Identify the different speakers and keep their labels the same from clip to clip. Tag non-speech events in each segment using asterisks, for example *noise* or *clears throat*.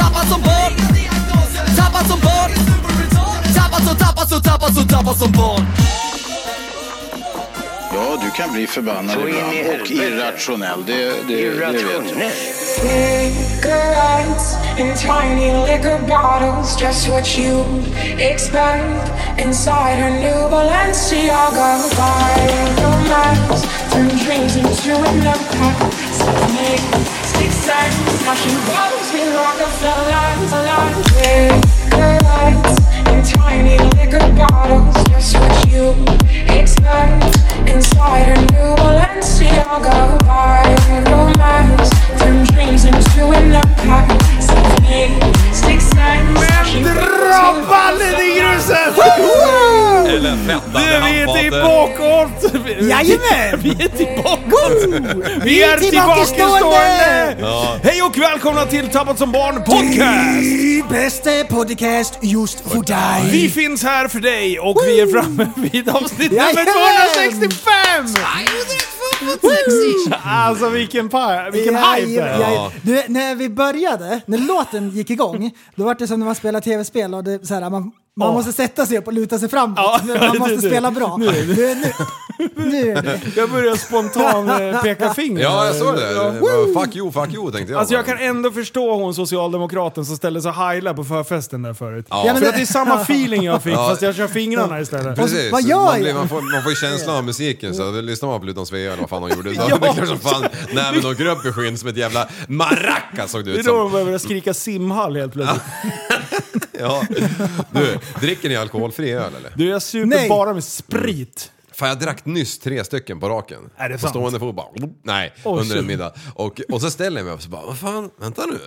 Speaker 1: Tappad som barn Tappad som barn Tappad som, tappad som, tappad som, tappad som barn
Speaker 2: Ja, du kan bli förbannad
Speaker 3: Så in i
Speaker 2: ibland och
Speaker 3: helvete.
Speaker 2: irrationell. Det, det, det vet jag.
Speaker 3: Irrationell.
Speaker 4: Bigger lights and tiny liquor bottles, just what you expect inside a new Balenciaga. Romance turn dreams into a nightmare. Make six sense, flashing bottles we Rockefellers alive. Bigger lights and tiny liquor bottles, just what you expect inside a new Balenciaga. Romance turn dreams into a nightmare. Make six sense, flashing bottles
Speaker 5: Dra ballen i gruset!
Speaker 6: Eller fettande
Speaker 5: Vi är
Speaker 6: handfatet.
Speaker 5: tillbaka!
Speaker 7: Jajamän!
Speaker 5: *laughs* Vi är tillbaka! Vi är
Speaker 7: tillbaka
Speaker 5: tillbakastående!
Speaker 6: Ja.
Speaker 5: Hej och välkomna till Tappat som barn podcast!
Speaker 7: Det bästa podcast just för
Speaker 5: Vi
Speaker 7: dig!
Speaker 5: finns här för dig och vi är framme vid avsnitt nummer
Speaker 7: Jajamän!
Speaker 5: 265! Alltså vilken, pa- vilken hype!
Speaker 7: Jajamän,
Speaker 5: det är.
Speaker 7: jajamän. Du, när vi började, när låten gick igång, då var det som när man spelar tv-spel och det, så här, man, man
Speaker 5: Ja.
Speaker 7: måste sätta sig upp och luta sig framåt.
Speaker 5: Ja,
Speaker 7: Man måste
Speaker 5: det- det-
Speaker 7: spela bra. Nu, nu, nu är det.
Speaker 5: Jag börjar spontant eh, peka finger.
Speaker 6: Ja, jag såg det.
Speaker 5: Ja.
Speaker 6: det var, fuck you, fuck you tänkte jag.
Speaker 5: Alltså jag kan ändå förstå hon socialdemokraten som ställde sig heila på förfesten där förut.
Speaker 7: Ja, men
Speaker 5: För att
Speaker 7: det-
Speaker 5: det är samma feeling jag fick
Speaker 6: Ja.
Speaker 5: fast jag kör fingrarna istället.
Speaker 6: Precis,
Speaker 7: Vad gör
Speaker 6: man, blir,
Speaker 7: jag?
Speaker 6: man, får, man får ju
Speaker 5: *laughs*
Speaker 6: känslan av musiken så det lyssnar man på Luton Svea eller vad fan de gjorde. Så det är klart som fan näven och gröp i skyn som ett jävla maracas såg det
Speaker 5: Det är
Speaker 6: ut
Speaker 5: då de
Speaker 6: som.
Speaker 5: börjar börja skrika simhall helt plötsligt.
Speaker 6: Ja. Du, dricker ni alkoholfri öl eller?
Speaker 5: Du jag super
Speaker 7: Nej.
Speaker 5: bara med sprit.
Speaker 6: Fan jag drack nyss tre stycken på raken.
Speaker 5: Är det
Speaker 6: på
Speaker 5: sant?
Speaker 6: stående fot bara. Nej,
Speaker 5: Oj,
Speaker 6: under
Speaker 5: shit.
Speaker 6: en middag. Och, och så ställer jag mig upp och så bara, vad fan,
Speaker 5: *laughs*
Speaker 6: vänta nu.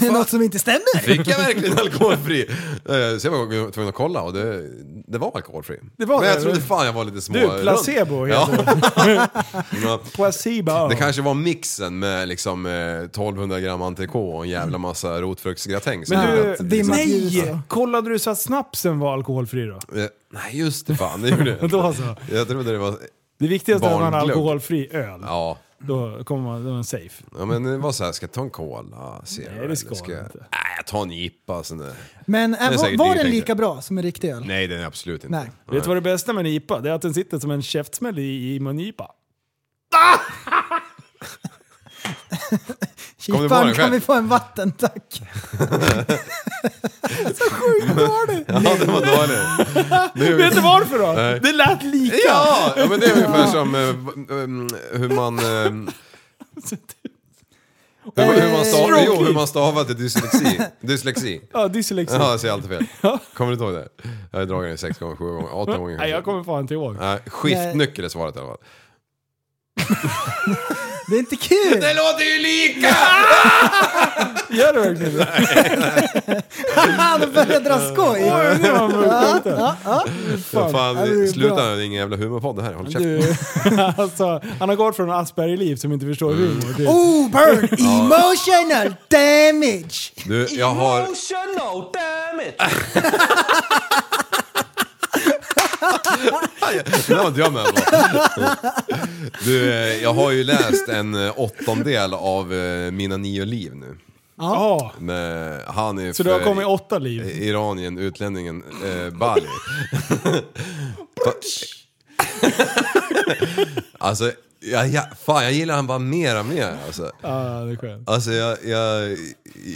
Speaker 7: Det är något som inte stämmer.
Speaker 6: Fick jag verkligen alkoholfri? Eh, Så jag var tvungen att kolla och det, det var alkoholfri.
Speaker 5: Det var
Speaker 6: Men jag
Speaker 5: det,
Speaker 6: trodde
Speaker 5: det-
Speaker 6: fan jag var lite små.
Speaker 5: Du, placebo heter
Speaker 6: *laughs* ja.
Speaker 5: Placebo.
Speaker 6: Det kanske var mixen med liksom eh, 1200 gram entrecote och en jävla massa rotfruktsgratäng. som
Speaker 5: Men
Speaker 6: gjorde
Speaker 5: du,
Speaker 6: att-
Speaker 7: dimma ljus,
Speaker 5: nej!
Speaker 7: ja.
Speaker 5: Kollade du så att snapsen var alkoholfri då?
Speaker 6: Eh, Nej just det, fan det gjorde
Speaker 5: *laughs*
Speaker 6: jag inte.
Speaker 5: Då så.
Speaker 6: Jag trodde det var...
Speaker 5: Det viktigaste är att man har
Speaker 6: Barnglögg.
Speaker 5: alkoholfri öl.
Speaker 6: Ja.
Speaker 5: Då kommer man, då är man safe.
Speaker 6: ja, men det var så här, ska jag ta en cola? Zero,
Speaker 5: Nej,
Speaker 6: eller
Speaker 5: det ska du
Speaker 6: jag...
Speaker 5: inte.
Speaker 6: Nej, jag tar en jippa. Sen där.
Speaker 7: Men
Speaker 6: är
Speaker 7: äh, var,
Speaker 6: säkert
Speaker 7: var
Speaker 6: dyrt,
Speaker 7: den
Speaker 6: tänkte
Speaker 7: lika
Speaker 6: jag.
Speaker 7: bra som en riktig öl?
Speaker 6: Nej, den är absolut inte.
Speaker 7: Nej.
Speaker 5: Vet du vad det bästa med en IPA? Det är att den sitter som en käftsmäll i, i mungipa.
Speaker 6: Kom du på
Speaker 7: Kipan,
Speaker 6: den
Speaker 7: kan
Speaker 6: själv?
Speaker 7: vi få en vatten tack? Så sjukt dålig!
Speaker 6: *laughs* Ja, den var
Speaker 5: *laughs*
Speaker 6: dålig. Nu-
Speaker 5: Vet du varför då?
Speaker 6: Nej.
Speaker 5: Det lät lika!
Speaker 6: Ja, ja, men det är ungefär som eh, v- um, hur man... ehm, hur, man- hur, man stavar,
Speaker 5: stroke
Speaker 6: jo, hur
Speaker 5: lead.
Speaker 6: man stavar till dyslexi. dyslexi.
Speaker 5: Eh, *laughs* Ja, dyslexi.
Speaker 6: Jaha, jag säger alltid fel. Kommer du inte ihåg det? Jag har dragit den sex gånger, sju gånger, åtta gånger.
Speaker 5: Nej, jag kommer fan inte ihåg.
Speaker 6: Nej, skiftnyckel är svaret i alla fall.
Speaker 7: Det är inte kul!
Speaker 6: Det låter ju lika!
Speaker 5: Gör det verkligen det?
Speaker 7: *laughs* Haha, det börjar dra skoj!
Speaker 5: Oj, det var mörkt.
Speaker 7: Ja, ja.
Speaker 6: Fan,
Speaker 7: Ja, det är bra.
Speaker 6: sluta, det är ingen jävla humorpodd det här. Håll käften.
Speaker 5: Du, *laughs* alltså, han har gått från Asperger-liv som inte förstår humor till...
Speaker 7: Oh, burn! Emotional damage!
Speaker 6: Du, jag har...
Speaker 1: Emotional
Speaker 6: *laughs*
Speaker 1: damage
Speaker 6: Det var inte jag med på. Du, eh, jag har ju läst en eh, åttondel av eh, Mina nio liv nu.
Speaker 5: Ja.
Speaker 6: Med Hanif...
Speaker 5: Så du har
Speaker 6: eh,
Speaker 5: kommit åtta liv?
Speaker 6: Iranien, utlänningen, eh,
Speaker 5: *laughs*
Speaker 6: Bali. alltså, jag, jag, fan jag gillar han bara mer och mer alltså.
Speaker 5: Ja, det är skönt.
Speaker 6: Alltså jag, jag,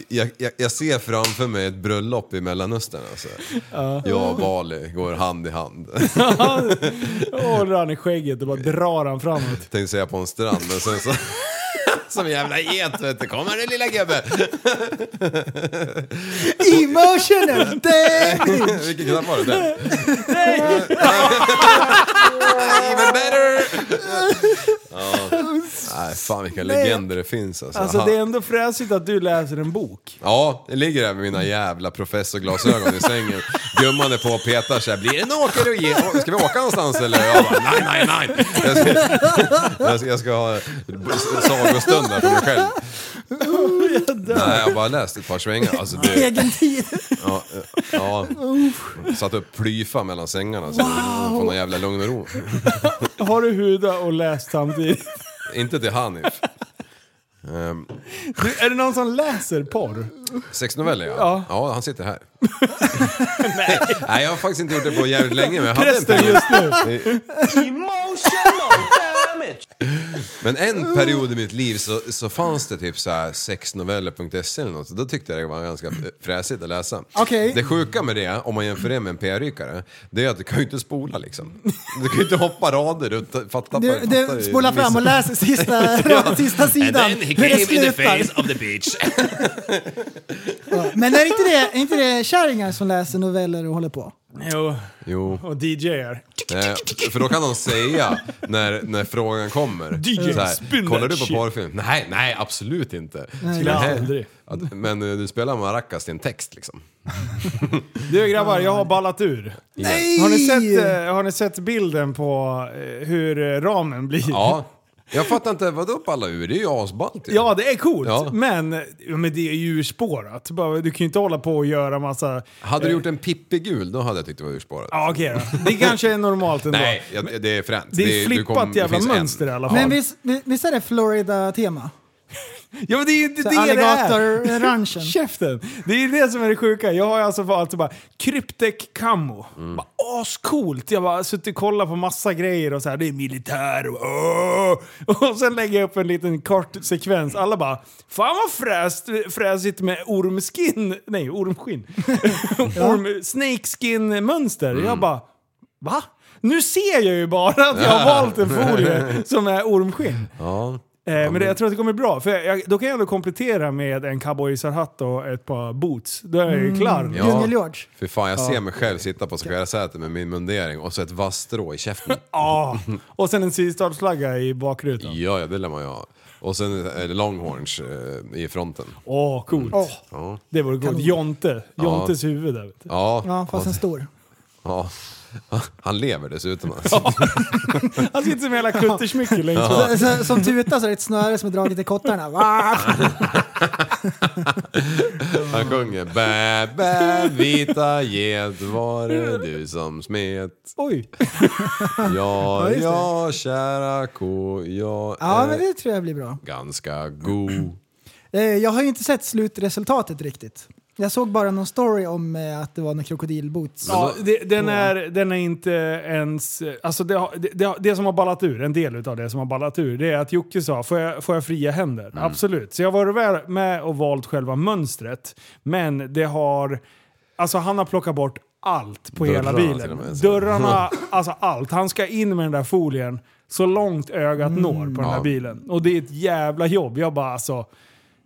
Speaker 6: jag, jag, jag ser framför mig ett bröllop i Mellanöstern alltså. Jag och Bali går hand i hand. *laughs*
Speaker 5: Håller han i skägget och bara drar han framåt.
Speaker 6: Tänkte säga på en strand men sen så... *laughs* Som en jävla get vet du, kom här nu lilla gubbe! *laughs*
Speaker 7: Emotional damage!
Speaker 6: Vilken knapp var det? Den? *laughs*
Speaker 5: *laughs*
Speaker 6: Even better! Ja. Nej, fan vilka
Speaker 5: Nej.
Speaker 6: legender det finns alltså.
Speaker 5: Alltså
Speaker 6: Han-
Speaker 5: det är ändå fräsigt att du läser en bok.
Speaker 6: Ja, det ligger där med mina jävla professorglasögon i sängen. Gumman är på och petar så här, blir det en åker och ge? Ska vi åka någonstans eller? Jag bara, nej, nej, nej. Jag ska, jag ska, jag ska ha sagostund här för mig själv. Nej, jag har bara läst ett par svängar. Alltså det,
Speaker 7: Egen tid.
Speaker 6: ja, ja. Satt upp plyfa mellan sängarna så wow. får någon jävla lugn och ro.
Speaker 5: Har du huda och läst samtidigt?
Speaker 6: Inte till Hanif. Ehm,
Speaker 5: Du, *laughs* är det någon som läser porr?
Speaker 6: Sexnoveller ja.
Speaker 5: Ja.
Speaker 6: ja. han sitter här. Nej. Nej, jag har faktiskt inte gjort det på jävligt länge. Men jag hade en
Speaker 5: Prästen
Speaker 6: period.
Speaker 5: just nu.
Speaker 6: Men en period i mitt liv så, så fanns det typ så här sexnoveller.se eller något. Då tyckte jag det var ganska fräsigt att läsa.
Speaker 7: Okej.
Speaker 6: Det sjuka med det, om man jämför det med en PR-rykare, det är att du kan ju inte spola liksom. Du kan ju inte hoppa rader. Du ta- fattar
Speaker 7: Du,
Speaker 6: fattar
Speaker 7: du
Speaker 6: ju-
Speaker 7: spolar fram och läser
Speaker 6: *laughs*
Speaker 7: sista, *laughs* sista sidan. Hur det slutar.
Speaker 6: of the bitch.
Speaker 7: *laughs* Men är inte, det, är inte det kärringar som läser noveller och håller på?
Speaker 5: Jo,
Speaker 6: Jo.
Speaker 5: och DJ'ar.
Speaker 6: Eh, för då kan de säga när, när
Speaker 5: *laughs*
Speaker 6: frågan kommer.
Speaker 5: DJ,
Speaker 6: så här,
Speaker 5: spin
Speaker 6: kollar
Speaker 5: that
Speaker 6: du på
Speaker 5: shit."
Speaker 6: porrfilm? Nej, nej absolut inte.
Speaker 5: Skulle jag
Speaker 6: Nej.
Speaker 5: aldrig.
Speaker 6: Att, men eh, du spelar maracas till en text liksom.
Speaker 5: Du grabbar, jag har ballat ur.
Speaker 7: Nej!
Speaker 5: Har ni sett, eh, har ni sett bilden på eh, hur eh, ramen blir?
Speaker 6: Ja. Jag fattar inte, vadå balla ur? Det är ju asballt ju.
Speaker 5: Ja, det är coolt.
Speaker 6: Ja.
Speaker 5: Men, ja, men det är ju urspårat. Bara, Du kan ju inte hålla på och göra massa...
Speaker 6: Hade du gjort en pippigul, då hade jag tyckt det var urspårat.
Speaker 5: eh. Ja, okej då. Det kanske är normalt ändå.
Speaker 6: Nej, jag, det är fränt.
Speaker 5: Det är
Speaker 6: du
Speaker 5: flippat
Speaker 6: kom- det
Speaker 5: jävla
Speaker 6: finns en.
Speaker 5: mönster i alla fall.
Speaker 7: Men visst, vi- visst är det Florida-tema?
Speaker 5: ja, men det är ju inte det
Speaker 7: Så
Speaker 5: det är!
Speaker 7: Alligator-ranchen.
Speaker 5: *laughs* Käften! Det är ju det som är det sjuka. Jag har ju alltså valt så bara Cryptec Camo. Mm. Bara ascoolt! Jag bara suttit och kollat på massa grejer och så här, det är militär och åh! *laughs* Och sen lägger jag upp en liten kortsekvens. Alla bara Fan vad fräst, fräsigt med ormskin. Nej,
Speaker 7: *laughs*
Speaker 5: ormskinn. Orm, snakeskin-mönster. Jag bara Va? Nu ser jag ju bara att jag har valt en folie som är ormskinn.
Speaker 6: Ja.
Speaker 5: Eh, men det, jag tror att det kommer bli bra, för jag, jag, då kan jag ändå komplettera med en cowboyisarhatt och ett par boots. Då är jag ju klar.
Speaker 6: Mm. Ja.
Speaker 7: Djungel-George.
Speaker 6: För fan, jag ser mig själv sitta på skärsätet med min mundering och så ett vasst strå
Speaker 5: *laughs*
Speaker 6: i käften.
Speaker 5: Ja. Ah. Och sen en sydstatsflagga i bakrutan. Åh,
Speaker 6: Ja, ja, det lär man ju ha. Och sen eh, longhorns eh, i fronten.
Speaker 5: coolt.
Speaker 6: Ja.
Speaker 5: Det vore gott. Jonte. Jontes huvud där. Vet du.
Speaker 6: Ja,
Speaker 7: Ja, fast en stor.
Speaker 6: ja. *laughs* Han lever dessutom alltså.
Speaker 5: Han sitter som
Speaker 6: *laughs*
Speaker 5: hela kuttersmycke längst bak.
Speaker 7: Så, så, som tutas är det ett snöre som är draget i kottarna. Va?
Speaker 6: Han sjunger bä, bä, vita get var det du som smet.
Speaker 5: Oj!
Speaker 6: Ja,
Speaker 7: just det.
Speaker 6: ja, kära ko, jag *laughs*
Speaker 7: Ja,
Speaker 6: är
Speaker 7: men det tror jag blir bra.
Speaker 6: ganska god.
Speaker 7: Eh, Jag har ju inte sett slutresultatet riktigt. Jag såg bara någon story om eh, att det var någon krokodilboots.
Speaker 5: Ja, det, den, är, den är inte ens... Alltså det, har- det, det, har- det som har ballat ur, en del av det som har ballat ur, det är att Jocke sa får jag, får jag fria händer?
Speaker 6: Mm.
Speaker 5: Absolut. Så jag var väl med och valt själva mönstret, men det har... Alltså han har plockat bort allt på hela
Speaker 6: Dörrarna till
Speaker 5: bilen.
Speaker 6: och med, så. *laughs*
Speaker 5: Dörrarna, alltså allt. Han ska in med den där folien så långt ögat når på den här
Speaker 6: Mm. Ja.
Speaker 5: bilen. Och det är ett jävla jobb. Jag bara alltså...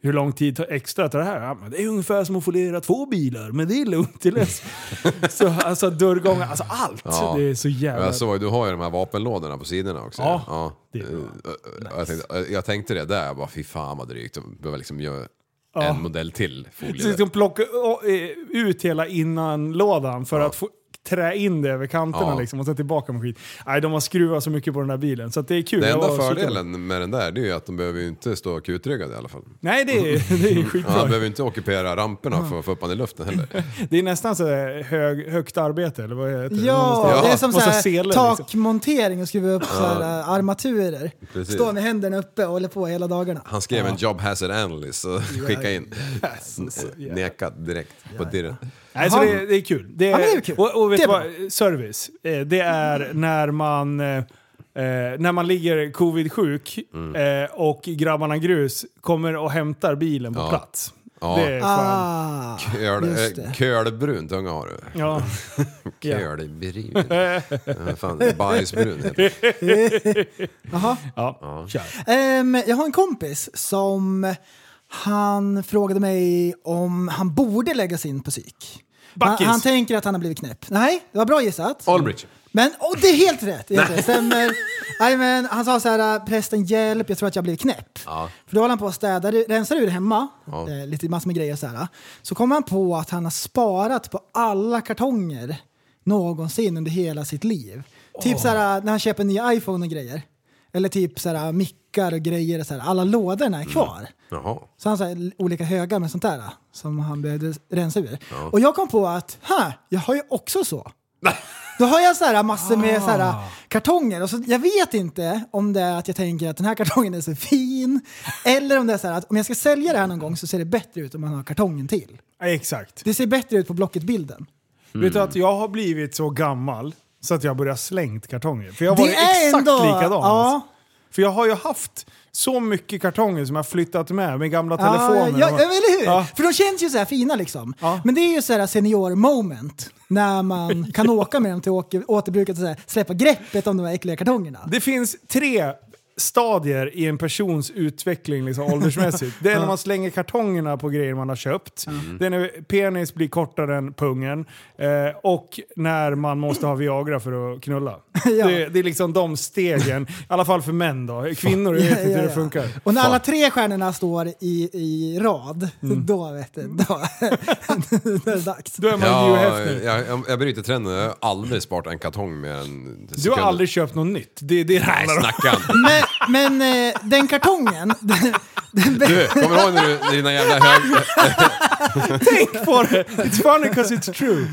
Speaker 5: Hur lång tid tar extra tar det här? Ja, men det är ungefär som att foliera två bilar, men det är lugnt till
Speaker 6: *laughs*
Speaker 5: dess. så, alltså dörrgångar, alltså allt.
Speaker 6: Ja.
Speaker 5: Det är så jävla...
Speaker 6: Jag såg, du har ju de här vapenlådorna på sidorna också.
Speaker 5: Ja, det är bra.
Speaker 6: Eh, Jag, tänkte, jag tänkte det där, jag bara fy fan vad drygt. De behöver liksom göra en modell till
Speaker 5: så
Speaker 6: folie.
Speaker 5: liksom plocka å, eh, ut hela innanlådan för att få trä in det över kanterna
Speaker 6: Ja.
Speaker 5: liksom, och sen tillbaka med skit. Nej, de har skruvat så mycket på den där bilen så att det är kul.
Speaker 6: Den
Speaker 5: Jag
Speaker 6: enda
Speaker 5: var och kikade på-
Speaker 6: fördelen med den där, det är ju att de behöver ju inte stå kutryggade i alla fall.
Speaker 5: Nej, det
Speaker 6: *laughs*
Speaker 5: är, det är
Speaker 6: Ja, han
Speaker 5: skitbra.
Speaker 6: behöver inte ockupera ramperna för att få upp han i luften heller.
Speaker 5: det är nästan så här hög, högt arbete, eller vad heter det?
Speaker 7: Ja,
Speaker 6: Typ. Ja.
Speaker 7: det är som
Speaker 5: Massa
Speaker 7: såhär
Speaker 5: selar, liksom.
Speaker 7: takmontering och skruva upp så här, eh, armaturer.
Speaker 6: Precis.
Speaker 7: Stå med händerna uppe och håller på hela dagarna.
Speaker 6: Han skrev en job hazard analyst och skickade in. Nekad direkt på dirren.
Speaker 5: Nej, så
Speaker 7: Jaha.
Speaker 5: det, det är kul. Det är,
Speaker 7: Ja, men det är kul.
Speaker 5: Och, och vet
Speaker 7: Det
Speaker 5: du
Speaker 7: är Mm.
Speaker 5: vad? Service. Eh, Det är när man, eh, eh, när man ligger covid-sjuk
Speaker 6: Mm.
Speaker 5: eh, och grabbarna grus kommer och hämtar bilen på
Speaker 6: Ja.
Speaker 5: plats.
Speaker 6: Ja.
Speaker 5: Det är fan...
Speaker 7: Ah,
Speaker 6: Köl-
Speaker 7: just
Speaker 6: eh,
Speaker 7: det.
Speaker 6: Kölbrun tunga har du.
Speaker 5: Ja.
Speaker 6: Kölbrun. Ja, fan, bajsbrun heter
Speaker 5: *laughs*
Speaker 6: det.
Speaker 7: *laughs* Jaha.
Speaker 5: Ja. Kör.
Speaker 7: Ehm, jag har en kompis som han frågade mig om han borde lägga sig in på psyk. Han,
Speaker 5: Backis.
Speaker 7: han tänker att han har blivit knäpp. Nej, det var bra gissat.
Speaker 6: Albridge.
Speaker 7: Men, och det är helt rätt! Det är helt rätt. Stämmer. Nej, men han sa så här, äh, prästen hjälp, jag tror att jag blev knäpp. För då håller han på att städa, rensar ur hemma, eh, lite massor med grejer så här. Så kommer han på att han har sparat på alla kartonger någonsin under hela sitt liv. Typ så här när han köper en ny iPhone och grejer. Eller typ så här mickar och grejer, och så här. alla lådorna är kvar.
Speaker 6: Jaha.
Speaker 7: Så han hade olika högar med sånt där ah, som han behövde rensa ur. Och jag kom på att, här, jag har ju
Speaker 5: *laughs*
Speaker 7: också så. Då har jag så här massor med så
Speaker 5: Ah.
Speaker 7: här ah, kartonger och så, jag vet inte om det är att jag tänker att den här kartongen är så fin eller om det är så här att om jag ska sälja det här någon gång så ser det bättre ut om man har kartongen till.
Speaker 5: Ja, exakt.
Speaker 7: Det ser bättre ut på Blocket-bilden.
Speaker 6: Mm.
Speaker 5: Vet du att jag har blivit så gammal så att jag börjar slängt kartonger. För jag var
Speaker 7: Det
Speaker 5: ju
Speaker 7: är
Speaker 5: exakt
Speaker 7: ändå-
Speaker 5: likadan. alltså.
Speaker 7: ja.
Speaker 5: För jag har ju haft så mycket kartonger som jag flyttat med, med gamla telefoner.
Speaker 7: Ah, Ja, ja,
Speaker 5: och-
Speaker 7: eller hur?
Speaker 5: Ja.
Speaker 7: För de känns ju så här fina liksom.
Speaker 5: Ja.
Speaker 7: Men det är ju så här senior moment när
Speaker 5: *laughs*
Speaker 7: man kan åka med dem till åke- återbruket och så här, släppa greppet om de här äckliga kartongerna.
Speaker 5: Det finns tre stadier i en persons utveckling liksom, åldersmässigt. Det är när man slänger kartongerna på grejer man har köpt.
Speaker 7: Mm.
Speaker 5: Det är när penis blir kortare än pungen. Eh, och när man måste ha Viagra för att knulla.
Speaker 7: *laughs* Ja.
Speaker 5: det, det är liksom de stegen. I alla fall för män då. Kvinnor, jag
Speaker 7: Ja,
Speaker 5: vet inte
Speaker 7: ja,
Speaker 5: hur det
Speaker 7: ja.
Speaker 5: funkar.
Speaker 7: Och när alla tre stjärnorna står i, i rad, då vet du, då, *laughs* då är det dags.
Speaker 5: Då Mm. är man Hugh
Speaker 6: Ja,
Speaker 5: Hefner.
Speaker 6: jag, jag, jag bryter trenden. Jag har aldrig sparat en kartong med en sekund.
Speaker 5: Du har aldrig köpt något nytt. Det är det det
Speaker 6: Nej,
Speaker 5: handlar om.
Speaker 6: snacka inte.
Speaker 7: Men, men eh, den kartongen, *laughs* den, den,
Speaker 6: Du, kommer du ihåg när du, när dina jävla
Speaker 5: *laughs*
Speaker 6: hög...
Speaker 5: Tänk på det! It's funny because it's true.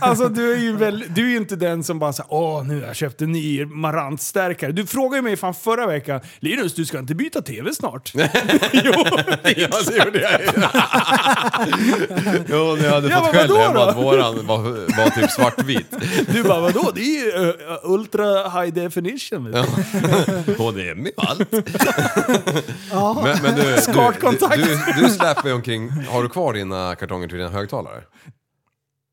Speaker 5: Alltså du är ju, väl, du är ju inte den som bara säger åh nu har jag köpt en ny Marantstärkare. Du frågade ju mig fan förra veckan, Linus du ska inte byta TV
Speaker 6: *laughs*
Speaker 5: snart?
Speaker 6: Ja, det gjorde jag ju. Jo, när jag hade
Speaker 5: Ja,
Speaker 6: fått
Speaker 5: men
Speaker 6: skäll
Speaker 5: vadå då?
Speaker 6: hemma att våran var, var typ svartvit.
Speaker 5: Du bara vadå? Det är ju eh, ultra high definition. Vet du.
Speaker 6: *laughs* HDMI och allt. Men, men du, du,
Speaker 5: Skartkontakt.
Speaker 6: du, du, du släpper ju omkring. Har du kvar dina kartonger till dina högtalare?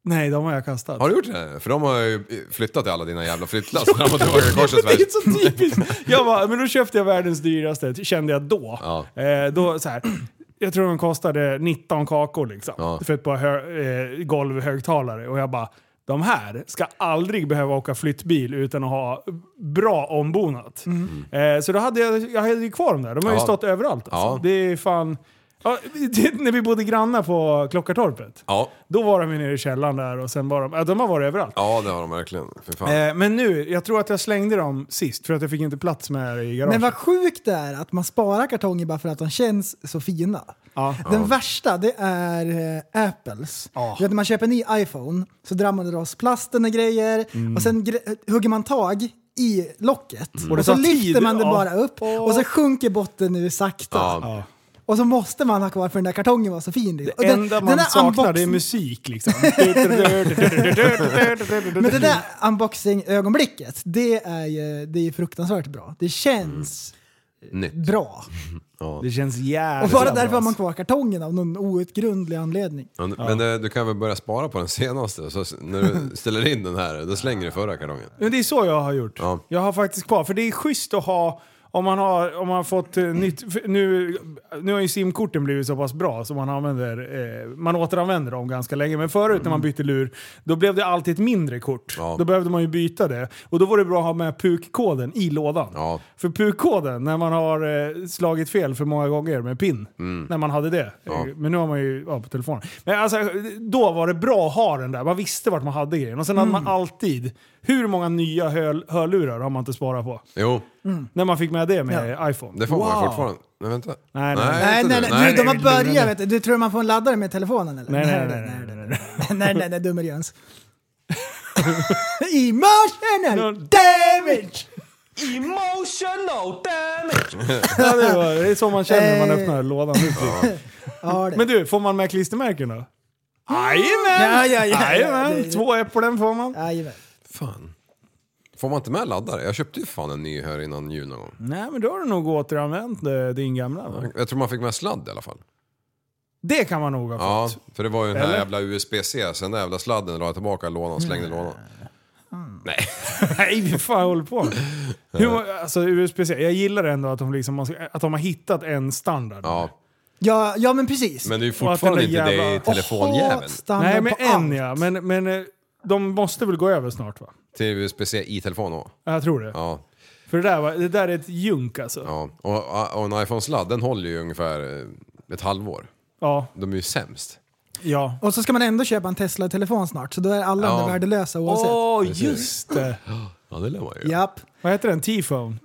Speaker 5: Nej, de har jag kastat.
Speaker 6: Har du gjort det? För de har ju flyttat till alla dina jävla flyttlass fram och tillbaka i korsets
Speaker 5: Det är
Speaker 6: värld.
Speaker 5: så typiskt! Jag bara, men då köpte jag världens dyraste, kände jag då.
Speaker 6: Ja.
Speaker 5: Eh, då så här, jag tror de kostade 19 kakor liksom.
Speaker 6: Ja.
Speaker 5: För ett par hö- eh, golvhögtalare. Och jag bara, de här ska aldrig behöva åka flyttbil utan att ha bra ombonat. Eh, så då hade jag, jag hade ju kvar dem där. De har ju
Speaker 6: Ja.
Speaker 5: stått överallt. Alltså.
Speaker 6: Ja.
Speaker 5: Det är fan... Ja, *laughs* det, när vi bodde grannar på Klockartorpet.
Speaker 6: Ja.
Speaker 5: Då var de ju nere i källaren där och sen var de... Ja, de har varit överallt.
Speaker 6: ja, det har de verkligen. Fy fan.
Speaker 5: Eh, men nu, jag tror att jag slängde dem sist för att jag fick inte plats med det i garaget.
Speaker 7: men vad sjukt det är att man sparar kartonger bara för att de känns så fina.
Speaker 5: Ja.
Speaker 7: Den värsta det är eh, Apples.
Speaker 5: Ja.
Speaker 7: Du vet, när man köper en ny iPhone så drar man loss plasten och grejer
Speaker 5: Mm.
Speaker 7: och sen gre- hugger man tag i locket och,
Speaker 5: det
Speaker 7: så
Speaker 5: tar tid.
Speaker 7: lyfter man det
Speaker 5: Ja.
Speaker 7: bara upp och så sjunker botten nu sakta.
Speaker 6: Ja.
Speaker 7: Och så måste man ha kvar för den där kartongen var så fin. liksom. Och
Speaker 5: Det
Speaker 7: den-
Speaker 5: enda
Speaker 7: den
Speaker 5: man
Speaker 7: där
Speaker 5: saknar det är
Speaker 7: unboxing-
Speaker 5: musik liksom. *laughs*
Speaker 7: Men det där unboxing-ögonblicket, det är ju det är ju fruktansvärt bra. Det känns
Speaker 6: Nytt.
Speaker 7: bra.
Speaker 5: Det känns
Speaker 7: Och
Speaker 5: jävligt
Speaker 7: bara
Speaker 5: bra,
Speaker 7: därför har man
Speaker 5: alltså.
Speaker 7: kvar kartongen av någon outgrundlig anledning.
Speaker 6: Men, men eh, du kan väl börja spara på den senaste? Så s- när du ställer in den här, då slänger du förra kartongen.
Speaker 5: Men det är så jag har gjort.
Speaker 6: Ja.
Speaker 5: Jag har faktiskt kvar, för det är schysst att ha om man har, om man har fått eh, nytt... för Nu, nu har ju simkorten blivit så pass bra så man, använder, eh, man återanvänder dem ganska länge. Men förut när man bytte lur, då blev det alltid ett mindre kort.
Speaker 6: Mm. Ja.
Speaker 5: Då behövde man ju byta det. Och då var det bra att ha med PUK-koden i lådan.
Speaker 6: Ja.
Speaker 5: För PUK-koden, när man har eh, slagit fel för många gånger med PIN, när man hade det.
Speaker 6: Ja.
Speaker 5: Men nu har man ju ja, på telefonen. Men alltså, då var det bra att ha den där. Man visste vart man hade grejen. Och sen hade man alltid, hur många nya hör, hörlurar har man inte sparat på?
Speaker 6: Jo,
Speaker 5: När man fick med det med iPhone.
Speaker 6: det får man ju fortfarande. Nej, vänta.
Speaker 5: Nej, nej,
Speaker 7: Nej,
Speaker 6: inte
Speaker 7: nej,
Speaker 6: nu.
Speaker 7: nej, nej, de har
Speaker 5: nej, nej, nej.
Speaker 7: börjat. Vet du. du tror man får en laddare med telefonen eller?
Speaker 5: Nej, nej, nej, nej, nej, nej.
Speaker 7: nej, nej, nej, nej dummer Jöns. Emotional
Speaker 5: No.
Speaker 7: damage!
Speaker 5: Ja, det, var, det är så man känner när man
Speaker 7: Eh.
Speaker 5: öppnar lådan.
Speaker 7: Ja, det.
Speaker 5: Men du, får man med klistermärken då? Jajamän!
Speaker 7: Ja, ja, ja, ja, det-
Speaker 5: Jajamän!
Speaker 7: det-
Speaker 5: Två äpplen får man.
Speaker 7: Jajamän.
Speaker 6: Fan. Får man inte med laddare? Jag köpte ju fan en ny här innan jul någon gång.
Speaker 5: Nej, men då har du nog återanvänt eh, din gamla. va?
Speaker 6: Jag tror man fick med sladd i alla fall.
Speaker 5: Det kan man nog ha fått.
Speaker 6: Ja, för det var ju den här
Speaker 5: Eller?
Speaker 6: jävla USB-C, sen den där jävla sladden la jag tillbaka i lådan, slängde i lådan. Nej.
Speaker 5: *laughs* Nej, vi fan håller på
Speaker 6: *laughs*
Speaker 5: med? Hur, må- alltså USB-C, jag gillar ändå att de, liksom, att de har hittat en standard.
Speaker 6: Ja,
Speaker 7: Ja, ja, men precis.
Speaker 6: men det är ju
Speaker 5: Och att den
Speaker 6: fortfarande
Speaker 5: där
Speaker 6: inte det
Speaker 5: jävla-
Speaker 6: i telefonjäveln.
Speaker 7: Åh, standard
Speaker 5: Nej, men
Speaker 7: på
Speaker 5: en
Speaker 7: allt.
Speaker 5: ja. Men, men eh, de måste väl gå över snart va?
Speaker 6: Till USB-C i telefon också.
Speaker 5: Ja, jag tror det.
Speaker 6: Ja,
Speaker 5: För det där, var, det där är ett junk alltså. Ja.
Speaker 6: ja. Och, och en iPhone-sladd, den håller ju ungefär eh, ett halvår.
Speaker 5: Ja.
Speaker 6: De är ju sämst.
Speaker 7: Och så ska man ändå köpa en Tesla-telefon snart, så då är alla
Speaker 6: Ja.
Speaker 7: de där värdelösa oavsett.
Speaker 5: Åh, just det!
Speaker 6: Ja, det lär man ju.
Speaker 7: Japp.
Speaker 5: Vad heter den? T-phone?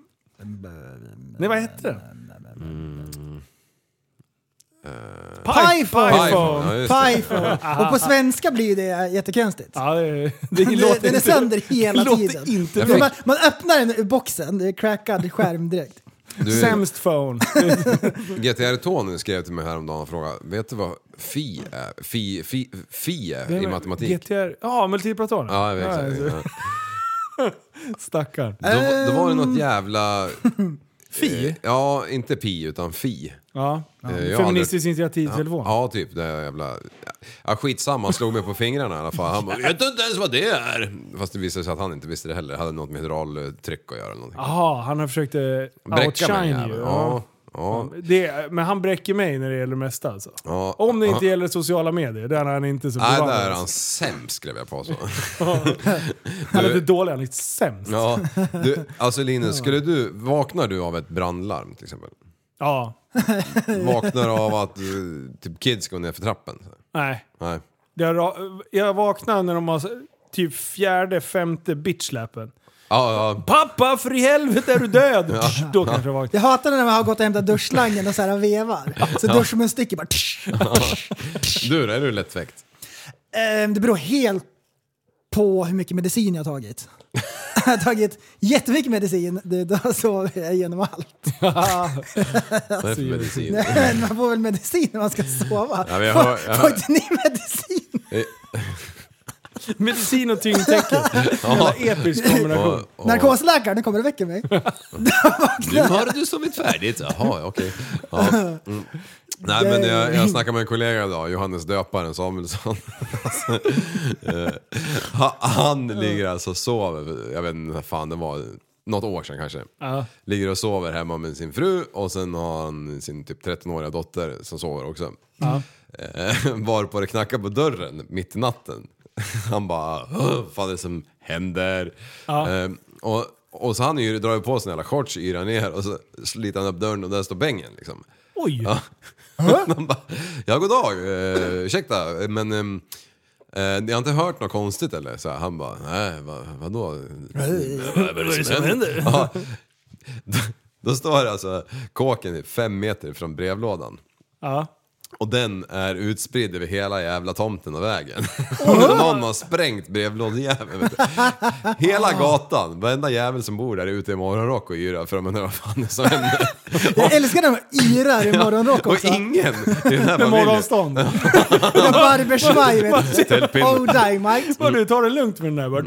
Speaker 5: Nej, vad hette den?
Speaker 7: Piphone!
Speaker 5: iPhone.
Speaker 6: Ja, just det.
Speaker 7: Piphone! Och på svenska blir det jättekonstigt.
Speaker 5: Ja, det, det
Speaker 7: Den-
Speaker 5: låter
Speaker 7: den är
Speaker 5: inte-
Speaker 7: sönder hela
Speaker 5: låter
Speaker 7: tiden.
Speaker 5: Inte
Speaker 6: Jag
Speaker 5: bra.
Speaker 7: Man, man öppnar den ur boxen, det är crackad skärm direkt.
Speaker 6: Du,
Speaker 5: Sämst phone.
Speaker 6: GTR Tony skrev till mig häromdagen och frågade, vet du vad fi är? Fi, fi, fi är i matematik?
Speaker 5: GTR, ja, multiplatonen.
Speaker 6: Ja, jag vet exakt.
Speaker 5: alltså,
Speaker 6: Ja.
Speaker 5: Stackarn.
Speaker 6: Då, då var det något *laughs* jävla... eh,
Speaker 5: Fi?
Speaker 6: Ja, inte pi utan fi.
Speaker 5: Ja.
Speaker 6: Eh, jag har
Speaker 5: Feministiskt initiativtelefon.
Speaker 6: Ja, typ. Det där jävla... Ja, skitsamma, han slog mig på fingrarna i alla fall. Han bara, vet du inte ens vad det är? Fast det visade sig att han inte visste det heller. Det hade något med hydraultryck att göra eller någonting.
Speaker 5: Jaha, han har försökt eh,
Speaker 6: mig
Speaker 5: outshine
Speaker 6: jäveln.
Speaker 5: you.
Speaker 6: Ah, Ja, ja.
Speaker 5: Det, men han bräcker mig när det gäller det mesta alltså.
Speaker 6: Ja.
Speaker 5: Om det inte
Speaker 6: Ja.
Speaker 5: gäller sociala medier, där är han inte så
Speaker 6: Nej,
Speaker 5: bevandrad.
Speaker 6: där är han sämst skulle jag *laughs* vilja påstå.
Speaker 5: Han är inte dålig, han är sämst. Ja.
Speaker 6: Ja, du, alltså Linus, skulle du, vaknar du av ett brandlarm till exempel? Vaknar av att eh, typ kids går ner för trappen?
Speaker 5: Nej.
Speaker 6: Nej.
Speaker 5: Det har ra- jag vaknar när de har s- typ fjärde, femte bitchlappen.
Speaker 6: Ja, ja.
Speaker 5: Pappa, för i helvete är du död! Då kanske jag vaknar.
Speaker 7: Jag hatar när man har gått och hämtat duschslangen och så här vevar. Så duschmunnen sticker bara.
Speaker 6: Du då, är du lättväckt?
Speaker 7: Ehm, Det beror helt på hur mycket medicin jag har tagit. Jag har tagit jättemycket medicin, det- då sover jag igenom allt.
Speaker 6: Vad är det för medicin?
Speaker 7: Men man får väl medicin när man ska sova?
Speaker 6: Mm. Ja, men jag hör-
Speaker 7: Får
Speaker 6: jag
Speaker 7: får
Speaker 6: hör-
Speaker 7: inte ni medicin?
Speaker 5: Medicin och tyngdtecken. Jävla episk kombination.
Speaker 6: Ja, ja.
Speaker 7: Narkosläkaren, nu kommer och väcker mig.
Speaker 6: Nu har du sovit färdigt. Jaha, okej. Ja. Mm. Nej, men jag, jag snackade med en kollega idag, Johannes Döparen Samuelsson. Alltså, eh, ha- han ligger alltså och sover, jag vet inte när fan det var, något år sedan kanske.
Speaker 5: Ja.
Speaker 6: Ligger och sover hemma med sin fru och sen har han sin typ 13-åriga dotter som sover också. Eh, varpå det knackar på dörren mitt i natten. *laughs* Han bara, "Åh, vad fan är det som händer? Eh, och, och så han är ju, drar ju på sig en jävla shorts, yrar ner och så sliter han upp dörren och där står bängen liksom.
Speaker 5: Oj!
Speaker 6: Ja. *laughs* Han bara, ja god dag, eh, ursäkta men ehm, eh, ni har inte hört något konstigt eller? Så här, han bara, nej vad, vadå? *laughs* Vad är det som händer? Ja. Då, då står alltså kåken i fem meter från brevlådan.
Speaker 5: Ja.
Speaker 6: Och den är utspridd över hela jävla tomten och vägen. Och *laughs* Någon har sprängt brevlådejäveln. vet du. Hela gatan, varenda jävel som bor där är ute i morgonrock och yrar för de undrar vad fan det är som händer. *laughs*
Speaker 7: Jag älskar när de yrar i morgonrock
Speaker 6: Och
Speaker 7: också.
Speaker 6: ingen i den här
Speaker 5: Med
Speaker 6: familjen.
Speaker 5: morgonstånd.
Speaker 7: Den där barbersvajvet.
Speaker 6: Tältpinne.
Speaker 7: Oh dynamite.
Speaker 5: Bara
Speaker 6: Mm.
Speaker 5: du, tar det lugnt med den där bara.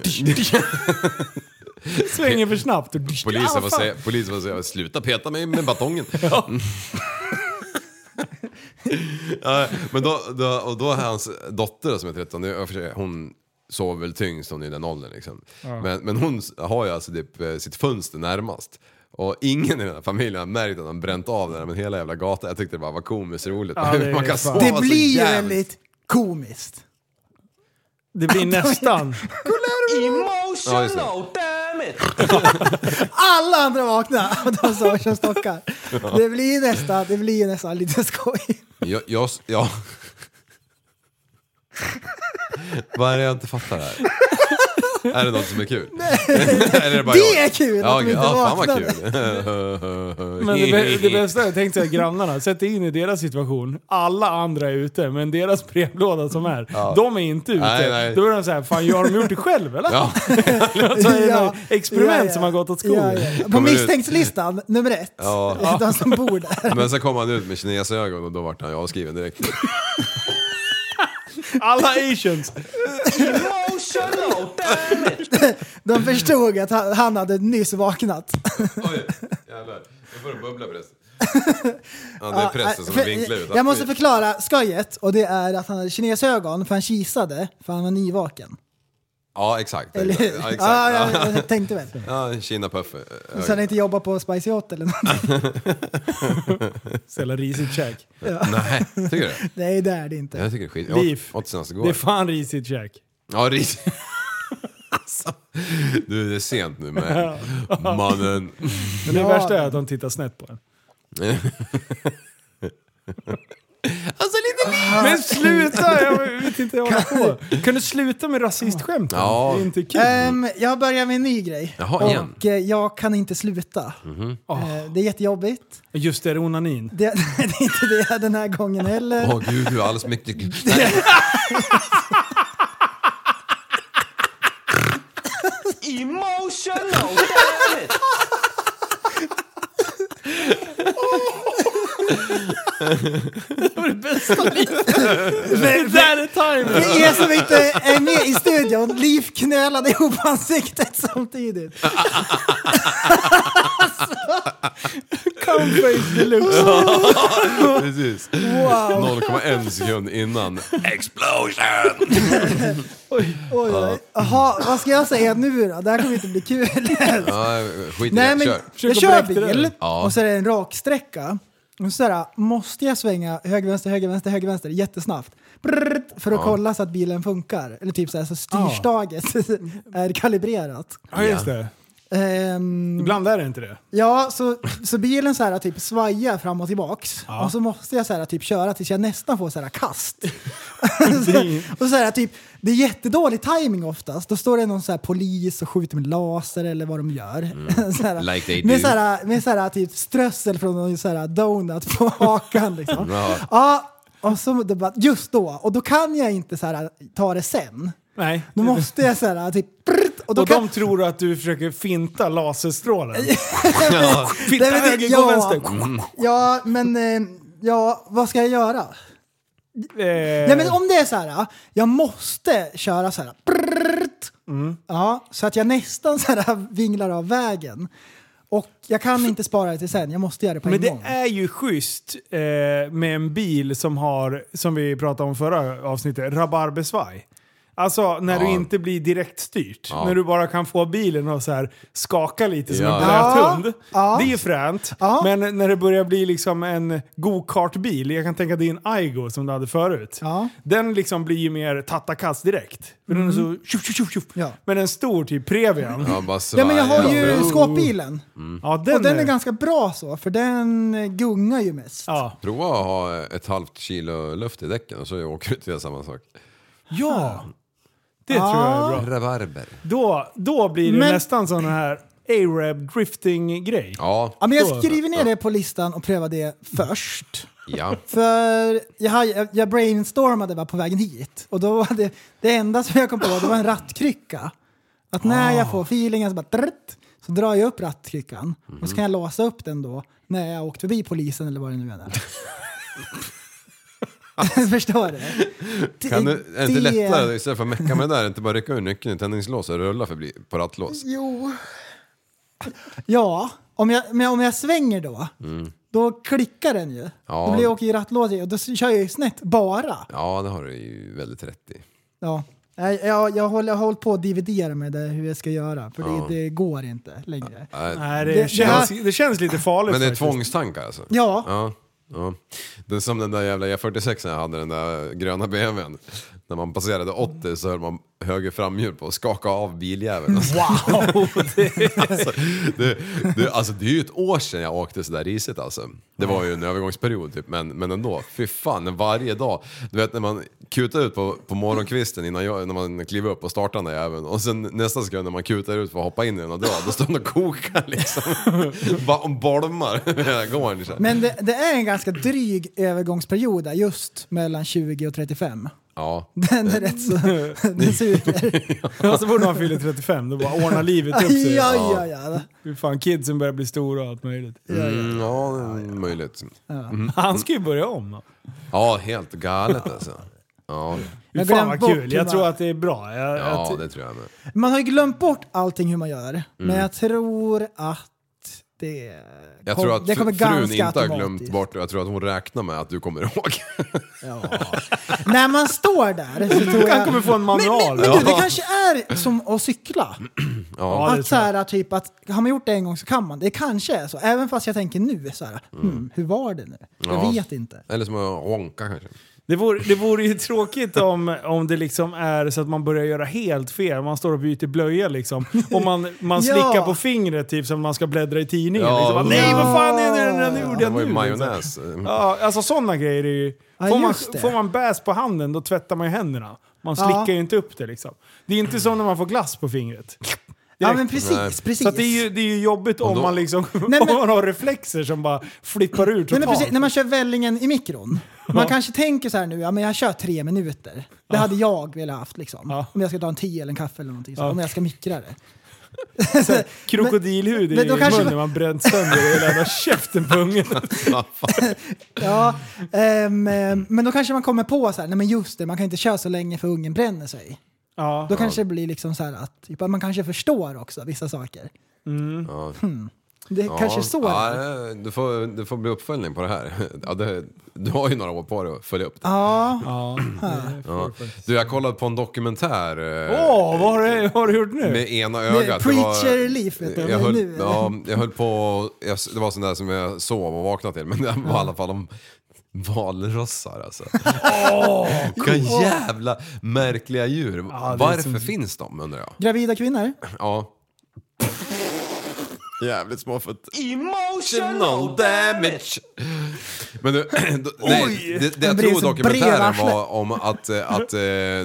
Speaker 6: *laughs*
Speaker 5: Svänger för snabbt.
Speaker 6: Polisen
Speaker 5: fan.
Speaker 6: får säga, polisen får säga sluta peta mig
Speaker 5: *laughs*
Speaker 6: med batongen. Mm. *laughs* Ja, Men då, då, och då är hans dotter som är 13, det är- jag försöker- hon sover väl tyngst hon är i den åldern liksom. Men, men hon har ju alltså typ eh, sitt fönster närmast. Och ingen i den här familjen har märkt att han bränt av den, men hela jävla gatan. Jag tyckte det bara var komiskt roligt.
Speaker 5: Ja, det är
Speaker 6: *laughs* Man kan
Speaker 5: fan.
Speaker 6: sova
Speaker 7: Det
Speaker 6: så
Speaker 7: blir ju
Speaker 6: jävligt.
Speaker 7: väldigt komiskt.
Speaker 5: Det
Speaker 6: *laughs*
Speaker 5: blir nästan.
Speaker 6: Ja, just det.
Speaker 7: Alla andra vaknar och *laughs* de sover som stockar. Det blir ju nästan, det blir ju nästan lite skoj.
Speaker 6: Jag, jag, ja. Vad är det jag inte fattar här? är det något som är kul? Eller är det, bara
Speaker 7: Det
Speaker 6: jag?
Speaker 7: är kul att
Speaker 6: Ja,
Speaker 7: de
Speaker 6: okej.
Speaker 7: inte
Speaker 6: ja, fan vad
Speaker 7: vaknade.
Speaker 6: kul!
Speaker 5: Men det, bä- det bästa är, tänk såhär grannarna, sätt dig in i deras situation. Alla andra är ute, men deras brevlåda som är, de är inte ute.
Speaker 6: Nej, nej.
Speaker 5: Då är de såhär, fan jag har de gjort det själv eller?
Speaker 6: Ja, Alltså,
Speaker 5: Så är det
Speaker 7: Ja.
Speaker 5: något experiment
Speaker 7: Ja, ja.
Speaker 5: som har gått åt skogen.
Speaker 7: Ja, ja. På
Speaker 6: Kommer ut.
Speaker 7: misstänkslistan, nummer ett,
Speaker 6: Ja.
Speaker 7: *laughs* de som bor där.
Speaker 6: men sen kom han ut med kinesögon och då vart han ju avskriven direkt.
Speaker 5: Alla asians.
Speaker 7: De förstod att han- han hade nyss vaknat.
Speaker 6: Oj, jävlar. Nu får du bubbla förresten. Ja, det är prästen som
Speaker 7: *laughs* För-
Speaker 6: vinklar ut.
Speaker 7: Jag måste förklara skojet och det är att han hade kinesögon för han kisade för han var nyvaken.
Speaker 6: Ja, exakt.
Speaker 7: Eller hur?
Speaker 6: Ja,
Speaker 7: Ja,
Speaker 6: exakt.
Speaker 7: jag, jag tänkte väl.
Speaker 6: Ja, Kina Puff.
Speaker 7: Så han inte jobbar på Spicy Hot
Speaker 6: *laughs*
Speaker 7: eller någonting.
Speaker 5: Så jävla risigt käk.
Speaker 6: Nej, tycker du det?
Speaker 7: Nej, det är det inte.
Speaker 6: Jag tycker det är skit.
Speaker 5: Beef.
Speaker 6: Jag åt senast
Speaker 5: Det är
Speaker 6: igår. *laughs*
Speaker 5: fan risigt käk.
Speaker 6: Ja, ris. liksom. Du, det är sent nu men mannen.
Speaker 5: Men det
Speaker 7: Ja.
Speaker 5: värsta är att de tittar snett på en.
Speaker 6: *laughs* Alltså lite
Speaker 5: Men sluta! Jag vet inte vad jag håller på. Kan du sluta med rasistskämten?
Speaker 6: Ja.
Speaker 5: Det är inte kul.
Speaker 7: Ehm, jag börjar med en ny grej.
Speaker 6: Jaha,
Speaker 7: och
Speaker 6: igen. Mhm.
Speaker 7: eh, jag kan inte sluta. Eh, det är jättejobbigt.
Speaker 5: Just det, det är onanin.
Speaker 7: Det, *laughs* det är inte det den här gången heller.
Speaker 6: Åh gud, du är alldeles mäktig. Nej.
Speaker 5: Det där är timern!
Speaker 7: Det är som inte är med i studion. Liv knölade ihop ansiktet samtidigt.
Speaker 5: *laughs* Comeface deluxe.
Speaker 6: Precis.
Speaker 7: Wow.
Speaker 6: 0,1 sekund innan. Explosion!
Speaker 7: Oj, oj. Jaha, vad ska jag säga nu då? Det här kommer inte
Speaker 6: *laughs*
Speaker 7: bli kul.
Speaker 6: Ja, skit i
Speaker 7: Nej,
Speaker 6: det.
Speaker 7: men
Speaker 6: Kör.
Speaker 7: jag
Speaker 5: att
Speaker 7: kör
Speaker 5: bräcka det.
Speaker 7: bil
Speaker 6: Ja.
Speaker 7: och så är det en rak sträcka. Och så här, måste jag svänga höger, vänster, höger, vänster, höger, vänster jättesnabbt? Brrrt, för att kolla så att bilen funkar. Eller typ så, här, så styrstaget *laughs* är kalibrerat.
Speaker 5: Ja, just det.
Speaker 7: Ehm,
Speaker 5: Ibland är det inte det.
Speaker 7: Ja, så, så bilen så här typ svajar fram och tillbaks. Och så måste jag så här typ köra tills jag nästan får så
Speaker 6: *laughs*
Speaker 7: här kast. och så här typ, det är jättedålig timing oftast. Då står det någon så här polis och skjuter med laser eller vad de gör. *laughs* så här,
Speaker 6: Mm. Like they
Speaker 7: med
Speaker 6: do.
Speaker 7: så här, med så här typ strössel från någon så här donut på *laughs* hakan liksom.
Speaker 6: Ja.
Speaker 7: ja, och så då bara, just då. Och då kan jag inte så här ta det sen.
Speaker 5: Nej.
Speaker 7: Då
Speaker 6: Mm.
Speaker 7: måste jag så här typ... prrt,
Speaker 5: Och,
Speaker 7: då kan-
Speaker 5: de tror att du försöker finta
Speaker 7: *laughs*
Speaker 5: laserstrålen. Finta
Speaker 7: Nej, men det-
Speaker 5: höger, gå
Speaker 7: ja.
Speaker 5: vänster.
Speaker 7: Ja, men eh, ja, vad ska jag göra?
Speaker 5: Eh,
Speaker 7: Nej, men om det är så här, jag måste köra så här. prrrt,
Speaker 5: Mm.
Speaker 7: Ja, så att jag nästan så här vinglar av vägen. Och jag kan inte spara det till sen, jag måste göra det på
Speaker 5: Men
Speaker 7: en
Speaker 5: det
Speaker 7: gång.
Speaker 5: är ju schysst eh, med en bil som har, som vi pratade om förra avsnittet, rabarbersvaj. Alltså när du
Speaker 6: Ja.
Speaker 5: inte blir direkt styrt.
Speaker 6: Ja.
Speaker 5: När du bara kan få bilen att så här skaka lite som
Speaker 6: Ja.
Speaker 5: en blöt
Speaker 7: Ja.
Speaker 5: hund.
Speaker 7: Ja.
Speaker 5: Det är fränt.
Speaker 7: Ja.
Speaker 5: Men när det börjar bli liksom en go-kartbil, jag kan tänka dig en Aigo som du hade förut.
Speaker 7: Ja.
Speaker 5: Den liksom blir ju mer tattakast direkt. För den är
Speaker 7: Mm.
Speaker 5: så tjuff, tjuff, tjuff, tjuff.
Speaker 7: Ja.
Speaker 5: Men en stor typ Previan. Ja,
Speaker 6: Ja, bara
Speaker 7: Ja, men jag har
Speaker 6: svajar.
Speaker 7: ju skåpbilen.
Speaker 5: den,
Speaker 7: Och den är ganska bra så, för den gungar ju mest.
Speaker 5: Ja.
Speaker 6: Prova att ha ett halvt kilo luft i däcken och så åker du till samma sak.
Speaker 5: ja. Det tror jag är bra.
Speaker 6: Rabarber.
Speaker 5: Då, då blir det
Speaker 7: Men-
Speaker 5: nästan sån här Arab drifting-grej.
Speaker 6: Ja,
Speaker 7: Ja, men
Speaker 5: Så.
Speaker 7: jag skriver ner det på listan och prövar det först.
Speaker 6: ja.
Speaker 7: För jag, har- jag, jag brainstormade bara på vägen hit och då var det, det enda som jag kom på
Speaker 6: *laughs*
Speaker 7: det var en rattkrycka. Att när
Speaker 6: Ah.
Speaker 7: jag får feelingen så bara trrrt, så drar jag upp rattkryckan och
Speaker 6: Mm.
Speaker 7: så kan jag låsa upp den då när jag har åkt förbi polisen eller vad det
Speaker 6: *laughs*
Speaker 7: nu än är. *laughs* Förstår du? Det-
Speaker 6: Kan du, är det inte
Speaker 7: det-
Speaker 6: lättare istället för att mecka med det där, inte bara rycka ur nyckeln i tändningslås och rulla förbi på rattlås?
Speaker 7: Jo. Ja, om jag, men om jag svänger då, då klickar den ju.
Speaker 6: Mm. Ja.
Speaker 7: Då blir jag åker i rattlås i och då kör jag ju snett bara.
Speaker 6: Ja, det har du ju väldigt rätt i.
Speaker 7: Ja. Nej, Jag, jag, håller, jag har hållit på att dividera med det, hur jag ska göra, för det, det går inte längre.
Speaker 6: Äh,
Speaker 5: Nej, det,
Speaker 7: Det- det
Speaker 5: känns,
Speaker 7: här-
Speaker 5: det känns lite farligt
Speaker 6: Men det är
Speaker 5: faktiskt.
Speaker 6: tvångstankar alltså?
Speaker 7: Ja.
Speaker 6: ja. ja. Det är som den där jävla E46 när jag hade, den där gröna BMWn. När man passerade 80 så höll man höger framhjul på att skaka av biljäveln. Alltså.
Speaker 5: Wow!
Speaker 6: *laughs* Alltså, det, det, alltså, det är ju ett år sedan jag åkte sådär risigt alltså. Det var ju en övergångsperiod typ, men, men ändå. Fy fan, när varje dag. Du vet när man kutar ut på, på morgonkvisten innan jag, när man kliver upp och startar den där jäveln. Och sen nästa sekund när man kutar ut för att hoppa in i den och dra, då står den och kokar liksom. Bara om bolmar *laughs* hela gården. så här.
Speaker 7: Men det, det är en ganska dryg övergångsperiod där, just mellan 20 och 35.
Speaker 6: Ja.
Speaker 7: *laughs* Den är rätt så...
Speaker 6: Mm. *laughs*
Speaker 7: Den suger.
Speaker 5: Och så fort man fyller 35, då bara ordnar livet upp sig.
Speaker 7: Ja, ja, ja.
Speaker 5: Fy fan, kidsen börjar bli stora och allt möjligt.
Speaker 6: Mm, ja, det är möjligt. Mm.
Speaker 5: Han ska ju börja om. då.
Speaker 6: Ja, helt galet alltså. Ja,
Speaker 5: Fy
Speaker 7: Jag
Speaker 5: fan
Speaker 7: glömde
Speaker 5: vad
Speaker 7: bort
Speaker 5: kul.
Speaker 7: hur
Speaker 5: Jag
Speaker 7: man-
Speaker 5: tror att det är bra. Jag,
Speaker 6: ja
Speaker 5: jag,
Speaker 6: det tror jag med.
Speaker 7: Man har ju glömt bort allting hur man gör, men jag tror att det,
Speaker 6: Mm. Jag
Speaker 7: kom-
Speaker 6: tror att
Speaker 7: det kommer
Speaker 6: fr- frun
Speaker 7: ganska
Speaker 6: inte har glömt
Speaker 7: automatiskt.
Speaker 6: bort det. Jag tror att hon räknar med att du kommer *laughs* ihåg.
Speaker 7: När man står
Speaker 5: *laughs*
Speaker 7: där så tror jag...
Speaker 5: han kommer få en manual.
Speaker 7: Men, men, men du, det
Speaker 6: Ja.
Speaker 7: kanske är som att cykla.
Speaker 5: Ja, det
Speaker 7: att så
Speaker 5: tror jag.
Speaker 7: här, typ att har man gjort det en gång så kan man. Det kanske är så.
Speaker 5: Mm.
Speaker 7: Även fast jag tänker nu så här, hmm, hur var det nu? Jag
Speaker 6: Ja.
Speaker 7: vet inte.
Speaker 6: Eller som att ronka kanske.
Speaker 5: Det vore, det vore ju tråkigt om, om det liksom är så att man börjar göra helt fel. Man står och byter blöja liksom. Och man, man
Speaker 7: *laughs* Ja.
Speaker 5: slickar på fingret typ som man ska bläddra i tidningen.
Speaker 6: Ja.
Speaker 5: Liksom. Bara, Nej, vad fan är det den gjorde
Speaker 6: Det
Speaker 5: jag nu?
Speaker 6: var ju
Speaker 5: liksom.
Speaker 6: majonnäs. Mm.
Speaker 5: Ja, alltså sådana grejer är ju...
Speaker 7: Ja,
Speaker 5: får, man,
Speaker 7: just det.
Speaker 5: får man bäs på handen då tvättar man ju händerna. Man
Speaker 7: Ja.
Speaker 5: slickar ju inte upp det liksom. Det är inte som när man får glass på fingret.
Speaker 7: Ja
Speaker 5: Direkt.
Speaker 7: men precis,
Speaker 6: Nej.
Speaker 7: precis.
Speaker 5: Så att det, är ju, det är ju jobbigt om,
Speaker 6: då-
Speaker 5: man liksom,
Speaker 7: men-
Speaker 5: om man *laughs* har reflexer som bara flippar ur
Speaker 7: Nej,
Speaker 5: totalt.
Speaker 7: men precis, när man kör vällingen i mikron. Man kanske tänker så här nu, ja men jag kör tre minuter. Det hade jag velat haft liksom.
Speaker 5: Ja.
Speaker 7: Om jag ska ta en te eller en kaffe eller någonting. Så,
Speaker 5: Ja.
Speaker 7: Om jag ska mikra det.
Speaker 5: Krokodilhud
Speaker 7: Men- men
Speaker 5: i
Speaker 7: då
Speaker 5: munnen,
Speaker 7: kanske man-
Speaker 5: man bränt sönder hela jävla *laughs* käften på ungen.
Speaker 7: Ja, ehm, ehm, men då kanske man kommer på så här, nej men just det, man kan inte köra så länge för ungen bränner sig.
Speaker 5: Ja.
Speaker 7: Då kanske det blir liksom så här att typ, att man kanske förstår också vissa saker.
Speaker 5: Mm.
Speaker 7: Hmm.
Speaker 6: Ja.
Speaker 7: Det är kanske är så
Speaker 6: ja,
Speaker 7: det är.
Speaker 6: du, får, du får bli uppföljning på det här. *laughs* Ja, det, du har ju några år på dig att följa upp det.
Speaker 7: Ja,
Speaker 5: Ja.
Speaker 6: Ja. Du, jag kollade på en dokumentär. eh,
Speaker 5: Åh, vad har du, vad har du gjort nu?
Speaker 6: Med ena
Speaker 7: med
Speaker 6: ögat. Det var-
Speaker 7: preacher leaf vet du.
Speaker 6: jag
Speaker 7: eller
Speaker 6: höll,
Speaker 7: nu,
Speaker 6: ja, jag höll på, jag, det var sån där som jag sov och vaknade till, men det var i alla fall om valrossar alltså. Vilka jävla märkliga djur.
Speaker 5: det är
Speaker 6: Varför
Speaker 5: som-
Speaker 6: finns de undrar jag?
Speaker 7: Gravida kvinnor.
Speaker 6: Ja. Jävligt småfött. Emotional damage! Men du, *clears throat* då, nej, det, det
Speaker 7: Den
Speaker 6: jag
Speaker 7: blir
Speaker 6: tror
Speaker 7: så
Speaker 6: dokumentären
Speaker 7: bredarsle.
Speaker 6: var om att, eh, att eh,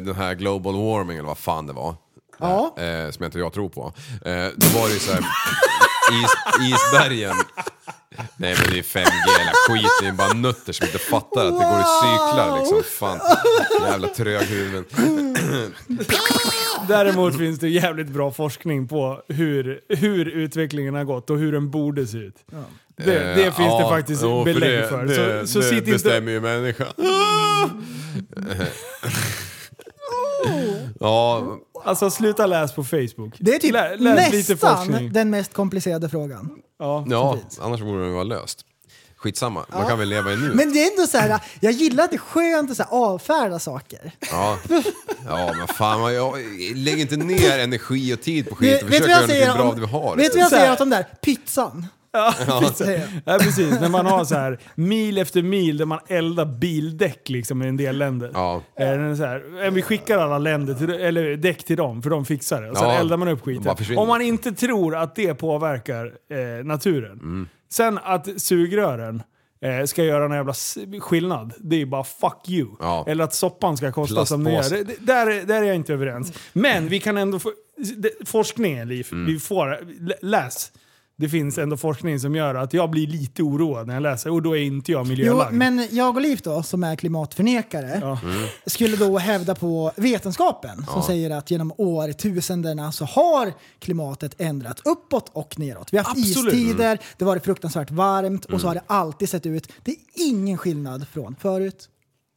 Speaker 6: den här global warming eller vad fan det var.
Speaker 7: Ja.
Speaker 6: Eh, som jag inte jag tror på. Eh, då var det ju såhär, is, isbergen. Nej men det är 5G eller skit, det är bara nötter som inte fattar att det går i cyklar liksom. Fan, jävla tröghuvuden.
Speaker 5: Däremot finns det jävligt bra forskning på hur, hur utvecklingen har gått och hur den borde se ut. Det, det finns
Speaker 6: Eh,
Speaker 5: det
Speaker 6: ja,
Speaker 5: faktiskt
Speaker 6: jo,
Speaker 5: belägg
Speaker 6: det-
Speaker 5: för.
Speaker 6: Det,
Speaker 5: så så
Speaker 6: det,
Speaker 5: sitt
Speaker 6: det
Speaker 5: inte...
Speaker 6: stämmer ju människan.
Speaker 5: *laughs*
Speaker 6: ja,
Speaker 5: Alltså sluta läs på Facebook.
Speaker 7: Det är typ
Speaker 5: Lä- läs lite
Speaker 7: nästan
Speaker 5: forskning.
Speaker 7: den mest komplicerade frågan.
Speaker 5: Ja.
Speaker 6: ja annars borde den vara löst. Skitsamma, man kan väl leva i nu.
Speaker 7: Men det är ändå så här, jag gillar att det är skönt att så här avfärda saker.
Speaker 6: Ja. ja, men fan, vad jag, lägg inte ner energi och tid på skit
Speaker 7: Vet
Speaker 6: och
Speaker 7: vet du
Speaker 6: försök
Speaker 7: vad
Speaker 6: göra
Speaker 7: jag säger
Speaker 6: någonting bra av
Speaker 7: om,
Speaker 6: det vi har.
Speaker 7: vet du vad jag
Speaker 5: Så här.
Speaker 7: säger åt de där? Pizzan.
Speaker 6: *laughs*
Speaker 7: Säger jag.
Speaker 5: Ja, precis. När man har så här mil efter mil där man eldar bildäck liksom, i en del länder.
Speaker 6: Ja.
Speaker 5: Eh, den är Så här, eh, vi skickar alla länder till, eller däck till dem, för de fixar det. Och sen
Speaker 6: Ja,
Speaker 5: eldar man upp
Speaker 6: de bara
Speaker 5: skiten.
Speaker 6: försvinner.
Speaker 5: Om man inte tror att det påverkar eh, naturen.
Speaker 6: Mm.
Speaker 5: Sen att sugrören eh, ska göra någon jävla s- skillnad, det är ju bara fuck you.
Speaker 6: Ja.
Speaker 5: Eller att soppan ska kosta som den gör.
Speaker 6: Plastpåse.
Speaker 5: Det, det- där, är- där är jag inte överens. Men vi kan ändå få... det- Forskningen, Liv.
Speaker 6: Mm.
Speaker 5: Vi får... lä- Läs. Det finns ändå forskning som gör att jag blir lite oroad när jag läser och då är inte jag
Speaker 7: Jo,
Speaker 5: miljölagd.
Speaker 7: men jag och Liv då, som är klimatförnekare,
Speaker 5: Mm.
Speaker 7: skulle då hävda på vetenskapen som säger att genom årtusendena så har klimatet ändrats uppåt och neråt. Vi har haft
Speaker 5: Absolut.
Speaker 7: istider, det har varit fruktansvärt varmt och
Speaker 6: Mm.
Speaker 7: så har det alltid sett ut. Det är ingen skillnad från förut.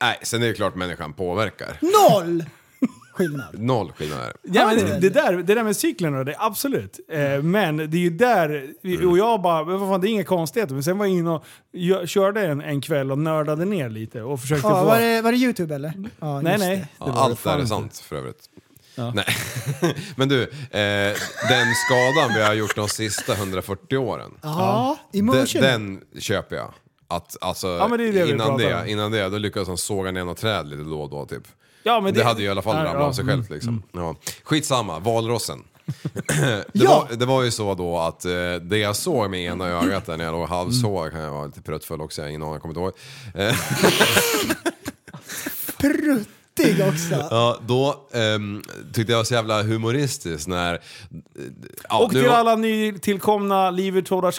Speaker 6: Nej, sen är det klart människan påverkar.
Speaker 7: Noll *laughs* skillnad.
Speaker 6: Noll skillnad är det.
Speaker 5: Ja,
Speaker 7: Ja, det-
Speaker 5: men det, där, det där med cyklerna, det är absolut. Eh, men det är ju där, vi- och jag bara, men vad fan, det är inga konstigheter. Men sen var jag inne och jag, körde en, en kväll och nördade ner lite och försökte
Speaker 7: Ja,
Speaker 5: få...
Speaker 7: var, det, var det Youtube eller? Ja,
Speaker 5: nej,
Speaker 7: just
Speaker 5: nej.
Speaker 7: det.
Speaker 6: Ja,
Speaker 5: Det var
Speaker 6: allt
Speaker 5: fan
Speaker 6: där är
Speaker 5: inte.
Speaker 6: sant för övrigt. Nej. *laughs* Men du, eh, den skadan vi har gjort de sista 140 åren.
Speaker 7: Ja,
Speaker 6: Den,
Speaker 7: emotion.
Speaker 6: den köper jag. Att, alltså,
Speaker 5: men det är det vi
Speaker 6: innan,
Speaker 5: pratar
Speaker 6: det,
Speaker 5: om.
Speaker 6: innan det, då lyckades han såga ner något träd lite då och då typ.
Speaker 5: Ja,
Speaker 6: det,
Speaker 5: men
Speaker 6: hade ju i alla fall
Speaker 5: Ja,
Speaker 6: ramlat
Speaker 5: ja,
Speaker 6: av sig
Speaker 5: mm.
Speaker 6: själv liksom. Ja.
Speaker 5: *laughs*
Speaker 6: Skitsamma, valrossen. det,
Speaker 7: Ja!
Speaker 6: var, det var ju så då att eh, det jag såg med ena ögat där när jag låg halvsåg, kan jag vara lite pruttfull också, jag har ingen aning, jag kommer inte ihåg. Eh,
Speaker 7: Pruttig också.
Speaker 6: Ja, då ehm, tyckte jag var så jävla humoristiskt när... eh, ja,
Speaker 5: Och
Speaker 6: nu
Speaker 5: till
Speaker 6: var-
Speaker 5: alla nytillkomna Livet Hårdar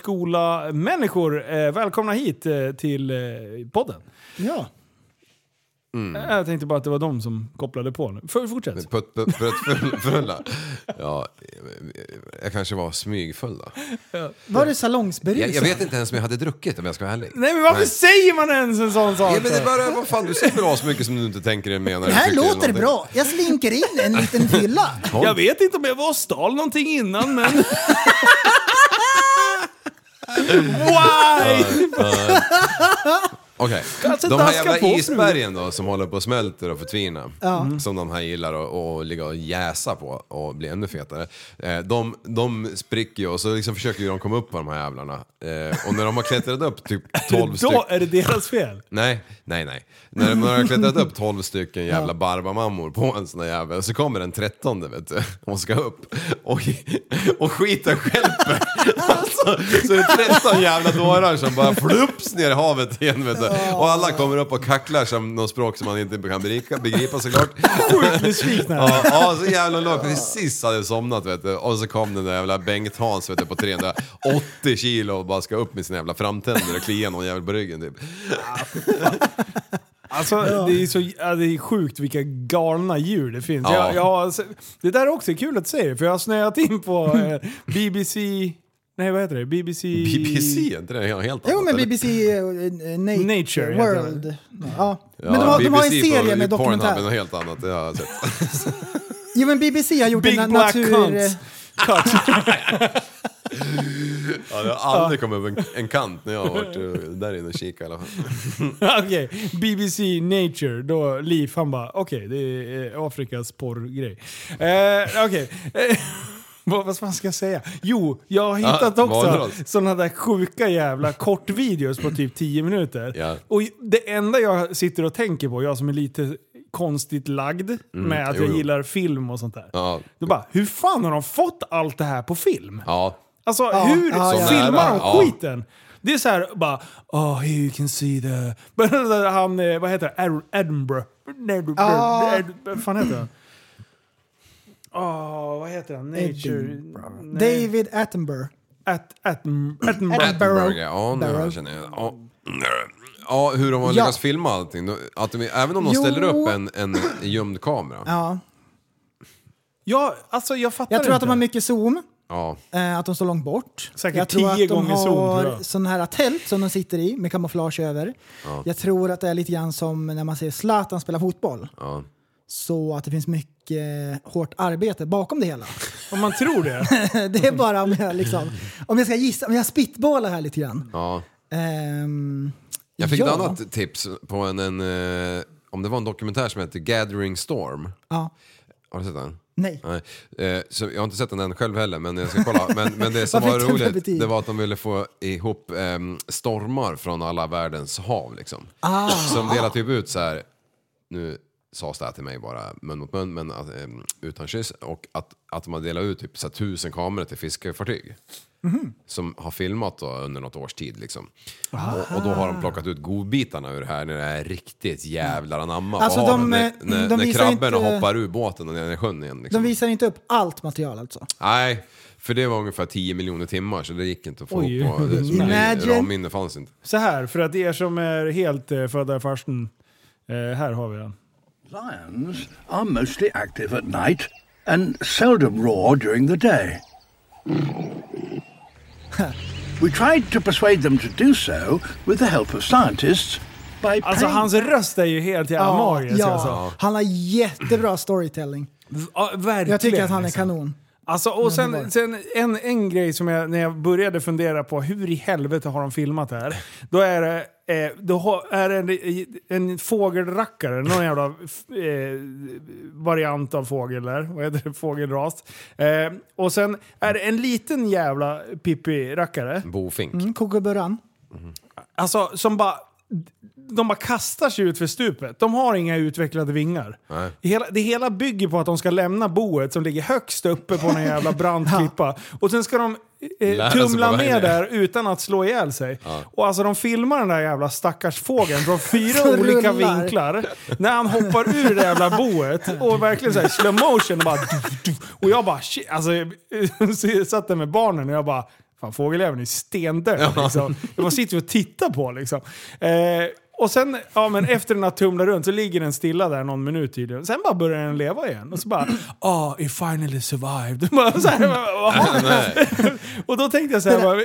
Speaker 5: Skola-människor, eh, välkomna hit eh, till eh, podden.
Speaker 7: Ja.
Speaker 6: Mm.
Speaker 5: Eh, Jag tänkte bara att det var de som kopplade på nu. För, fortsätt.
Speaker 6: Prutt- prutt- *laughs* Pruttfulla. Ja, jag kanske var smygfull då.
Speaker 7: Var det
Speaker 6: Jag,
Speaker 7: salongsberusad?
Speaker 6: jag vet inte ens om jag hade druckit om jag ska vara ärlig.
Speaker 5: Nej men varför säger man ens en sån sak?
Speaker 6: Ja, men det är bara, vad fan, du säger väl så mycket som du inte tänker eller menar.
Speaker 7: Det här låter bra. Jag slinker in en liten fylla.
Speaker 5: Jag vet inte om jag var och stal någonting innan men... Why?
Speaker 6: Okej.
Speaker 5: Kanske
Speaker 6: De här
Speaker 5: daska
Speaker 6: jävla
Speaker 5: på, fru.
Speaker 6: isbergen då som håller på och smälter och förtvinar.
Speaker 7: Ja.
Speaker 6: Som de här gillar att- att ligga och jäsa på och bli ännu fetare. Eh, De, de spricker ju och så liksom försöker ju de komma upp på de här jävlarna. Eh, Och när de har klättrat upp typ 12 stycken...
Speaker 5: Då är det deras fel.
Speaker 6: Nej, nej, nej. När de har klättrat upp 12 stycken jävla barbamammor på en sån där jävel så kommer den trettonde vet du. Hon ska upp och, och skiten stjälper.
Speaker 5: *laughs*
Speaker 6: Alltså, så är det 13 jävla dårar som bara flups ner i havet igen vet du. Och alla kommer upp och kacklar som något språk som man inte kan berika, begripa såklart.
Speaker 5: *laughs* Sjukt besvikna.
Speaker 6: Ja, ja, så jävla låg. Precis hade somnat vet du. Och så kom den där jävla Bengt Hans vet du, på 380 kilo och bara ska upp med sina jävla framtänder och klia någon jävel på ryggen typ.
Speaker 5: Alltså, det, är så, ja, det är sjukt vilka galna djur det finns.
Speaker 6: Ja.
Speaker 5: Jag, jag har, det där är också kul att du säger, för jag har snöat in på eh, BBC... Nej, vad heter det? BBC...
Speaker 6: BBC, är inte det helt annat?
Speaker 7: Jo men
Speaker 6: eller?
Speaker 7: BBC eh, eh, Na-
Speaker 5: Nature heter
Speaker 7: World. Ja.
Speaker 6: Ja,
Speaker 7: Men de har, de har en
Speaker 6: BBC på-
Speaker 7: serie med
Speaker 6: på Pornhub är
Speaker 7: dokumentär.
Speaker 6: något helt annat, det har jag sett.
Speaker 7: Jo men BBC har gjort
Speaker 5: Big
Speaker 7: en
Speaker 5: Black
Speaker 7: natur...
Speaker 5: Hunts. *laughs* Cut.
Speaker 6: *laughs* Ja, det har aldrig kommit upp en, en kant när jag har varit eh, där inne och kikat i alla
Speaker 5: *laughs*
Speaker 6: fall.
Speaker 5: Okej, BBC Nature. Då Liv, han bara okej, det är eh, Afrikas porrgrej. Eh, okej. *laughs* Eh, Vad vad fan ska jag säga? Jo, jag har hittat
Speaker 6: Ja,
Speaker 5: också
Speaker 6: valros.
Speaker 5: sådana där sjuka jävla kortvideos på typ 10 minuter.
Speaker 6: Ja.
Speaker 5: Och det enda jag sitter och tänker på, jag som är lite konstigt lagd med att
Speaker 6: Mm, jo,
Speaker 5: jag
Speaker 6: jo.
Speaker 5: gillar film och sånt där.
Speaker 6: Ja.
Speaker 5: Då bara, hur fan har de fått allt det här på film?
Speaker 6: Ja.
Speaker 5: Alltså hur
Speaker 7: ja, ja.
Speaker 5: filmar de
Speaker 6: Ja.
Speaker 5: skiten? Det är så här bara, oh here you can see the... *laughs* han, eh, vad heter det? Ad- Edinburgh. Edinburgh.
Speaker 7: Ja.
Speaker 5: Ed- Vad fan heter han? Åh, vad heter han? Nature... Nej.
Speaker 7: David Attenborough.
Speaker 5: At, Atten- Attenborough.
Speaker 7: Attenborough. Barrow.
Speaker 6: Attenberg, ja nu
Speaker 7: Barrow.
Speaker 6: känner jag. Ja. Ja, hur de har
Speaker 7: Ja.
Speaker 6: lyckats filma allting. då- Att de, även om de
Speaker 7: Jo.
Speaker 6: ställer upp en, en gömd kamera.
Speaker 7: Ja.
Speaker 5: Ja, alltså jag fattar
Speaker 7: Jag tror att
Speaker 5: inte.
Speaker 7: de har mycket zoom.
Speaker 6: Ja.
Speaker 7: eh, Att de står långt bort.
Speaker 5: Säkert
Speaker 7: jag tror
Speaker 5: tio
Speaker 7: att de
Speaker 5: gånger zoom, tror
Speaker 7: har
Speaker 5: jag.
Speaker 7: sådana här tält som de sitter i med kamouflage över. Jag tror att det är lite grann som när man ser Zlatan spela fotboll.
Speaker 6: Ja.
Speaker 7: Så att det finns mycket eh, hårt arbete bakom det hela. *laughs*
Speaker 5: Om man tror det.
Speaker 7: det är bara om jag, liksom, om jag ska gissa, om jag spitballar här lite grann.
Speaker 6: ja.
Speaker 7: Ehm,
Speaker 6: Jag fick
Speaker 7: ja.
Speaker 6: ett annat tips på en, en, eh, om det var en dokumentär som hette Gathering Storm.
Speaker 7: Ja.
Speaker 6: Har du sett den?
Speaker 7: Nej.
Speaker 6: Nej. Eh, så jag har inte sett den än själv heller, men jag ska
Speaker 7: *laughs*
Speaker 6: kolla. Men, men det som var
Speaker 7: Varför inte
Speaker 6: roligt,
Speaker 7: betyg?
Speaker 6: det var att de ville få ihop ehm, stormar från alla världens hav. Liksom.
Speaker 7: Ah.
Speaker 6: Så de delade typ ut så här, nu sades det här till mig bara mun mot mun, men att, ehm, utan kyss. Och att, att man delar ut typ så här, tusen kameror till fiskefartyg.
Speaker 7: Mhm.
Speaker 6: Som har filmat då under något års tid liksom. Och, och då
Speaker 7: Ah.
Speaker 6: har de plockat ut godbitarna ur det här när det är riktigt jävlar anamma på
Speaker 7: Alltså,
Speaker 6: havet.
Speaker 7: de,
Speaker 6: när,
Speaker 7: eh,
Speaker 6: när,
Speaker 7: de
Speaker 6: när
Speaker 7: visar ju
Speaker 6: krabborna
Speaker 7: inte-
Speaker 6: hoppar ur båten och ner i sjön igen. Liksom.
Speaker 7: De visar inte upp allt material alltså.
Speaker 6: Nej, för det var ungefär 10 miljoner timmar så det gick inte att få
Speaker 5: Oj.
Speaker 6: ihop på. Det, som
Speaker 7: Imagine.
Speaker 6: ramminne fanns inte.
Speaker 5: Så här, för att er som är helt eh, födda i farstun. Eh, här har vi den.
Speaker 8: Lions are mostly active at night and seldom roar during the day. we tried to persuade them to do so with the help of scientists by
Speaker 5: Alltså
Speaker 8: paying-
Speaker 5: hans röst är ju helt jävla magisk.
Speaker 7: ja.
Speaker 5: Alltså.
Speaker 7: Han har jättebra storytelling.
Speaker 5: Ja, verkligen.
Speaker 7: Jag tycker att han är
Speaker 5: liksom.
Speaker 7: kanon.
Speaker 5: Alltså, och sen, sen en, en grej som jag, när jag började fundera på hur i helvete har de filmat det här? Då är det, eh, då har- är det en, en fågelrackare, någon jävla f- eh, variant av fågel där, vad heter det, fågelras. Eh, och sen är det en liten jävla pippi-rackare,
Speaker 6: Bofink. *laughs*
Speaker 7: Mm, Koko Burran.
Speaker 5: alltså som bara de bara kastar sig ut för stupet. De har inga utvecklade vingar.
Speaker 6: Nej.
Speaker 5: Hela, det hela bygger på att de ska lämna boet som ligger högst uppe på en jävla brant
Speaker 7: *laughs*
Speaker 5: klippa. Och sen ska de eh,
Speaker 6: Lära sig
Speaker 5: tumla
Speaker 6: på vägen
Speaker 5: ner
Speaker 6: ner.
Speaker 5: där utan att slå ihjäl sig. Och alltså de filmar den där jävla stackars fågeln
Speaker 7: *laughs*
Speaker 5: från fyra
Speaker 7: Som
Speaker 5: olika
Speaker 7: rullar.
Speaker 5: vinklar. När han hoppar ur det jävla boet och verkligen såhär slow motion och bara... Och jag bara shit, alltså *laughs* jag satt där med barnen och jag bara Fan fågeljäveln är stendöd liksom. Jag bara sitter och tittar på liksom. Eh, och sen, ja men efter den har tumlat runt så ligger den stilla där någon minut tydligen. Sen bara börjar den leva igen. Och så bara ah it finally survived. *laughs* Bara så här, bara, "Jaha." och då tänkte jag så här, bara,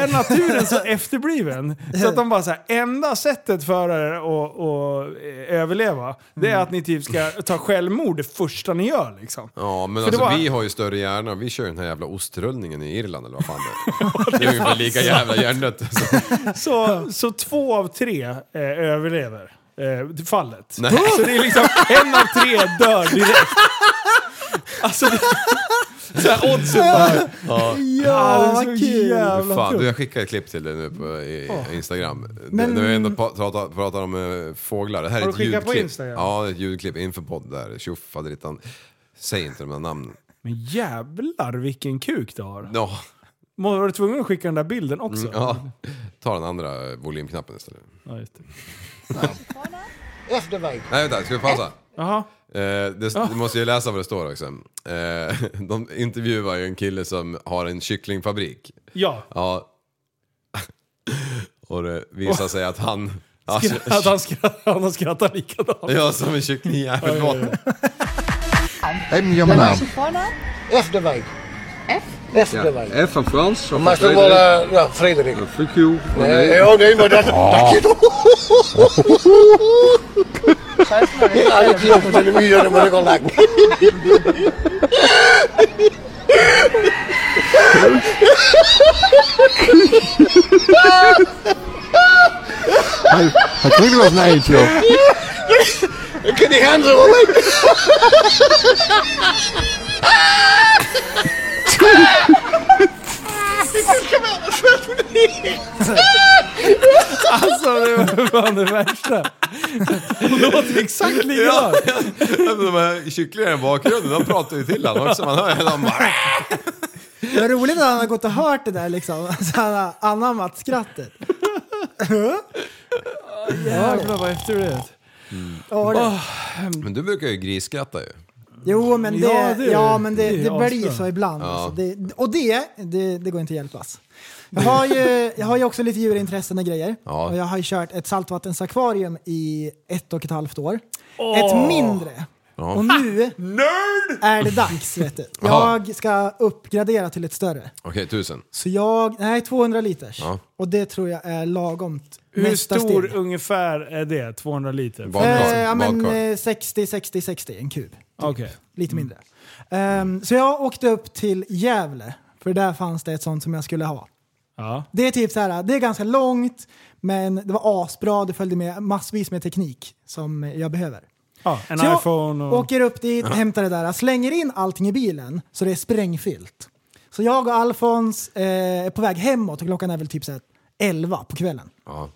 Speaker 5: är naturen
Speaker 7: *laughs*
Speaker 5: så efterbliven? Så att de bara så här, enda sättet för er att, att eh, överleva, det
Speaker 7: Mm.
Speaker 5: är att ni typ ska ta självmord det första ni gör liksom.
Speaker 6: Ja, men
Speaker 5: För det
Speaker 6: alltså
Speaker 5: var-
Speaker 6: vi har ju större hjärna. Vi kör ju den här jävla ostrullningen i Irland eller vad fan
Speaker 5: *laughs*
Speaker 6: det är. det är ungefär lika jävla hjärndött.
Speaker 5: Så, så två av tre eh, överlever eh, fallet. Så det är liksom en av tre dör direkt. Alltså, det- så här oddsen bara...
Speaker 7: Ja,
Speaker 5: det är
Speaker 7: vad
Speaker 5: så
Speaker 7: kul!
Speaker 5: *laughs* jävla
Speaker 6: Fan, du,
Speaker 5: tungt.
Speaker 6: jag skickar ett klipp till dig nu på i, Instagram.
Speaker 7: Men-
Speaker 6: Men, när vi ändå pa- pratar, pratar om eh, fåglar. Det här
Speaker 5: Har
Speaker 6: är
Speaker 5: du
Speaker 6: ett
Speaker 5: skickat
Speaker 6: ljudklipp.
Speaker 5: på Instagram?
Speaker 6: Ja, det är ett ljudklipp inför podd där. Tjofaderittan. Säg inte de där namnen.
Speaker 5: Men jävlar vilken kuk du har.
Speaker 6: Ja,
Speaker 5: Må- Var du tvungen att skicka den där bilden också?
Speaker 6: Mm, ja. Ta den andra eh, volymknappen istället.
Speaker 5: Ja, just det.
Speaker 6: Nej, vänta. Ska vi pausa?
Speaker 5: Jaha.
Speaker 6: Eh, det, Du måste ju läsa vad det står också. Eh, *laughs* de intervjuar ju en kille som har en kycklingfabrik.
Speaker 5: Ja.
Speaker 6: Ja. *laughs* Och det visar sig att
Speaker 7: *laughs*
Speaker 6: han... alltså,
Speaker 5: *laughs* Att han skrattar, Alltså, han har skrattat likadant.
Speaker 6: *laughs* Ja, som en kycklingjävel var. *laughs*
Speaker 5: Alltså det var fan det värsta. Hon låter *laughs* *laughs* exakt likadant.
Speaker 6: De här kycklingarna i bakgrunden, de pratar ju till honom också. Man hör ju dem bara... *laughs*
Speaker 7: Det var roligt att han har gått och hört det där liksom. *laughs* Så han har anammat skrattet.
Speaker 5: Jävlar vad efterblivet.
Speaker 7: Ja, det.
Speaker 6: Men du brukar ju grisskratta ju.
Speaker 7: Jo, men det,
Speaker 5: Ja,
Speaker 7: ja,
Speaker 5: det-
Speaker 7: men det,
Speaker 5: det är
Speaker 7: det, blir
Speaker 5: asbra.
Speaker 7: så ibland. Alltså. Det, och det, det, det går inte att hjälpas. Jag har, ju, jag har ju också lite djurintressen och grejer.
Speaker 6: Ja.
Speaker 7: Och jag har ju kört ett saltvattensakvarium i ett och ett halvt år. Ett mindre. Och nu är det dags. Vet du.
Speaker 6: Jaha.
Speaker 7: Jag ska uppgradera till ett större.
Speaker 6: Okej, tusen.
Speaker 7: Så jag, nej 200 liters.
Speaker 6: Ja.
Speaker 7: Och det tror jag är lagomt.
Speaker 5: Hur
Speaker 7: Nästa
Speaker 5: stor
Speaker 7: steg.
Speaker 5: ungefär är det? 200 liter?
Speaker 7: Eh,
Speaker 6: Badkar.
Speaker 7: ja, men,
Speaker 6: badkar.
Speaker 7: eh, 60, 60, 60, en kub.
Speaker 5: Okej.
Speaker 7: Lite mindre. Ehm, så jag åkte upp till Gävle, för där fanns det ett sånt som jag skulle ha.
Speaker 5: Ja.
Speaker 7: Det är typ så här, det är ganska långt, men det var asbra, det följde med massvis med teknik som jag behöver.
Speaker 5: ja. En
Speaker 7: så
Speaker 5: iPhone
Speaker 7: jag
Speaker 5: och...
Speaker 7: åker upp dit, hämtar det där, slänger in allting i bilen så det är sprängfyllt. Så jag och Alfons eh, är på väg hemåt och klockan är väl typ så här 11 på kvällen.
Speaker 6: Ja.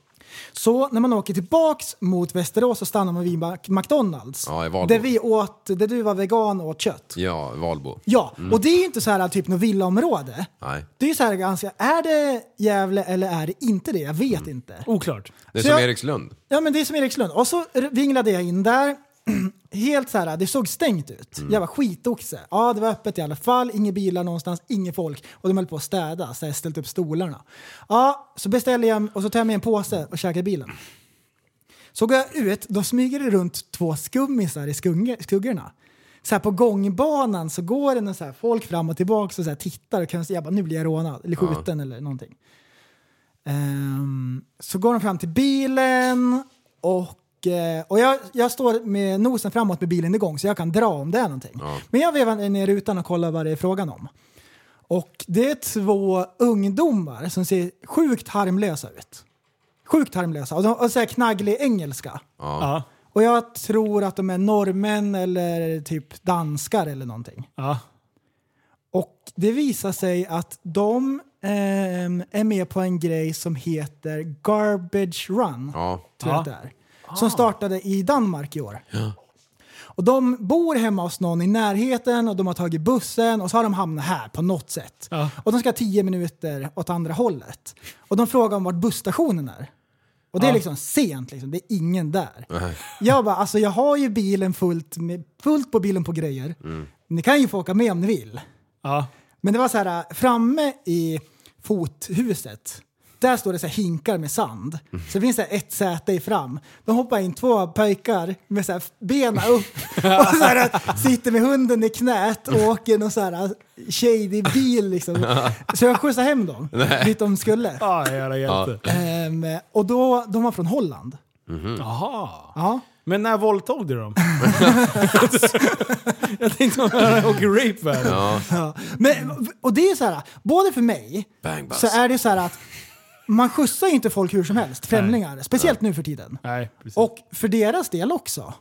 Speaker 7: Så när man åker tillbaks mot Västerås så stannar man vid Mac- McDonalds.
Speaker 6: Ja, i Valbo.
Speaker 7: där, vi åt, där du var vegan och åt kött.
Speaker 6: ja, Valbo.
Speaker 7: Ja, och det är ju inte så här typ något villaområde.
Speaker 6: Nej.
Speaker 7: Det är ju så här ganska, är det Gävle eller är det inte det? Jag vet inte.
Speaker 5: Oklart.
Speaker 6: Mm. Det är
Speaker 7: Så
Speaker 6: som
Speaker 7: jag-
Speaker 6: Erikslund.
Speaker 7: Ja men det är som Erikslund. Och så r- vinglade jag in där. *clears throat* Helt så här, det såg stängt ut. Jag var skitoxe. Ja, det var öppet i alla fall. Inga bilar någonstans, inget folk. Och de höll på att städa, så jag ställt upp stolarna. Ja, så beställde jag och så tar jag med en påse och käkar i bilen. Så går jag ut, då smyger det runt två skummisar i skugg- skuggorna. Så här på gångbanan så går det någon så här folk fram och tillbaka och så här tittar och kan säga bara nu blir jag rånad eller skjuten eller någonting. Ehm, så går de fram till bilen och, eh, och jag, jag står med nosen framåt med bilen igång så jag kan dra om det är någonting. Men jag vevar ner rutan och kollar vad det är frågan om. Och det är två ungdomar som ser sjukt harmlösa ut. Sjukt harmlösa. Och, de, och så här knagglig engelska.
Speaker 5: Ja.
Speaker 7: Och jag tror att de är norrmän eller typ danskar eller någonting.
Speaker 5: Ja.
Speaker 7: Och det visar sig att de ehm, är med på en grej som heter Garbage Run.
Speaker 6: Ja.
Speaker 7: Tror jag att det är. Som startade i Danmark i år. Och de bor hemma hos någon i närheten och de har tagit bussen och så har de hamnat här på något sätt.
Speaker 5: Ja.
Speaker 7: Och de ska tio minuter åt andra hållet. Och de frågar om vart busstationen är. Och det är liksom sent, liksom. det är ingen där. Jag bara, alltså jag har ju bilen fullt, med, fullt på bilen på grejer. Ni kan ju få åka med om ni vill.
Speaker 5: Ja.
Speaker 7: Men det var så här, äh, framme i fothuset, där står det så här hinkar med sand. Så det finns så här ett säte i fram. De hoppar in två pojkar med så här bena upp och så här, äh, sitter med hunden i knät och åker någon så här äh, shady bil liksom. Så jag skjutsade hem dem dit de skulle.
Speaker 5: Ja, jävla hjälte.
Speaker 7: Ehm, och då, de var från Holland.
Speaker 5: Jaha.
Speaker 7: Ja.
Speaker 5: Men när våldtog du dem? *laughs* jag tänkte om jag åker rape världen.
Speaker 7: *laughs* Men, och det är så här, både för mig
Speaker 6: Bang, buzz.
Speaker 7: så är det så här att man skjutsar ju inte folk hur som helst, främlingar. Speciellt nu för tiden.
Speaker 5: Nej, precis.
Speaker 7: Och för deras del också.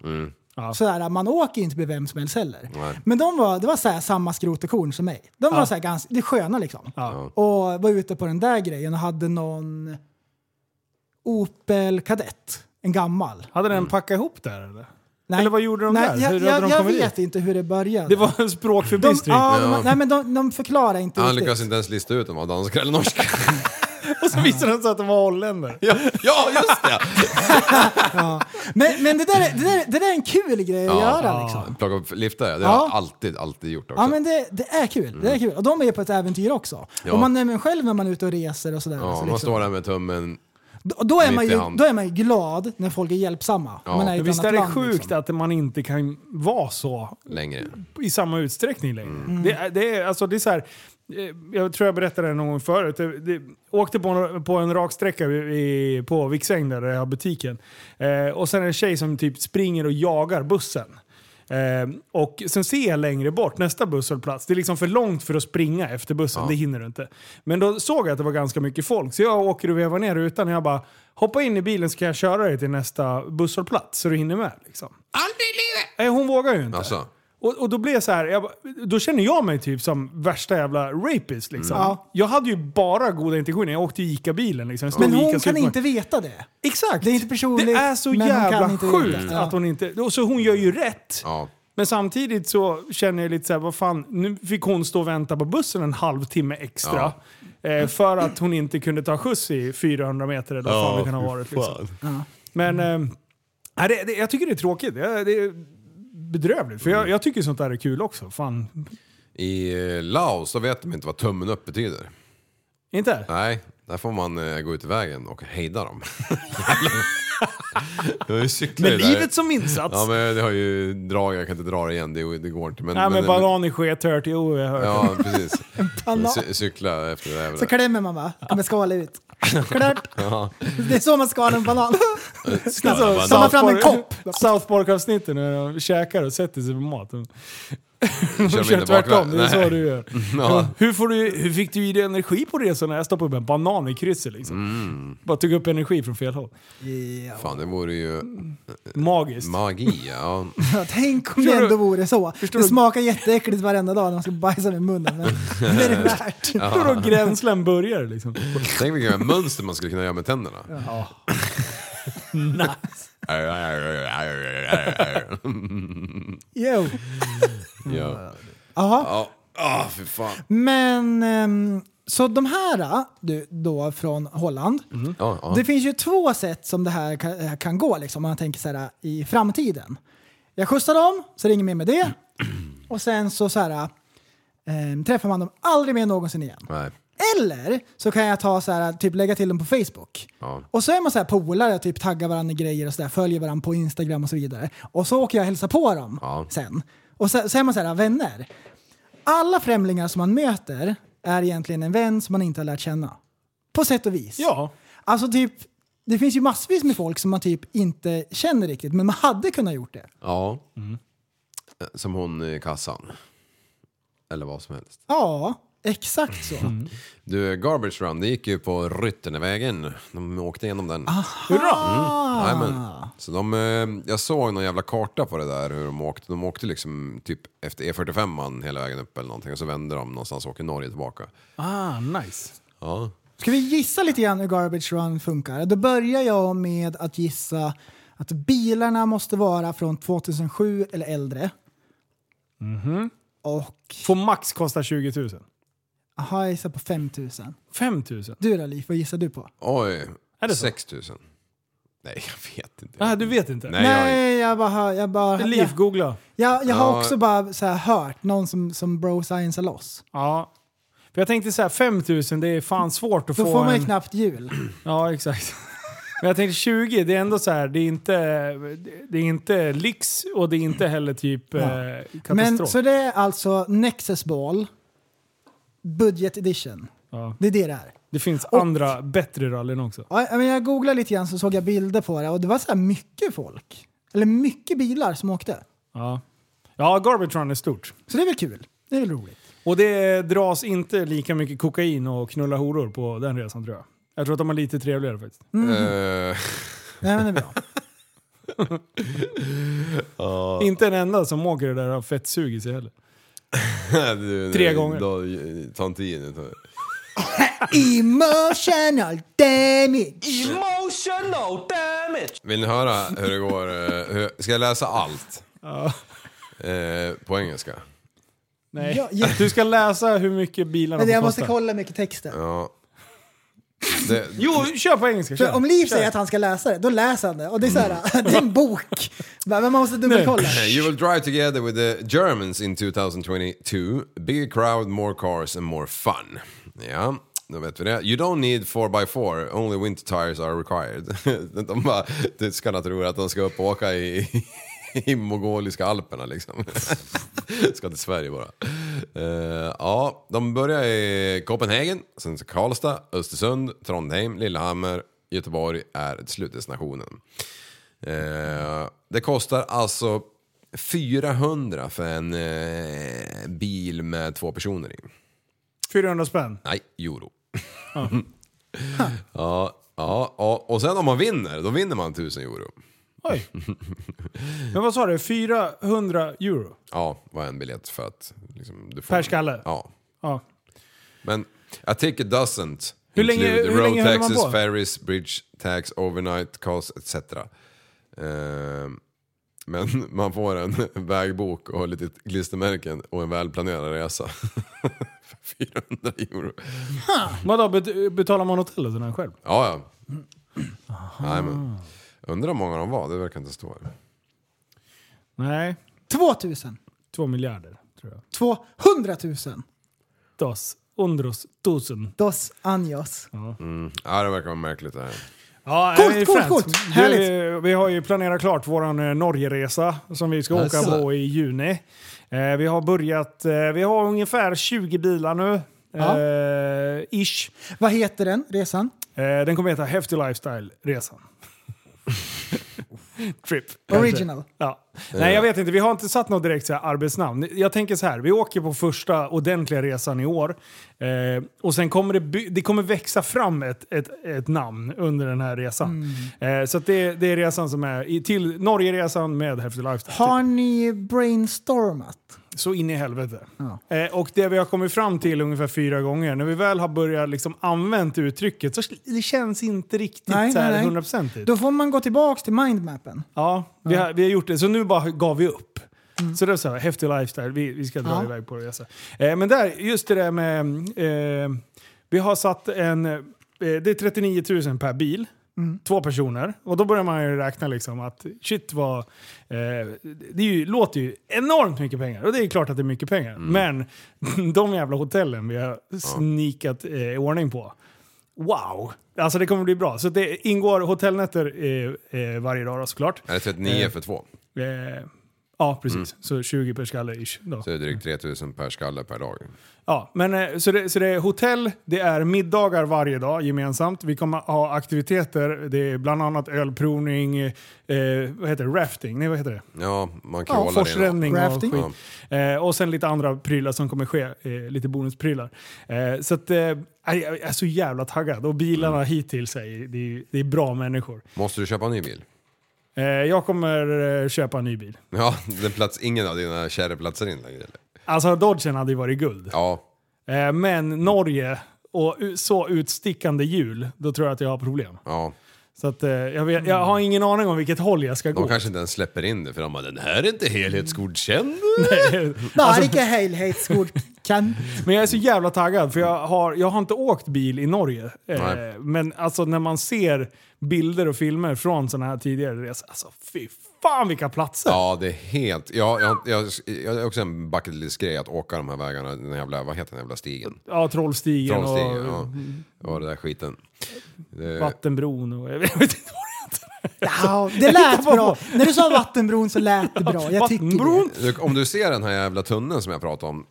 Speaker 7: Sådär, man åker ju inte med vem som helst heller. Men de var, det var såhär, samma skrot och korn som mig. De var såhär, ganska, det är sköna liksom.
Speaker 5: Ja.
Speaker 7: Och var ute på den där grejen och hade någon Opel Kadett. En gammal.
Speaker 5: Hade den packat ihop där eller?
Speaker 7: Nej.
Speaker 5: Eller vad gjorde de
Speaker 7: nej,
Speaker 5: där?
Speaker 7: Jag,
Speaker 5: Hur hade
Speaker 7: jag,
Speaker 5: de
Speaker 7: jag
Speaker 5: kommit
Speaker 7: vet
Speaker 5: dit?
Speaker 7: inte hur det började.
Speaker 5: Det var en
Speaker 7: de,
Speaker 5: språkförbistring. *laughs*
Speaker 7: ja,
Speaker 6: Ja.
Speaker 7: de, nej, men de, de förklarar inte
Speaker 6: Han
Speaker 7: riktigt.
Speaker 6: lyckas inte ens lista ut om han var danska eller norska. *laughs*
Speaker 5: Och så visade det sig att de var holländare.
Speaker 6: Ja, ja just det!
Speaker 7: Men, men det, där, är- det, där, det där är en kul grej att göra liksom.
Speaker 6: Plocka upp liftar ja. Det
Speaker 7: Ja.
Speaker 6: har jag alltid, alltid gjort också.
Speaker 7: Ja men det, det är kul. Det är kul. Och de är på ett äventyr också.
Speaker 6: Mm. Ja.
Speaker 7: Och man är med själv när man är ute och reser och sådär.
Speaker 6: Ja,
Speaker 7: alltså,
Speaker 6: man
Speaker 7: liksom.
Speaker 6: står där med tummen.
Speaker 7: då, då, är man
Speaker 6: mitt i
Speaker 7: ju,
Speaker 6: hand.
Speaker 7: då är man ju glad när folk är hjälpsamma.
Speaker 6: Ja.
Speaker 7: Om Man är i
Speaker 5: Men
Speaker 7: ett
Speaker 5: Visst
Speaker 7: annat
Speaker 5: är det
Speaker 7: land,
Speaker 5: sjukt
Speaker 7: liksom.
Speaker 5: att man inte kan vara så
Speaker 6: längre.
Speaker 5: i samma utsträckning längre. Det, är- det, är, alltså, det är så här, eh, jag tror jag berättade det någon gång förut. Det, det, åkte på en, på en raksträcka i, i- på Viksäng där jag har butiken. Eh, och sen är det en tjej som typ springer och jagar bussen. Eh, och sen ser jag längre bort nästa busshållplats. Det är liksom för långt för att springa efter bussen, det hinner du inte. Men då såg jag att det var ganska mycket folk, så jag åker och vevar ner rutan och jag bara Hoppa in i bilen så kan jag köra dig till nästa busshållplats så du hinner med. Liksom. Aldrig i livet! Hon vågar ju inte.
Speaker 6: Alltså.
Speaker 5: Och, och då blev jag så här, jag, bara- då känner jag mig typ som värsta jävla rapist liksom.
Speaker 7: Mm. Ja.
Speaker 5: Jag hade ju bara goda intentioner, jag åkte i ICA-bilen liksom. Jag stod
Speaker 7: Men
Speaker 5: i
Speaker 7: hon
Speaker 5: Icas
Speaker 7: kan
Speaker 5: supermark-
Speaker 7: inte veta det.
Speaker 5: Exakt!
Speaker 7: Det är inte personligt,
Speaker 5: Det är så
Speaker 7: men hon kan
Speaker 5: jävla
Speaker 7: inte veta.
Speaker 5: sjukt
Speaker 7: Ja.
Speaker 5: att hon inte... Och så hon gör ju rätt.
Speaker 6: Ja.
Speaker 5: Men samtidigt så känner jag lite så här, vad fan, nu fick hon stå och vänta på bussen en halvtimme extra. Eh, för att hon inte kunde ta skjuts i 400 meter eller vad fan det kan ha varit. Liksom. Men eh, nej, det, det, jag tycker det är tråkigt. Det, det är bedrövligt. För
Speaker 7: Mm.
Speaker 5: jag, jag tycker sånt där är kul också. Fan.
Speaker 6: I eh, Laos så vet de inte vad tummen upp betyder.
Speaker 5: Inte?
Speaker 6: Nej, där får man eh, gå ut i vägen och hejda dem. *laughs* jag cyklar
Speaker 5: Med
Speaker 6: ju där.
Speaker 5: livet som insats.
Speaker 6: Ja men det har ju drag, jag kan inte dra det igen, det, det går inte. Men,
Speaker 5: Nej men banan i sket hör till oh, jag hör.
Speaker 6: Ja precis.
Speaker 7: banan.
Speaker 6: Cy- cykla efter det. Här.
Speaker 7: Så klämmer man va? Kommer skala
Speaker 5: *laughs*
Speaker 7: ut. Klart. Det är så man skalar en banan.
Speaker 6: banan.
Speaker 7: Så tar man fram en kopp.
Speaker 5: South Park-avsnitten när de käkar och sätter sig på maten.
Speaker 6: Kör
Speaker 5: Du
Speaker 6: de
Speaker 5: kör
Speaker 6: inte bakvägen?
Speaker 5: tvärtom, det är så
Speaker 6: Nej.
Speaker 5: du gör.
Speaker 6: *laughs* Ja.
Speaker 5: Hur, får du, hur fick du i dig energi på resan när jag stoppade upp en banan i krysset liksom?
Speaker 6: Mm.
Speaker 5: Bara tog upp energi från fel håll.
Speaker 6: Fan det vore ju
Speaker 5: Magiskt. *laughs*
Speaker 6: magi. Ja.
Speaker 7: Tänk om det
Speaker 5: Förstår du?
Speaker 7: ändå vore så.
Speaker 5: Förstår
Speaker 7: Det
Speaker 5: du?
Speaker 7: smakar jätteäckligt varenda dag när man ska bajsa med munnen.
Speaker 5: *laughs*
Speaker 7: Men det är det värt.
Speaker 5: Då då gränslen börjar liksom.
Speaker 6: Tänk vilka mönster man skulle kunna göra med tänderna.
Speaker 7: Jo.
Speaker 6: ja.
Speaker 7: Jaha.
Speaker 6: Ja. Ah, fy fan.
Speaker 7: Men, ehm, så de här äh, du, då från Holland.
Speaker 5: Mm.
Speaker 6: Ja, ja.
Speaker 7: Det finns ju två sätt som det här kan, eh, kan gå liksom, om man tänker så här i framtiden. Jag skjutsar dem, så är det inget mer
Speaker 5: *clears throat*
Speaker 7: med det. Och sen så, så här, äh, ehm, träffar man dem aldrig mer någonsin igen.
Speaker 6: Nej.
Speaker 7: Eller så kan jag ta så här, typ lägga till dem på Facebook.
Speaker 6: Ja.
Speaker 7: Och så är man så här polare, typ taggar varandra i grejer och så där, följer varandra på Instagram och så vidare. Och så åker jag och hälsar på dem
Speaker 6: Ja.
Speaker 7: sen. Och så, så är man så här vänner. Alla främlingar som man möter är egentligen en vän som man inte har lärt känna. På sätt och vis.
Speaker 5: Ja.
Speaker 7: Alltså typ, det finns ju massvis med folk som man typ inte känner riktigt, men man hade kunnat gjort det.
Speaker 6: Ja. Som hon i kassan. Eller vad som helst.
Speaker 7: Ja, exakt så.
Speaker 6: Du, Garbage Run, det gick ju på Ryttenevägen. De åkte igenom den. Mm.
Speaker 5: Hurra!
Speaker 6: Jajamän. Så de, eh, jag såg någon jävla karta på det där hur de åkte. De åkte liksom typ efter E45 hela vägen upp eller någonting och så vände de någonstans och åker Norge tillbaka.
Speaker 5: Ah, nice.
Speaker 6: Ja.
Speaker 7: Ska vi gissa lite grann hur Garbage Run funkar? Då börjar jag med att gissa att bilarna måste vara från 2007 eller äldre.
Speaker 5: Mhm.
Speaker 7: Och...
Speaker 5: Får max kosta 20 000.
Speaker 7: Aha, jag gissar på 5000.
Speaker 5: 5 000?
Speaker 7: Du då Liv, vad gissar du på?
Speaker 6: Oj,
Speaker 5: Är det så?
Speaker 6: 6 000. Nej, jag vet inte.
Speaker 5: Ah, du vet inte?
Speaker 6: Nej, jag...
Speaker 7: Nej, jag bara... hör- Jag, bara,
Speaker 5: Liv,
Speaker 7: jag,
Speaker 5: googla.
Speaker 7: jag, jag har
Speaker 6: Ja.
Speaker 7: också bara så här hört någon som, som bro science loss.
Speaker 5: Ja. För jag tänkte så här, 5 000 det är fan svårt att
Speaker 7: Då
Speaker 5: få
Speaker 7: får man ju
Speaker 5: en...
Speaker 7: knappt jul.
Speaker 5: Ja, exakt. Men jag tänkte 20, det är ändå så här, det är inte, det är inte lyx och det är inte heller typ eh,
Speaker 7: Men,
Speaker 5: katastrof.
Speaker 7: så det är alltså Nexus Ball Budget Edition.
Speaker 5: ja.
Speaker 7: Det är det det är.
Speaker 5: Det finns
Speaker 7: Och-
Speaker 5: andra bättre rallyn också.
Speaker 7: Ja, men jag googlade lite grann så såg jag bilder på det och det var så här mycket folk. Eller mycket bilar som åkte.
Speaker 5: Ja, ja Garbage Run är stort.
Speaker 7: Så det är väl kul. Det är väl roligt.
Speaker 5: Och det dras inte lika mycket kokain och knulla horor på den resan tror jag. Jag tror att de är lite trevligare faktiskt.
Speaker 6: Eh,
Speaker 7: Nej, men det är bra.
Speaker 5: Inte en enda som åker det där har fettsug i sig heller.
Speaker 6: *laughs* du,
Speaker 5: Mm. Tre
Speaker 6: nej,
Speaker 5: gånger.
Speaker 6: Då, ta en tio nu. ta-
Speaker 7: *laughs* Emotional damage!
Speaker 6: Vill ni höra hur det går? eh, Hur, ska jag läsa allt? Eh, på engelska?
Speaker 5: Nej.
Speaker 7: Ja, ja.
Speaker 5: Du ska läsa hur mycket bilarna
Speaker 7: Men jag
Speaker 5: får
Speaker 7: måste
Speaker 5: kosta.
Speaker 7: kolla mycket texten.
Speaker 6: Ja. Det,
Speaker 5: Jo, kör på engelska.
Speaker 7: För
Speaker 5: Kör.
Speaker 7: om Liv säger att han ska läsa det, då läser han det. Och det är så här,
Speaker 6: Mm.
Speaker 7: *laughs* det är en bok. Men man måste dubbelkolla.
Speaker 6: You will drive together with the Germans in 2022. Bigger crowd, more cars and more fun. Ja, då vet vi det. You don't need 4x4, only winter tires are required. *laughs* de bara, du ska inte tro att de ska upp och åka i, i mongoliska alperna liksom. *laughs* ska till Sverige bara. Eh, ja, de börjar i Copenhagen, sen så Karlstad, Östersund, Trondheim, Lillehammer, Göteborg är slutdestinationen. Eh, det kostar alltså 400 för en eh, bil med två personer i.
Speaker 5: 400 spänn.
Speaker 6: Nej, euro. *laughs* ja, ja, ja, och sen om man vinner, då vinner man 1000 euro.
Speaker 5: *laughs* Oj. Men vad sa du? 400 euro?
Speaker 6: Ja, var en biljett för att... Liksom, du får
Speaker 5: Per skalle?
Speaker 6: Ja.
Speaker 5: Ja.
Speaker 6: Men a ticket doesn't
Speaker 5: Hur länge-
Speaker 6: include
Speaker 5: hur
Speaker 6: road
Speaker 5: länge höll man
Speaker 6: taxes,
Speaker 5: på?
Speaker 6: ferries, bridge tax, overnight costs etc. Ehm, men *laughs* man får en vägbok och lite klistermärken och en välplanerad resa. *laughs* För 400 euro.
Speaker 5: Vadå, bet- betalar man hotellet den här själv?
Speaker 6: Ja, ja. Nej, men. Undrar hur många de var, det verkar inte stå här.
Speaker 5: Nej.
Speaker 7: 2000.
Speaker 5: Två miljarder, tror jag.
Speaker 7: 200 000.
Speaker 5: Dos. Undros. Tusen.
Speaker 7: Dos años.
Speaker 6: Ja, det verkar vara märkligt det här.
Speaker 5: Ja,
Speaker 7: Coolt,
Speaker 5: vi är
Speaker 7: coolt,
Speaker 5: friends.
Speaker 7: coolt.
Speaker 5: Du,
Speaker 7: Härligt.
Speaker 5: Vi har ju planerat klart vår eh, Norgeresa som vi ska åka
Speaker 6: Jaså.
Speaker 5: på i juni. Eh, Vi har börjat, eh, vi har ungefär 20 bilar nu.
Speaker 7: Ja.
Speaker 5: Eh, ish.
Speaker 7: Vad heter den resan?
Speaker 5: Eh, den kommer heta Häftig Lifestyle-resan. *laughs* Trip.
Speaker 7: Original.
Speaker 5: Ja. Nej, jag vet inte. Vi har inte satt något direkt så här arbetsnamn. Jag tänker så här, vi åker på första ordentliga resan i år. Eh, och sen kommer det, by- det kommer växa fram ett, ett, ett namn under den här resan.
Speaker 7: Mm.
Speaker 5: Eh, så att det, det är resan som är i, till Norgeresan med Häftig Lifestyle.
Speaker 7: Har ni brainstormat?
Speaker 5: Så in i helvete. Eh, och det vi har kommit fram till ungefär fyra gånger, när vi väl har börjat liksom använt uttrycket så det känns inte riktigt
Speaker 7: Nej,
Speaker 5: så här
Speaker 7: nej, nej.
Speaker 5: 100%igt.
Speaker 7: Då får man gå tillbaka till mindmappen.
Speaker 5: Ja, vi har, vi har gjort det. Så nu bara gav vi upp. Så det var så här, häftig lifestyle, vi, vi ska dra
Speaker 7: Ja.
Speaker 5: iväg på resa. Eh, men där, just det där med... Eh, vi har satt en... Eh, det är 39 000 per bil. Två personer. Och då börjar man ju räkna liksom att shit vad... Eh, det är ju, låter ju enormt mycket pengar. Och det är klart att det är mycket pengar. Men *laughs* de jävla hotellen vi har snikat eh, i ordning på. Wow! Alltså det kommer bli bra. Så det ingår hotellnätter eh, eh, varje dag då, såklart.
Speaker 6: Är det 39 för två?
Speaker 5: Eh, ja, precis. Så 20 per skalle ish. Då.
Speaker 6: Så det är drygt 3000 per skalle per dag.
Speaker 5: Ja, men, eh, så, det, så det är hotell, det är middagar varje dag gemensamt. Vi kommer ha aktiviteter, det är bland annat ölprovning, eh, vad heter det? Rafting? Nej, vad heter det?
Speaker 6: Ja, man
Speaker 5: Ja,
Speaker 6: crawlar in.
Speaker 5: forsränning och
Speaker 7: Rafting.
Speaker 5: skit. Eh, och sen lite andra prylar som kommer ske, eh, lite bonusprylar. Eh, så att, eh, jag jag är så jävla taggad. Och bilarna hittills, är, det, är, det är bra människor.
Speaker 6: Måste du köpa en ny bil?
Speaker 5: Eh, jag kommer eh, köpa en ny bil.
Speaker 6: Ja, den plats, ingen av dina kära platser in längre eller?
Speaker 5: Alltså Dodgen hade ju varit guld.
Speaker 6: Ja,
Speaker 5: Eh, men Norge och u- så utstickande hjul, då tror jag att jag har problem.
Speaker 6: ja.
Speaker 5: Så att, eh, jag, vet, jag har ingen aning om vilket håll jag ska
Speaker 6: De
Speaker 5: gå.
Speaker 6: kanske inte ens släpper in det för de bara den här är inte helhetsgodkänd.
Speaker 5: Alltså- *laughs*
Speaker 7: Narike Heilheitsgård. Kan.
Speaker 5: Men jag är så jävla taggad för jag har, jag har inte åkt bil i Norge. Eh,
Speaker 6: Nej.
Speaker 5: men alltså när man ser bilder och filmer från sådana här tidigare resor, alltså fy fan vilka platser!
Speaker 6: Ja, det är helt... Jag, jag, jag, jag har också en bucket list grej att åka de här vägarna, den jävla, vad heter den jävla stigen?
Speaker 5: Ja, Trollstigen,
Speaker 6: Trollstigen,
Speaker 5: och
Speaker 6: ja. Och den där skiten. Det,
Speaker 5: Vattenbron och *laughs* jag vet inte vad det heter.
Speaker 7: Ja, det lät bra. När du sa vattenbron så lät det bra. Jag tycker
Speaker 5: Vattenbron?
Speaker 7: det.
Speaker 6: Du, om du ser den här jävla tunneln som jag pratade om,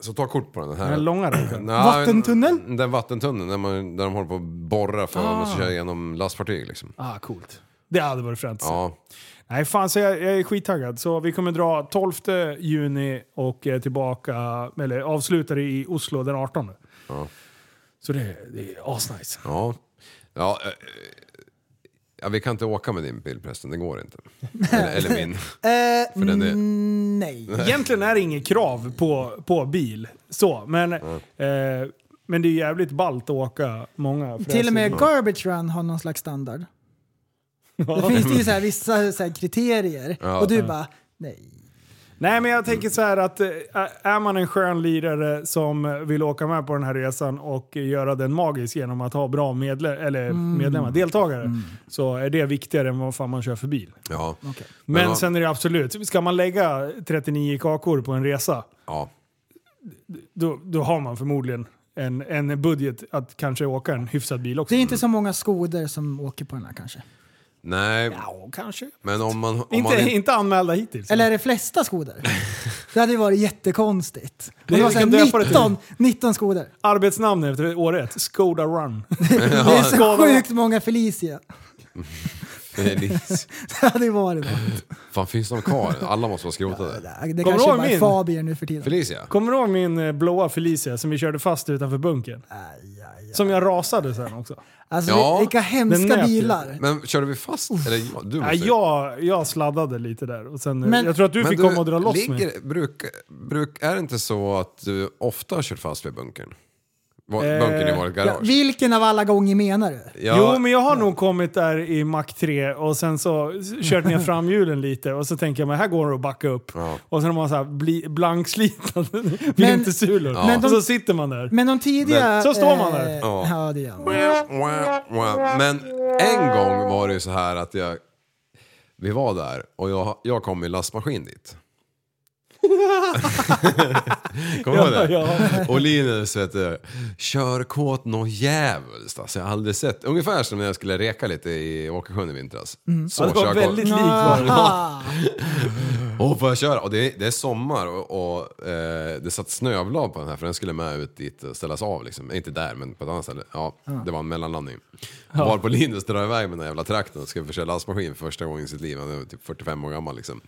Speaker 6: så ta kort på den här.
Speaker 5: Den här långa raken.
Speaker 6: Nej,
Speaker 7: Vattentunneln?
Speaker 6: Den vattentunneln där, man, där de håller på att borra för att man ska köra igenom lastfartyg liksom.
Speaker 5: Ah, coolt. Det hade varit fränt.
Speaker 6: Ja,
Speaker 5: Nej, fan så jag, jag är skittaggad. Så vi kommer dra 12 juni och eh, tillbaka, eller avslutar i Oslo den 18. Så det, det är asnice.
Speaker 6: ja. Ja, eh, ja, vi kan inte åka med din bil prästen, det går inte. Eller, eller
Speaker 5: *laughs*
Speaker 6: min.
Speaker 7: Eh,
Speaker 6: För den är- *laughs*
Speaker 7: mm, nej.
Speaker 5: Egentligen är det inget krav på, på bil, så, men, eh, men det är jävligt ballt att åka många.
Speaker 7: Till och med
Speaker 5: fräser.
Speaker 7: Garbage Run har någon slags standard. Då finns det ju så här vissa så här kriterier
Speaker 6: Ja.
Speaker 7: och du bara nej.
Speaker 5: *laughs* Nej, men jag tänker så här att eh, är man en skön lirare som vill åka med på den här resan och göra den magisk genom att ha bra medle- eller
Speaker 7: Mm.
Speaker 5: medlemmar, deltagare, så är det viktigare än vad fan man kör för bil.
Speaker 6: Ja.
Speaker 5: Men,
Speaker 6: om-
Speaker 5: sen är det absolut, ska man lägga 39 kakor på en resa,
Speaker 6: Ja.
Speaker 5: då, då har man förmodligen en, en budget att kanske åka en hyfsad bil också.
Speaker 7: Det är inte
Speaker 6: Mm.
Speaker 7: så många skoder som åker på den här kanske.
Speaker 6: Nej,
Speaker 5: Ja, kanske.
Speaker 6: men om man... Om man
Speaker 5: Inte,
Speaker 6: *laughs*
Speaker 5: inte anmälda hittills.
Speaker 7: Eller är det flesta skoder? Det hade ju varit jättekonstigt. Om Det
Speaker 5: vi
Speaker 7: var så här
Speaker 5: kan döpa det till.
Speaker 7: 19, 19 skoder.
Speaker 5: Arbetsnamn efter året, Skoda
Speaker 6: *laughs*
Speaker 5: Run.
Speaker 7: Det är så sjukt många Felicia. *laughs*
Speaker 6: Elis.
Speaker 7: Det hade ju varit något.
Speaker 6: Fan, finns de kvar? Alla måste vara skrotade.
Speaker 5: Kommer
Speaker 7: Det kanske
Speaker 5: du ihåg
Speaker 7: bara är
Speaker 5: min?
Speaker 7: Fabier nu för tiden.
Speaker 6: Felicia?
Speaker 5: Kommer du ihåg min eh, blåa Felicia som vi körde fast utanför bunkern? Som jag rasade sen också.
Speaker 7: Alltså
Speaker 6: Ja.
Speaker 7: vilka
Speaker 5: Den
Speaker 7: hemska
Speaker 5: nät ju.
Speaker 7: bilar.
Speaker 6: Men körde vi fast? Eller du
Speaker 5: Ja,
Speaker 6: måste
Speaker 5: jag, jag sladdade lite där. Och sen, eh,
Speaker 7: Men-
Speaker 5: jag tror att du
Speaker 6: Men
Speaker 5: fick komma och dra loss mig.
Speaker 6: ligger, bruk, bruk, Är det inte så att du ofta har kört fast vid bunkern? Va-
Speaker 5: Eh,
Speaker 6: Bunkern i vårt
Speaker 7: Ja,
Speaker 6: garage?
Speaker 7: vilken av alla gånger menar du?
Speaker 6: Ja,
Speaker 5: Jo, men jag har nog kommit där i Mac 3 och sen så kört ner framhjulen lite och så tänker jag men här går det att backa upp. Och sen har man så här bli- blankslitna *laughs* vintersulor.
Speaker 7: Men de-
Speaker 5: Och så sitter man där.
Speaker 7: Men de tidiga...
Speaker 5: Men- så står man där.
Speaker 7: eh,
Speaker 6: Ja.
Speaker 7: Ja, det gör man.
Speaker 6: Wah, wah. Men en gång var det ju så här att jag... Vi var där och jag, jag kom i lastmaskin dit. *laughs* Kommer du ihåg det?
Speaker 5: Ja,
Speaker 6: Och Linus vet du, kör kåt nå jävligt. Alltså, jag har aldrig sett. Ungefär som när jag skulle reka lite i Åkersjön i vintras. Så
Speaker 5: Mm. Ja, det var
Speaker 6: körkåt.
Speaker 5: väldigt likt var det.
Speaker 7: Ah,
Speaker 5: Mm.
Speaker 6: Åh, får jag köra? Och det, är, det är sommar och, och eh, det satt snöavlag på den här för den skulle med ut dit och ställas av liksom. Inte där men på ett annat ställe. Ja, det var en mellanlandning. Var på Linus drar iväg med den här jävla traktorn och ska försöka lastmaskin för första gången i sitt liv. Han är typ 45 år
Speaker 5: *laughs*
Speaker 6: gammal liksom.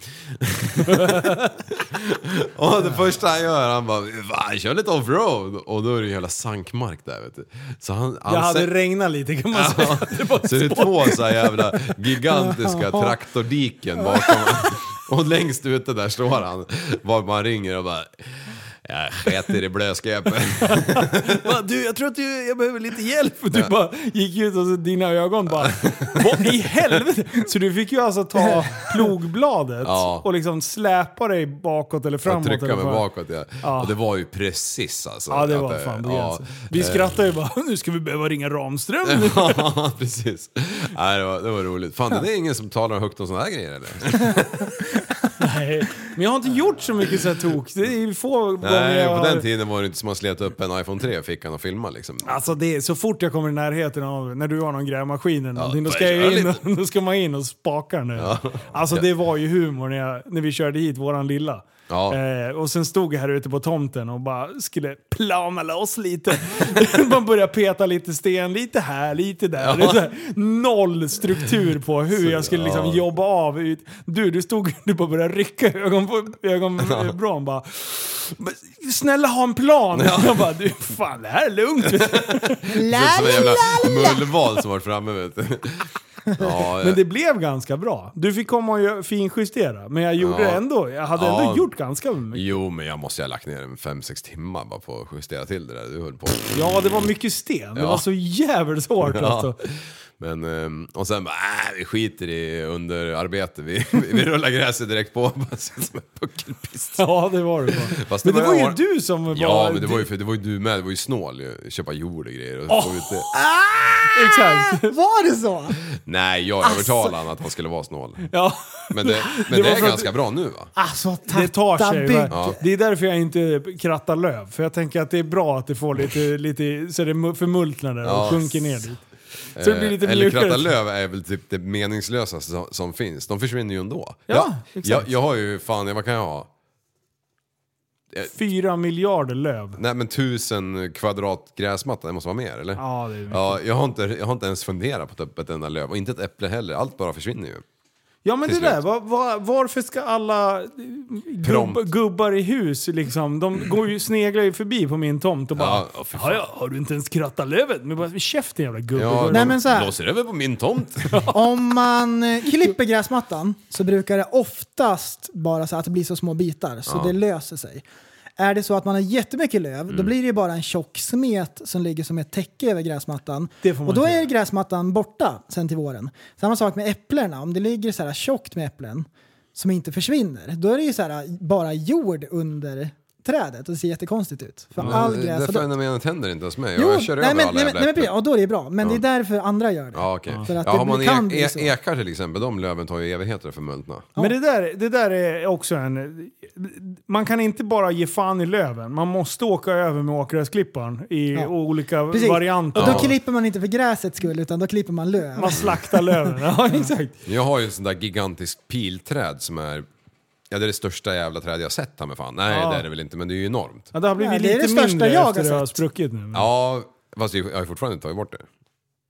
Speaker 6: och det första han gör, han bara Va, kör lite offroad. Och då är det ju hela sankmark där vet du. Så han, han
Speaker 5: Jag hade
Speaker 6: sä-
Speaker 5: regnat lite kan man säga.
Speaker 6: Alltså- Ja, så det är två så här jävla gigantiska traktordiken bakom. *laughs* Och längst ute där står han, var man ringer och bara jag sketer
Speaker 5: *laughs*
Speaker 6: i blöskräpet.
Speaker 5: Va, Du, jag tror att du, jag behöver lite hjälp. Och Du bara gick ut och så dina ögon bara... Vad i helvete? Så du fick ju alltså
Speaker 7: *laughs*
Speaker 5: ta plogbladet
Speaker 6: Ja.
Speaker 5: och liksom släpa dig bakåt eller
Speaker 6: Och
Speaker 5: framåt.
Speaker 6: trycka
Speaker 5: eller
Speaker 6: mig
Speaker 5: vad.
Speaker 6: bakåt ja.
Speaker 5: Ja.
Speaker 6: Och det var ju precis alltså.
Speaker 5: Ja, det
Speaker 6: att
Speaker 5: var fan
Speaker 6: ja, Eh,
Speaker 5: ja. Vi skrattade ju bara, *laughs* nu ska vi behöva ringa Ramström.
Speaker 6: *laughs* Ja, precis. Nej, det, var, det var roligt. Fan, det är ingen som talar högt om sådana här grejer eller?
Speaker 5: Nej. Men jag har inte gjort så mycket så här tok. Det är ju få gånger
Speaker 6: Nej,
Speaker 5: jag
Speaker 6: på
Speaker 5: har...
Speaker 6: den tiden var det inte som att man slet upp en iPhone 3 och fick han och filma liksom.
Speaker 5: Alltså det är, så fort jag kommer i närheten av, när du har någon grävmaskin eller någonting, då
Speaker 6: börjar
Speaker 5: ska, jag
Speaker 6: köra
Speaker 5: in och, *laughs* då ska man in och spaka den. där. Alltså det var ju humor när, jag, när vi körde hit våran lilla.
Speaker 6: Ja.
Speaker 5: Eh, och sen stod jag här ute på tomten och bara skulle plama loss lite. *laughs* man började peta lite sten, lite här, lite där. Det är så här, noll struktur på hur jag skulle liksom jobba av. ut. Du, du stod du bara började rycka i ögon på ögonvrån bara. "Men Snälla ha en plan! Jag bara, du fan det här är lugnt.
Speaker 6: Det är
Speaker 7: la,
Speaker 6: som en
Speaker 7: la,
Speaker 6: jävla
Speaker 7: la.
Speaker 6: mullvad som varit framme vet du. Ja,
Speaker 5: Men det blev ganska bra. Du fick komma och gö- finjustera, men jag gjorde
Speaker 6: Ja.
Speaker 5: ändå. Jag hade
Speaker 6: Ja.
Speaker 5: ändå gjort ganska mycket.
Speaker 6: Jo, men jag måste ju ha lagt ner en 5-6 timmar bara på att justera till det där
Speaker 5: *laughs*
Speaker 6: du höll på.
Speaker 5: Ja, det var mycket sten. Det
Speaker 6: Ja.
Speaker 5: var så jävligt hårt alltså.
Speaker 6: Men, ehm, och sen bara, äh, vi skiter i underarbete, vi, vi, vi rullar gräset direkt på. *laughs* Bara sitter som en puckelpist.
Speaker 5: Ja, det var det bara.
Speaker 6: Fast
Speaker 5: Men det var ju
Speaker 6: jag-
Speaker 5: du som var...
Speaker 6: Ja, men det var ju, för, det var ju du med, det var ju snål ju. Köpa jord och grejer och få ut det.
Speaker 5: Exakt.
Speaker 7: Var det så?
Speaker 6: Nej, jag övertalade han att han skulle vara snål.
Speaker 5: *laughs* Ja.
Speaker 6: Men det, men
Speaker 5: Alltså! Det var Ah,
Speaker 6: det är
Speaker 5: för att-
Speaker 6: ganska bra nu va?
Speaker 7: Alltså
Speaker 5: Det tar sig.
Speaker 7: Tattaby.
Speaker 5: va? Det är därför jag inte krattar löv. För jag tänker att det är bra att det får lite, lite så det mu- förmultnar där och
Speaker 6: Ja.
Speaker 5: sjunker ner dit. Så det blir lite
Speaker 6: Eh, Eller
Speaker 5: mjukare.
Speaker 6: kratta löv är väl typ det meningslösaste som, som finns. De försvinner ju ändå. Ja, jag,
Speaker 5: exakt.
Speaker 6: jag, jag har ju fan, vad kan jag ha?
Speaker 5: Fyra miljarder löv.
Speaker 6: Nej men tusen kvadrat gräsmatta, det måste vara mer eller?
Speaker 5: Ja, det är mycket.
Speaker 6: ja jag, har inte, jag har inte ens funderat på att ta upp ett enda löv och inte ett äpple heller, allt bara försvinner ju.
Speaker 5: Ja men det
Speaker 6: Till
Speaker 5: där,
Speaker 6: slut.
Speaker 5: var, var, varför ska alla gubb,
Speaker 6: Prompt.
Speaker 5: gubbar i hus liksom, de går ju, sneglar ju förbi på min tomt och bara
Speaker 6: Ja, åh, fy
Speaker 5: ja, ja, har du inte ens krattat lövet? Men bara käften jävla gubbe.
Speaker 6: Ja,
Speaker 7: Nej, men så här.
Speaker 6: blåser över på min tomt.
Speaker 7: Om man eh, klipper gräsmattan så brukar det oftast bara så att det blir så små bitar så det löser sig. Är det så att man har jättemycket löv,
Speaker 6: Mm.
Speaker 7: då blir det ju bara en tjock smet som ligger som ett täcke över gräsmattan.
Speaker 5: Det får man
Speaker 7: och då
Speaker 5: inte
Speaker 7: är
Speaker 5: göra.
Speaker 7: gräsmattan borta sen till våren. Samma sak med äpplena, om det ligger så här tjockt med äpplen som inte försvinner, då är det ju så här eh, bara jord under trädet och det ser jättekonstigt ut. För *laughs* all
Speaker 6: Men
Speaker 7: gräs
Speaker 6: det
Speaker 7: har dött.
Speaker 6: fenomenet händer inte ens mig.
Speaker 7: Jo,
Speaker 6: Jag kör
Speaker 7: nej,
Speaker 6: över
Speaker 7: men,
Speaker 6: alla
Speaker 7: nej, men,
Speaker 6: jävla
Speaker 7: nej, men, precis.
Speaker 6: äpplen.
Speaker 7: ja, då är det bra. Men det är därför andra gör det.
Speaker 6: Ja, okej.
Speaker 7: För att
Speaker 6: Ja,
Speaker 7: det
Speaker 6: har man
Speaker 7: kan
Speaker 6: e-
Speaker 7: bli
Speaker 6: e-
Speaker 7: så.
Speaker 6: ekar till exempel, de löven tar ju evigheter att förmultna.
Speaker 5: Men det där, det där är också en... Man kan inte bara ge fan i löven. Man måste åka över med åkgräsklipparen i
Speaker 7: Ja.
Speaker 5: olika
Speaker 7: Precis.
Speaker 5: varianter.
Speaker 7: Och då
Speaker 6: Ja.
Speaker 7: klipper man inte för gräsets skull, utan då klipper man löv.
Speaker 5: Man slaktar löven.
Speaker 7: *laughs*
Speaker 5: Ja, exakt.
Speaker 6: Jag har ju en sån där gigantisk pilträd som är... Ja, det är det största jävla träd jag har sett, ta mig fan. Nej,
Speaker 5: Ja.
Speaker 6: det är det väl inte, men det är ju enormt.
Speaker 5: Ja, det har blivit
Speaker 7: Ja, det är
Speaker 5: lite
Speaker 7: det största
Speaker 5: mindre
Speaker 7: jag har
Speaker 5: efter det har
Speaker 7: sett.
Speaker 5: spruckit nu.
Speaker 6: Ja, fast jag har ju fortfarande tagit bort det.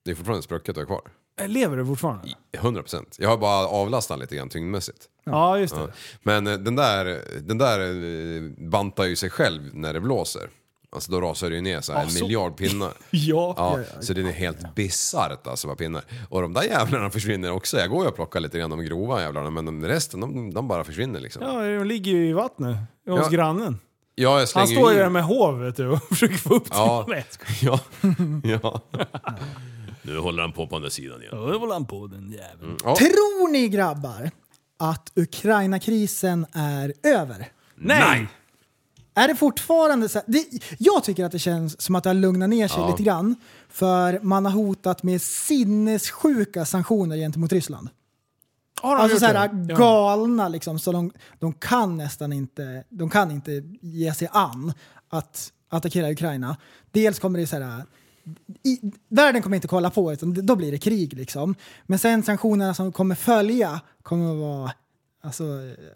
Speaker 6: Det är fortfarande sprucket och är kvar.
Speaker 5: Lever det fortfarande?
Speaker 6: 100%. Jag har bara avlastat den lite grann tyngdmässigt.
Speaker 5: Ja, just det.
Speaker 6: Ja. Men eh, den där, den där eh, bantar ju sig själv när det blåser. Alltså då rasar det ju ner så här en
Speaker 5: Alltså.
Speaker 6: miljard pinnar.
Speaker 5: Ja.
Speaker 6: Ja, så det är helt bisarrt alltså vad pinnar. Och de där jävlarna försvinner också. Jag går ju och plockar lite grann de grova jävlarna men de, resten de, de bara försvinner liksom. Ja,
Speaker 5: Ja, de ligger ju i vattnet hos
Speaker 6: Ja.
Speaker 5: grannen.
Speaker 6: jag
Speaker 5: Han
Speaker 6: slänger
Speaker 5: står ju
Speaker 6: ju
Speaker 5: där
Speaker 6: in.
Speaker 5: med hovet du, och *laughs* försöker få upp
Speaker 6: Ja.
Speaker 5: till
Speaker 6: *laughs*
Speaker 7: *laughs*
Speaker 6: Ja, ja.
Speaker 1: Nu håller han på på andra sidan igen.
Speaker 5: Då håller han på den jäveln.
Speaker 7: Tror ni grabbar att Ukraina-krisen är över?
Speaker 5: Nej!
Speaker 7: Är det fortfarande så här, det, Jag tycker att det känns som att det har lugnat ner sig lite grann. För man har hotat med sinnessjuka sanktioner gentemot Ryssland.
Speaker 5: Har han
Speaker 7: Alltså
Speaker 5: gjort
Speaker 7: så här
Speaker 5: det? Ja.
Speaker 7: galna liksom, så de, de kan nästan inte, de kan inte ge sig an att attackera Ukraina. Dels kommer det så här, äh, i, världen kommer inte kolla på utan då blir det krig liksom. Men sen sanktionerna som kommer följa kommer att vara, alltså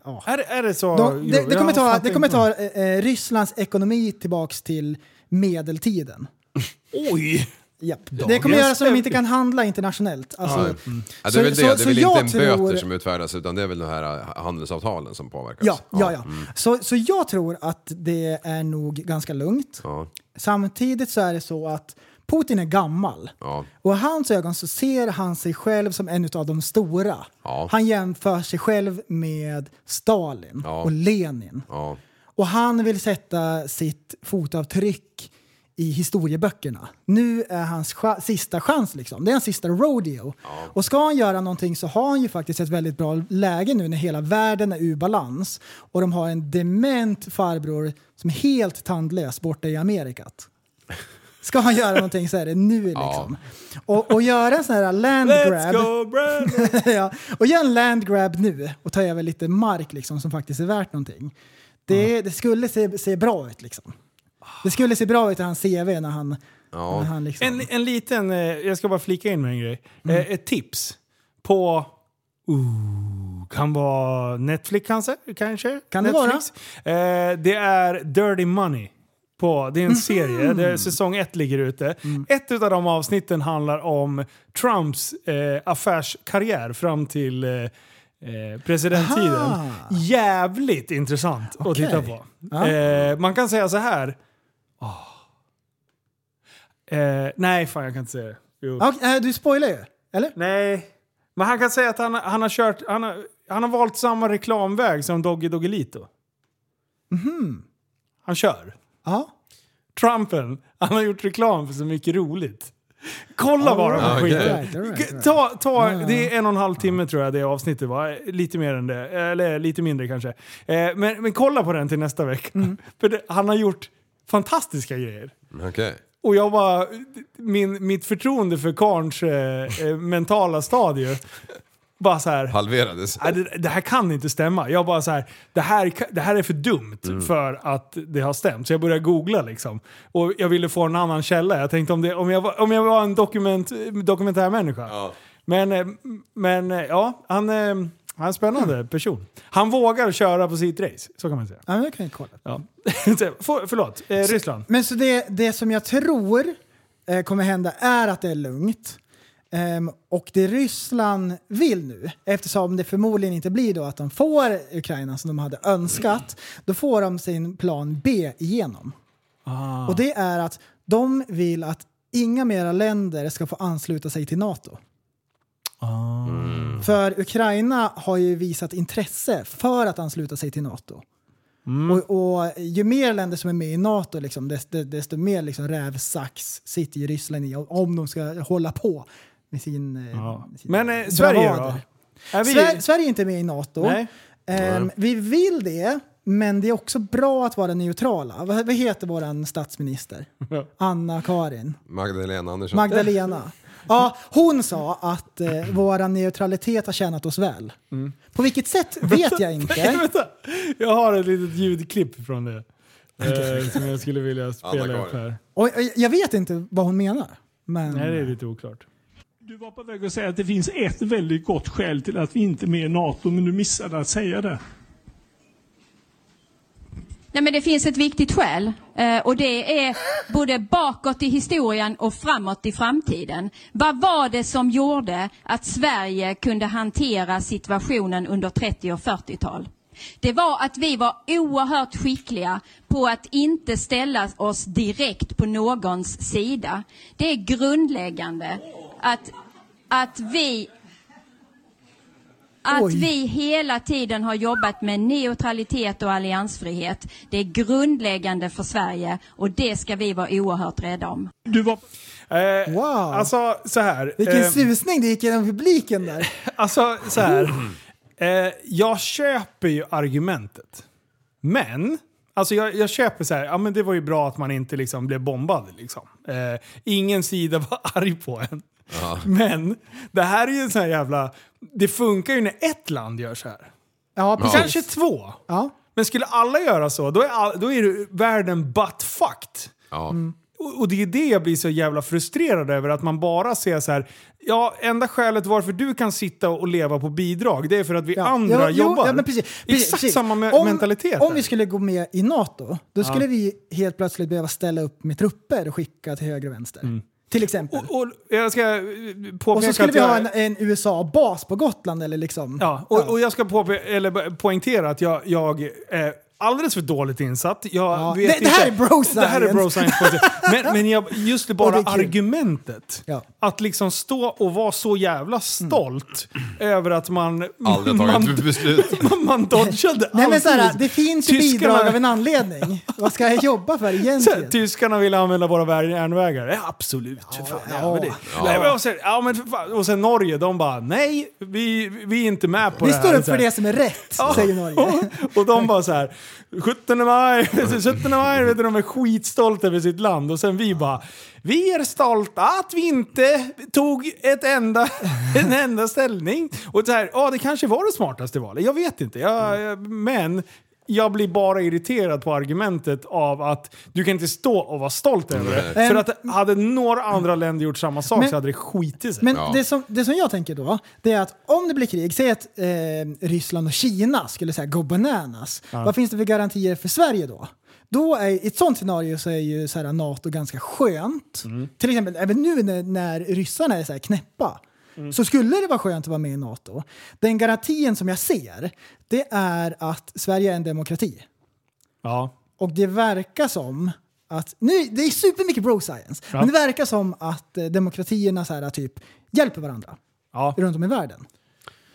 Speaker 7: ja.
Speaker 5: Är, är det så?
Speaker 7: De, det, det
Speaker 5: Jag
Speaker 7: kommer ta,
Speaker 5: fattar
Speaker 7: det kommer
Speaker 5: inte.
Speaker 7: ta eh, eh, Rysslands ekonomi tillbaks till medeltiden.
Speaker 5: *laughs* Oj!
Speaker 7: Japp. Det
Speaker 5: Dagens
Speaker 7: kommer göra så att de
Speaker 5: stämning.
Speaker 7: inte kan handla internationellt. Alltså,
Speaker 6: Ja, Ja, det är väl
Speaker 7: Så-
Speaker 6: det.
Speaker 7: så-
Speaker 6: det
Speaker 7: så
Speaker 6: är väl
Speaker 7: jag
Speaker 6: inte en
Speaker 7: tror-
Speaker 6: böter som utfärdas utan det är väl de här eh, handelsavtalen som påverkas.
Speaker 7: Ja, ja, ja.
Speaker 6: Mm.
Speaker 7: Så, så jag tror att det är nog ganska lugnt.
Speaker 6: Ja,
Speaker 7: Samtidigt så är det så att Putin är gammal.
Speaker 6: ja.
Speaker 7: Och i hans ögon så ser han sig själv som en av de stora.
Speaker 6: Ja.
Speaker 7: Han jämför sig själv med Stalin
Speaker 6: Ja.
Speaker 7: och Lenin.
Speaker 6: ja.
Speaker 7: Och han vill sätta sitt fotavtryck i historieböckerna. Nu är hans cha- sista chans liksom. Det är hans sista rodeo. Och ska han göra någonting så har han ju faktiskt ett väldigt bra läge nu när hela världen är ur balans. Och de har en dement farbror som är helt tandlös borta i Amerikat. Ska han göra någonting så är det nu liksom. Och, och göra en sån här land
Speaker 5: Let's
Speaker 7: grab
Speaker 5: go Brandon!
Speaker 7: *laughs* ja. Och gör en land grab nu och ta över lite mark liksom, som faktiskt är värt någonting. Det, det skulle se, se bra ut liksom. Det skulle se bra ut i hans CV när han... När han liksom,
Speaker 5: En, en liten, eh, jag ska bara flika in med en grej.
Speaker 7: Mm.
Speaker 5: Eh, Ett tips på... Ooh, kan vara Netflix kanske? kanske?
Speaker 7: Kan det
Speaker 5: Netflix. Eh, det är Dirty Money. På, det är en
Speaker 7: Mhm.
Speaker 5: serie, det är, säsong ett ligger ute.
Speaker 7: Mm.
Speaker 5: Ett av de avsnitten handlar om Trumps eh, affärskarriär fram till eh, eh, presidenttiden.
Speaker 7: Aha.
Speaker 5: Jävligt intressant att
Speaker 7: Okej.
Speaker 5: titta på.
Speaker 7: Ja.
Speaker 5: Eh, man kan säga så här, Eh, nej, fan jag kan inte säga det. Jo.
Speaker 7: Ja, okej, äh, du spoilar ju, eller?
Speaker 5: Nej. Men han kan säga att han, han har kört... Han har, han har valt samma reklamväg som Doggy Doggelito. Mhm. Han kör.
Speaker 7: Ja.
Speaker 5: Trumpen, han har gjort reklam för så mycket roligt. Kolla bara på
Speaker 6: right.
Speaker 5: skiten.
Speaker 7: Right, all right, all right.
Speaker 5: Ta, ta, det är en och en halv timme tror jag det avsnittet var. Lite mer än det. Eller lite mindre kanske. Eh, men, men kolla på den till nästa vecka. *laughs* För det, han har gjort fantastiska grejer.
Speaker 6: Okej.
Speaker 5: Och jag bara, min, mitt förtroende för Karns eh, eh, mentala stadie, bara så här.
Speaker 6: Halverades.
Speaker 5: "Nej, Det, det här kan inte stämma. Jag bara så här, det här, ka- det här är för dumt för att det har stämt. Så jag började googla liksom. Och jag ville få en annan källa. Jag tänkte om, det, om, jag, var, om jag var en dokument, dokumentärmänniska. Men, eh, men eh, ja, han, eh, han är en spännande person. Han vågar köra på sitt race, så kan man säga.
Speaker 7: Ja, men det kan jag kolla.
Speaker 5: Ja. *laughs* För, förlåt, eh, Ryssland.
Speaker 7: Men så det, det som jag tror eh, kommer hända är att det är lugnt. Ehm, och det Ryssland vill nu, eftersom det förmodligen inte blir då att de får Ukraina som de hade önskat, då får de sin plan B igenom. Och det är att de vill att inga mera länder ska få ansluta sig till NATO. För Ukraina har ju visat intresse för att ansluta sig till NATO.
Speaker 5: Mm.
Speaker 7: Och, och ju mer länder som är med i NATO, liksom, desto, desto mer liksom, rävsax sitter ju Ryssland i om de ska hålla på med sin... eh,
Speaker 5: Ja.
Speaker 7: med sina
Speaker 5: Men eh, Sverige då?
Speaker 7: bravader.
Speaker 5: Är vi...
Speaker 7: Sver- Sverige är inte med i NATO.
Speaker 5: Nej.
Speaker 7: Ehm, vi vill det, men det är också bra att vara neutrala. Vad, vad heter vår statsminister? Anna-Karin.
Speaker 6: Magdalena Andersson.
Speaker 7: Magdalena. Ja, hon sa att eh, vår neutralitet har tjänat oss väl.
Speaker 5: Mm.
Speaker 7: På vilket sätt vet
Speaker 5: *laughs*
Speaker 7: jag inte.
Speaker 5: Vänta, jag har ett litet ljudklipp från
Speaker 7: *laughs*
Speaker 5: det. Eh, som jag skulle vilja spela upp
Speaker 6: Anna-Karin.
Speaker 5: här.
Speaker 7: Och, och, jag vet inte vad hon menar. Men
Speaker 5: Nej, det är lite oklart.
Speaker 9: Du var på väg att säga att det finns ett väldigt gott skäl till att vi inte är med i NATO, men du missade att säga det.
Speaker 10: Nej, men det finns ett viktigt skäl eh, och det är både bakåt i historien och framåt i framtiden. Vad var det som gjorde att Sverige kunde hantera situationen under 30 och 40-tal? Det var att vi var oerhört skickliga på att inte ställa oss direkt på någons sida. Det är grundläggande att, att vi att
Speaker 7: Oj.
Speaker 10: vi hela tiden har jobbat med neutralitet och alliansfrihet. Det är grundläggande för Sverige och det ska vi vara oerhört rädda om.
Speaker 9: Du var
Speaker 5: Eh,
Speaker 7: Wow.
Speaker 5: Alltså så här.
Speaker 7: vilken
Speaker 5: eh,
Speaker 7: susning det gick genom publiken där.
Speaker 5: Alltså så här.
Speaker 7: Mm.
Speaker 5: Eh, jag köper ju argumentet. Men, alltså jag, jag köper så här, ja men det var ju bra att man inte liksom blev bombad liksom. Eh, ingen sida var *laughs* arg på en. Men det här är ju en sån här jävla, det funkar ju när ett land gör så här.
Speaker 7: Ja,
Speaker 5: Kanske
Speaker 7: precis.
Speaker 5: två.
Speaker 7: Ja.
Speaker 5: Men skulle alla göra så, då är, all, då är det världen butt fucked.
Speaker 6: Ja.
Speaker 5: Och och det är det jag blir så jävla frustrerad över, att man bara ser så här. Ja, enda skälet varför du kan sitta och leva på bidrag, det är för att vi andra
Speaker 7: Ja, jo,
Speaker 5: jobbar.
Speaker 7: ja, men precis, precis,
Speaker 5: Exakt
Speaker 7: precis.
Speaker 5: samma me-
Speaker 7: om,
Speaker 5: mentalitet.
Speaker 7: Om vi skulle gå med i NATO, då skulle vi helt plötsligt behöva ställa upp med trupper och skicka till höger och vänster. Till exempel. Och,
Speaker 5: Mm. och, och jag ska eh, påpeka
Speaker 7: så skulle
Speaker 5: att
Speaker 7: vi
Speaker 5: jag,
Speaker 7: ha en, en USA-bas på Gotland eller liksom.
Speaker 5: Ja, och, och jag ska påpe- eller poängtera att jag, jag är alldeles för dåligt insatt. Jag
Speaker 7: Ja.
Speaker 5: vet
Speaker 7: Det- det här
Speaker 5: inte-
Speaker 7: är bro science.
Speaker 5: Det här är bro science. men men jag, just det bara
Speaker 7: *laughs* Och det är kul.
Speaker 5: argumentet.
Speaker 7: Ja.
Speaker 5: Att liksom stå och vara så jävla stolt över att man...
Speaker 6: Aldrig
Speaker 5: man,
Speaker 6: tagit ett beslut.
Speaker 5: man, man dodgade
Speaker 7: Nej men såhär,
Speaker 5: alltid. liksom.
Speaker 7: det finns ju
Speaker 5: Tyskarna-
Speaker 7: bidrag av en anledning. Vad ska jag jobba för
Speaker 5: *laughs* Så här, typ
Speaker 7: egentligen?
Speaker 5: Tyskarna ville använda våra vär- järnvägar. Ja, absolut. för fan, ja, men det. Nej, men och, sen, ja, men för fan. och sen Norge, de bara nej, vi, vi är inte med på
Speaker 7: Vi
Speaker 5: det här. liksom.
Speaker 7: står upp
Speaker 5: Så
Speaker 7: för
Speaker 5: här.
Speaker 7: det som är rätt, säger Norge.
Speaker 5: Och- Och de bara så här, 17 maj, *laughs* 17 maj, vet du, de är skitstolta över sitt land. Och sen vi bara, vi är stolta att vi inte tog ett enda, *laughs* en enda ställning. Och så här, ja det kanske var det smartaste valet, jag vet inte. Jag,
Speaker 7: Mm.
Speaker 5: jag, men jag blir bara irriterad på argumentet av att du kan inte stå och vara stolt över det.
Speaker 7: Nej.
Speaker 5: För att hade några andra länder gjort samma sak
Speaker 7: Men-
Speaker 5: så hade det skitit sig.
Speaker 7: Men det, som, det som jag tänker då, det är att om det blir krig, säg att eh, Ryssland och Kina skulle säga go bananas, vad finns det för garantier för Sverige då? Då är, I ett sånt scenario så är ju så här, NATO ganska skönt.
Speaker 5: Mm.
Speaker 7: Till exempel även nu när, när ryssarna är så här knäppa.
Speaker 5: Mm.
Speaker 7: Så skulle det vara skönt att vara med i NATO. Den garantin som jag ser, det är att Sverige är en demokrati.
Speaker 5: ja.
Speaker 7: Och det verkar som att, nu, det är supermycket bro science, men det verkar som att eh, demokratierna så här, typ hjälper varandra
Speaker 5: ja,
Speaker 7: runt om i världen.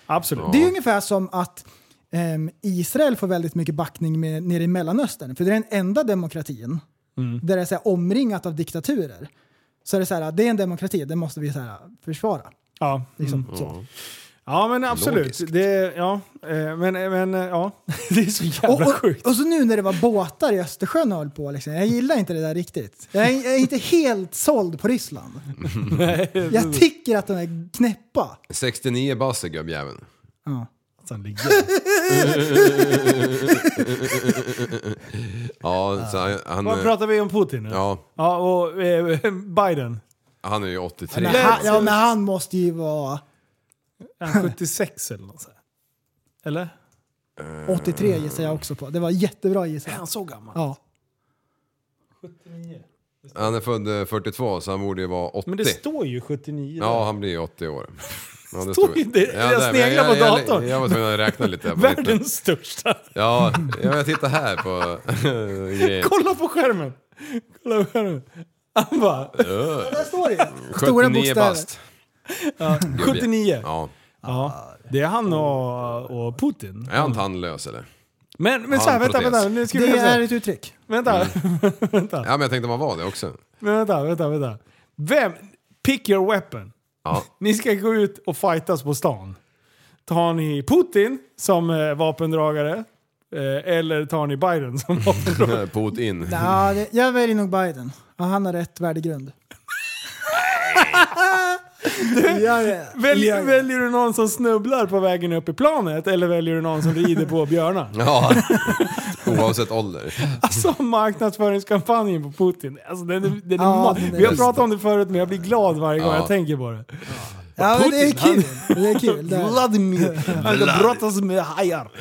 Speaker 5: absolut.
Speaker 7: Det är ungefär som att ehm, Israel får väldigt mycket backning med, nere i Mellanöstern, för det är den enda demokratin där det är så här, omringat av diktaturer. Så är det så här, det är en demokrati, det måste vi så här, försvara.
Speaker 5: Ja,
Speaker 7: Liksom, så.
Speaker 5: Ja men absolut.
Speaker 6: Logiskt.
Speaker 5: Det, ja, eh, men, men eh, ja, *laughs* det är så jävla
Speaker 7: Och,
Speaker 5: sjukt.
Speaker 7: och, och så nu när det var båtar i Östersjön och höll på, liksom, jag gillar inte det där riktigt. Jag är, jag är inte helt såld på
Speaker 5: *laughs*
Speaker 7: Ryssland. jag tycker att de är knäppa.
Speaker 6: 69 bass är gubbjäveln. *laughs* Ja, så han,
Speaker 5: Vad
Speaker 6: han,
Speaker 5: pratar vi om Putin nu?
Speaker 6: ja,
Speaker 5: Ja, och eh, *laughs* Biden.
Speaker 6: han är ju 83.
Speaker 7: Men han, ja, men han måste ju vara
Speaker 5: Är han 76 eller något sånt? Eller?
Speaker 7: 83 gissar jag också på. Det var jättebra gissat.
Speaker 5: så gammal?
Speaker 7: Ja.
Speaker 6: Han är född eh, 42 så han borde ju vara 80.
Speaker 5: Men det står ju 79
Speaker 6: Ja, han blir ju
Speaker 5: *laughs*
Speaker 6: 80 år. Ja, det
Speaker 5: Står ju det. Jag
Speaker 6: där, men
Speaker 5: sneglar på
Speaker 6: jag,
Speaker 5: datorn.
Speaker 6: Jag, jag var tvungen att
Speaker 5: *laughs*
Speaker 6: räkna lite. här på lite.
Speaker 5: Världens största.
Speaker 6: Ja, ja, jag tittar här på *laughs* grejen.
Speaker 5: Kolla på skärmen! Kolla på skärmen. Han bara,
Speaker 7: Där står det ju. Stora
Speaker 6: 79
Speaker 7: bokstäver.
Speaker 6: bast.
Speaker 5: 79.
Speaker 6: Ja.
Speaker 5: Ja, det är han och, och Putin.
Speaker 6: Är han tandlös eller?
Speaker 5: Men, men så här,
Speaker 6: Han
Speaker 5: vänta,
Speaker 6: protes.
Speaker 5: vänta. Nu ska vi
Speaker 7: Det
Speaker 5: läsa.
Speaker 7: är ett uttryck.
Speaker 5: Vänta,
Speaker 6: Mm.
Speaker 5: vänta,
Speaker 6: Ja, men jag tänkte om han var det också.
Speaker 5: men vänta, vänta, vänta. Vem? Pick your weapon.
Speaker 7: *laughs*
Speaker 6: Ja.
Speaker 5: Ni ska gå ut och fightas på stan. Tar ni Putin som eh, vapendragare? Eh, eller tar ni Biden
Speaker 7: *laughs*
Speaker 5: som vapendragare?
Speaker 6: Pot in.
Speaker 7: Ja, det, jag väljer nog Biden. Ja, han har rätt värdegrund. ja, ja.
Speaker 5: Välj,
Speaker 7: Ja, ja.
Speaker 5: Väljer du någon som snubblar på vägen upp i planet eller väljer du någon som rider på
Speaker 7: *laughs*
Speaker 5: björnar?
Speaker 6: Ja, oavsett ålder.
Speaker 5: Alltså marknadsföringskampanjen på Putin, alltså, den är, den är
Speaker 7: Ja,
Speaker 5: ma-
Speaker 7: den är-
Speaker 5: Vi har pratat om det förut men jag blir glad varje gång
Speaker 6: Ja.
Speaker 5: jag tänker på det.
Speaker 7: Ja, men det är kul. Det är kul. Det är. *laughs*
Speaker 5: Vladimir, han ska brottas med hajar.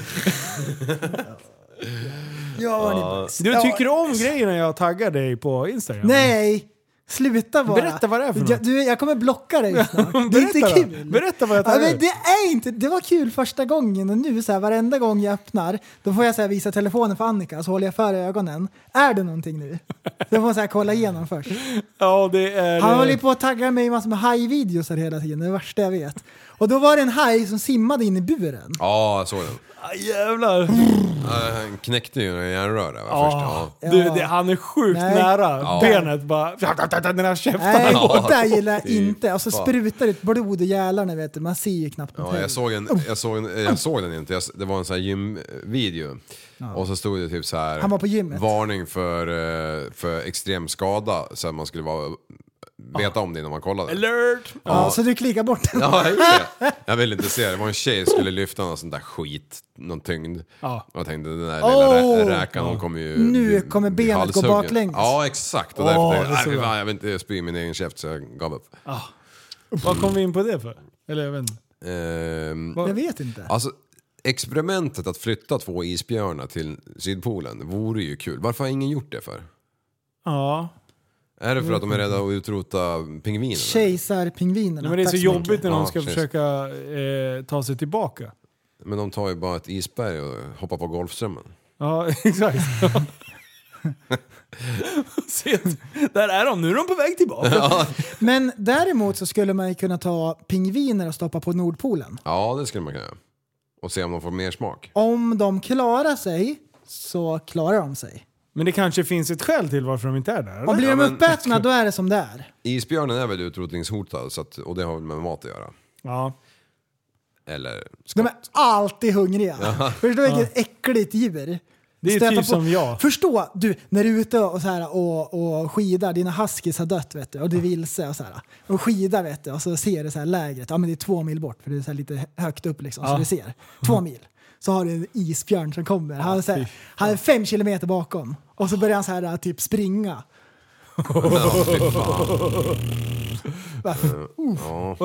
Speaker 7: Ja, vad ni boys.
Speaker 5: Du
Speaker 7: Ja.
Speaker 5: tycker du om grejerna jag taggar dig på Instagram?
Speaker 7: Nej! Sluta bara.
Speaker 5: Berätta vad det är för något.
Speaker 7: jag, du, jag kommer blocka
Speaker 5: *laughs*
Speaker 7: dig snart. Det är
Speaker 5: Berätta
Speaker 7: inte
Speaker 5: då.
Speaker 7: kul.
Speaker 5: Berätta vad jag
Speaker 7: ja,
Speaker 5: taggar dig.
Speaker 7: men det är inte, Det var kul första gången och nu så här, varenda gång jag öppnar då får jag så här, visa telefonen för Annika så håller jag för ögonen. Är det någonting nu? Då får jag så här, kolla igenom först.
Speaker 5: Ja, det är... eh,
Speaker 7: Han håller ju på att tagga mig i massor med hajvideos här hela tiden, det är det värsta jag vet. Och då var det en haj som simmade in i buren.
Speaker 6: Ja, jag såg den.
Speaker 5: Ah, jävlar.
Speaker 6: Ja, Han knäckte ju en järnröra va, först.
Speaker 5: Ah,
Speaker 6: Ja.
Speaker 5: du,
Speaker 7: Ja.
Speaker 5: det, han är sjukt
Speaker 7: Nej.
Speaker 5: nära
Speaker 6: Ja.
Speaker 5: benet bara... Den här
Speaker 7: Nej,
Speaker 5: käften.
Speaker 7: och där gillar jag
Speaker 6: fy
Speaker 7: inte. Och så
Speaker 6: fan.
Speaker 7: sprutar det ut blod och jälarna vet du, man ser ju knappt
Speaker 6: Ja, jag, såg en, jag, såg en, jag såg den inte, jag, s- det var en sån här gymvideo. Och så stod det typ så här.
Speaker 7: Han var på gymmet.
Speaker 6: Varning för, eh, för extrem skada, så att man skulle vara, veta om det innan man kollade.
Speaker 5: Alert!
Speaker 7: Ja, så du klickar bort
Speaker 6: *laughs*
Speaker 7: den.
Speaker 6: Ja, jag gjorde det. jag vill inte se det. Det var en tjej som skulle lyfta någon sån där skit, någon tyngd.
Speaker 5: Ja.
Speaker 6: Och jag tänkte den där lilla
Speaker 7: Oh!
Speaker 6: rä- räkan, hon kommer ju
Speaker 7: Nu
Speaker 6: bli-
Speaker 7: kommer
Speaker 6: bli
Speaker 7: benet gå
Speaker 6: halshuggen.
Speaker 7: baklänges.
Speaker 6: Ja, exakt. Och
Speaker 5: Åh,
Speaker 6: därför
Speaker 5: det är
Speaker 6: tänkte
Speaker 5: så
Speaker 6: jag, "Nej,
Speaker 5: bra."
Speaker 6: fan, jag vill inte spy i min egen käft så jag gav upp.
Speaker 5: Vad kom vi in på det för? Eller jag vet inte.
Speaker 6: Ehm,
Speaker 7: Jag vet inte.
Speaker 6: alltså, experimentet att flytta två isbjörnar till Sydpolen vore ju kul. Varför har ingen gjort det för?
Speaker 5: Ja.
Speaker 6: Är det för att de är rädda att utrota pingvinerna?
Speaker 7: Kejsarpingvinerna.
Speaker 5: Nej, men det är
Speaker 7: Tack
Speaker 5: så
Speaker 7: mycket.
Speaker 5: jobbigt när de
Speaker 6: Ja,
Speaker 5: ska
Speaker 6: precis.
Speaker 5: försöka eh, ta sig tillbaka.
Speaker 6: Men de tar ju bara ett isberg och hoppar på Golfströmmen.
Speaker 5: Ja, *laughs*
Speaker 7: *laughs*
Speaker 5: exakt. Se, där är de, nu är de på väg tillbaka.
Speaker 7: Men däremot så skulle man ju kunna ta pingviner och stoppa på Nordpolen.
Speaker 6: Ja, det skulle man kunna göra. Och se om de får mer smak.
Speaker 7: Om de klarar sig så klarar de sig.
Speaker 5: Men det kanske finns ett skäl till varför de inte är där?
Speaker 7: Och
Speaker 5: Eller?
Speaker 7: blir de
Speaker 6: men-
Speaker 7: uppätna då är det som det är.
Speaker 6: Isbjörnen är väl utrotningshotad så att, och det har väl med mat att göra.
Speaker 5: Ja.
Speaker 6: Eller skott.
Speaker 7: De är alltid hungriga. Förstå vilket äckligt djur.
Speaker 5: Det är
Speaker 7: Stöta
Speaker 5: typ som jag.
Speaker 7: Förstå, du, när du är ute och, så här, och, och skidar, dina huskies har dött vet du, och du är vilse och så här. Och skidar vet du, och så ser du så här lägret, ja men det är två mil bort för det är så här lite högt upp liksom, så du ser.
Speaker 5: Mm.
Speaker 7: Två mil. Så har du en isbjörn som kommer. Han, är så här, han är fem kilometer bakom. Och så börjar han så här
Speaker 5: *laughs*
Speaker 7: typ springa.
Speaker 5: Vad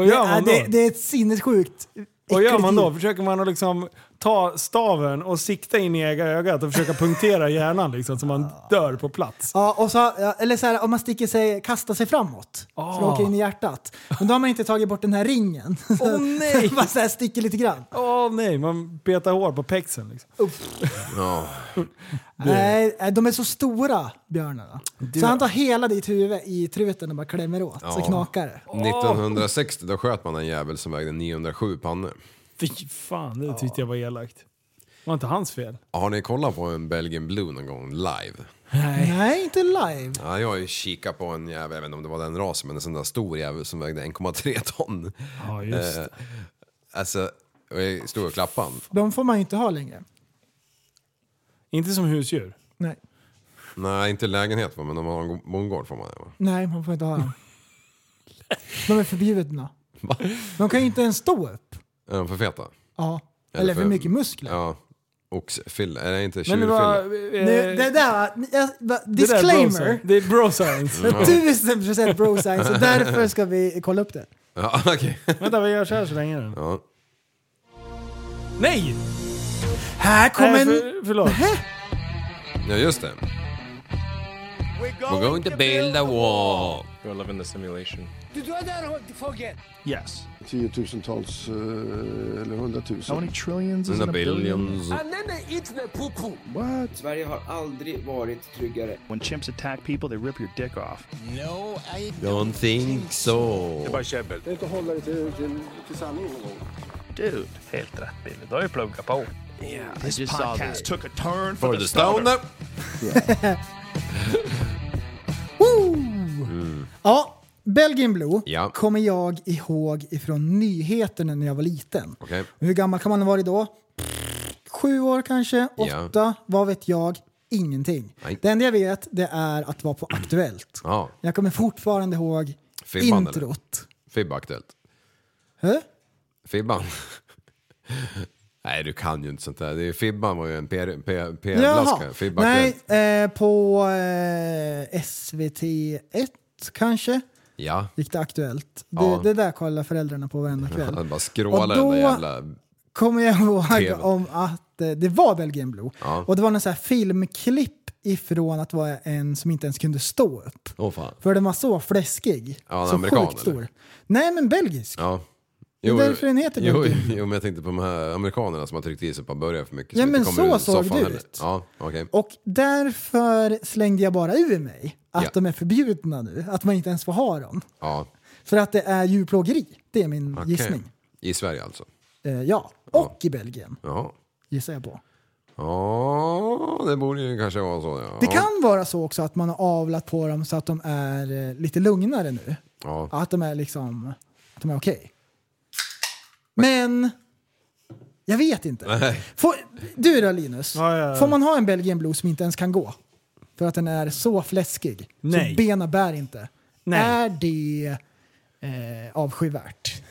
Speaker 5: gör
Speaker 7: Ja,
Speaker 5: man då?
Speaker 7: det, det är ett sinnessjukt
Speaker 5: Vad gör
Speaker 7: äckligt
Speaker 5: man då?
Speaker 7: djur.
Speaker 5: Försöker man att liksom ta staven och sikta in i ega ögat och försöka punktera hjärnan liksom så man dör på plats?
Speaker 7: Ja, och så, ja, eller så här, om man sticker sig, kastar sig framåt så det
Speaker 5: Ah.
Speaker 7: åker in i hjärtat. Men då har man inte tagit bort den här ringen.
Speaker 5: Åh
Speaker 7: *laughs*
Speaker 5: nej!
Speaker 7: man så här sticker lite grann.
Speaker 5: Åh nej, man petar hår på pexen liksom.
Speaker 6: Ja.
Speaker 7: Nej, nej, de är så stora björnarna. Så han tar hela ditt huvud i truten och bara klämmer åt så
Speaker 6: Ja.
Speaker 7: knakar det.
Speaker 6: 1960 då sköt man en jävel som vägde 907 pannor.
Speaker 5: Fy fan, det tyckte jag var elakt. Var inte hans fel?
Speaker 6: Har ni kollat på en Belgian Blue någon gång live?
Speaker 7: Nej. inte live.
Speaker 6: Ja, jag har ju kikat på en jävel, jag vet inte om det var den rasen, men en sån där stor jävel som vägde 1,3 ton.
Speaker 5: Ja, just det.
Speaker 6: Eh, alltså, och jag stod och klappade han.
Speaker 7: De får man ju inte ha längre.
Speaker 5: Inte som husdjur.
Speaker 7: Nej,
Speaker 6: Nej, inte i lägenhet va, men om man har en bondgård får man det va?
Speaker 7: nej man får inte
Speaker 5: *laughs*
Speaker 7: ha dem. De är förbjudna. De kan ju inte ens stå upp.
Speaker 6: Är de för feta?
Speaker 7: Ja. Eller för mycket muskler.
Speaker 6: Ja. Oxfille, är det inte
Speaker 5: Men det var...
Speaker 6: tjurfille?
Speaker 5: eh,
Speaker 7: Nu, det där, jag,
Speaker 5: det där är bro
Speaker 7: disclaimer.
Speaker 5: science. Det är bro science.
Speaker 7: *laughs* Tusen procent bro science och därför ska vi kolla upp det.
Speaker 6: Ja, *laughs* okej.
Speaker 5: *laughs* Vänta, vi gör så här så länge nu.
Speaker 6: Ja.
Speaker 5: Nej!
Speaker 7: Här kommer
Speaker 5: Nej,
Speaker 7: en...
Speaker 5: för, förlåt.
Speaker 6: ja, just det. We're going to build a wall.
Speaker 11: You're living the simulation.
Speaker 12: Du dödar fågel!
Speaker 11: Yes.
Speaker 13: Tiotusentals eh, eller
Speaker 11: How many
Speaker 13: hundratusen.
Speaker 11: trillions is
Speaker 6: In
Speaker 11: in
Speaker 6: a
Speaker 11: a billion?
Speaker 6: billions.
Speaker 12: Anene eats the poo-poo. What? Sverige har aldrig varit tryggare.
Speaker 11: When chimps attack people, they rip your dick off.
Speaker 12: No, I...
Speaker 6: Don't think so.
Speaker 11: käbbel.
Speaker 13: Det är inte att hålla det till, till, till sanningen någon gång.
Speaker 11: Dude, helt rätt Billy. Du har ju pluggat på. Yeah, this podcast took a turn
Speaker 6: For the stoner.
Speaker 7: Woo!
Speaker 6: Mm.
Speaker 7: Ja, Belgian Blue
Speaker 6: Ja.
Speaker 7: kommer jag ihåg ifrån nyheterna när jag var liten.
Speaker 6: Okej.
Speaker 7: Hur gammal kan man ha varit då? Sju år kanske?
Speaker 6: Ja.
Speaker 7: Åtta? Vad vet jag? Ingenting.
Speaker 6: Nej.
Speaker 7: Det enda jag vet det är att vara på Aktuellt.
Speaker 6: Ja.
Speaker 7: Jag kommer fortfarande ihåg
Speaker 6: Filmband, eller?
Speaker 7: introt.
Speaker 6: Fibba aktuellt.
Speaker 7: Hä?
Speaker 6: Fibban. *laughs* Nej, du kan ju inte sånt där. Det är, Fibban var ju en
Speaker 7: Jaha.
Speaker 6: PR-blaska. Fibba aktuellt.
Speaker 7: Nej, eh, på eh, SVT1 kanske
Speaker 6: Ja.
Speaker 7: gick det Aktuellt. Det,
Speaker 6: Ja.
Speaker 7: det där kollar föräldrarna på varenda kväll.
Speaker 6: Han bara skrålar
Speaker 7: Och då-
Speaker 6: den där jävla...
Speaker 7: kommer jag
Speaker 6: TV.
Speaker 7: ihåg om att eh, det var Belgian Blue.
Speaker 6: Ja.
Speaker 7: Och det var någon så här filmklipp ifrån att vara en som inte ens kunde stå upp.
Speaker 6: Åh fan.
Speaker 7: För den var så fläskig.
Speaker 6: Ja, en
Speaker 7: så
Speaker 6: amerikan,
Speaker 7: sjukt
Speaker 6: eller?
Speaker 7: stor. Nej, men belgisk.
Speaker 6: Ja.
Speaker 7: Det är därför den heter
Speaker 6: jo,
Speaker 7: Belgian.
Speaker 6: *laughs* jo, men jag tänkte på de här amerikanerna som har tryckt i sig på början för mycket.
Speaker 7: Ja,
Speaker 6: inte
Speaker 7: men
Speaker 6: kommer
Speaker 7: så
Speaker 6: ur
Speaker 7: såg
Speaker 6: soffan
Speaker 7: det
Speaker 6: heller.
Speaker 7: ut.
Speaker 6: Ja, okej.
Speaker 7: Och därför slängde jag bara ur mig att
Speaker 6: Ja.
Speaker 7: de är förbjudna nu. Att man inte ens får ha dem.
Speaker 6: Ja,
Speaker 7: För att det är djurplågeri. Det är min
Speaker 6: okej.
Speaker 7: gissning.
Speaker 6: I Sverige alltså?
Speaker 7: Eh, ja, och i Belgien
Speaker 6: Ja.
Speaker 7: gissar jag på.
Speaker 6: Ja, det borde ju kanske vara så. Ja.
Speaker 7: Det
Speaker 6: Ja.
Speaker 7: kan vara så också att man har avlat på dem så att de är eh, lite lugnare nu.
Speaker 6: Ja.
Speaker 7: Att de är liksom, att de är okej. Men, jag vet inte.
Speaker 6: Nej.
Speaker 7: Får, du då Linus,
Speaker 5: Ja, ja, ja.
Speaker 7: får man ha en Belgian Blue som inte ens kan gå? För att den är så fläskig.
Speaker 5: Nej.
Speaker 7: Så benen bär inte.
Speaker 5: Nej.
Speaker 7: Är det eh, avskyvärt?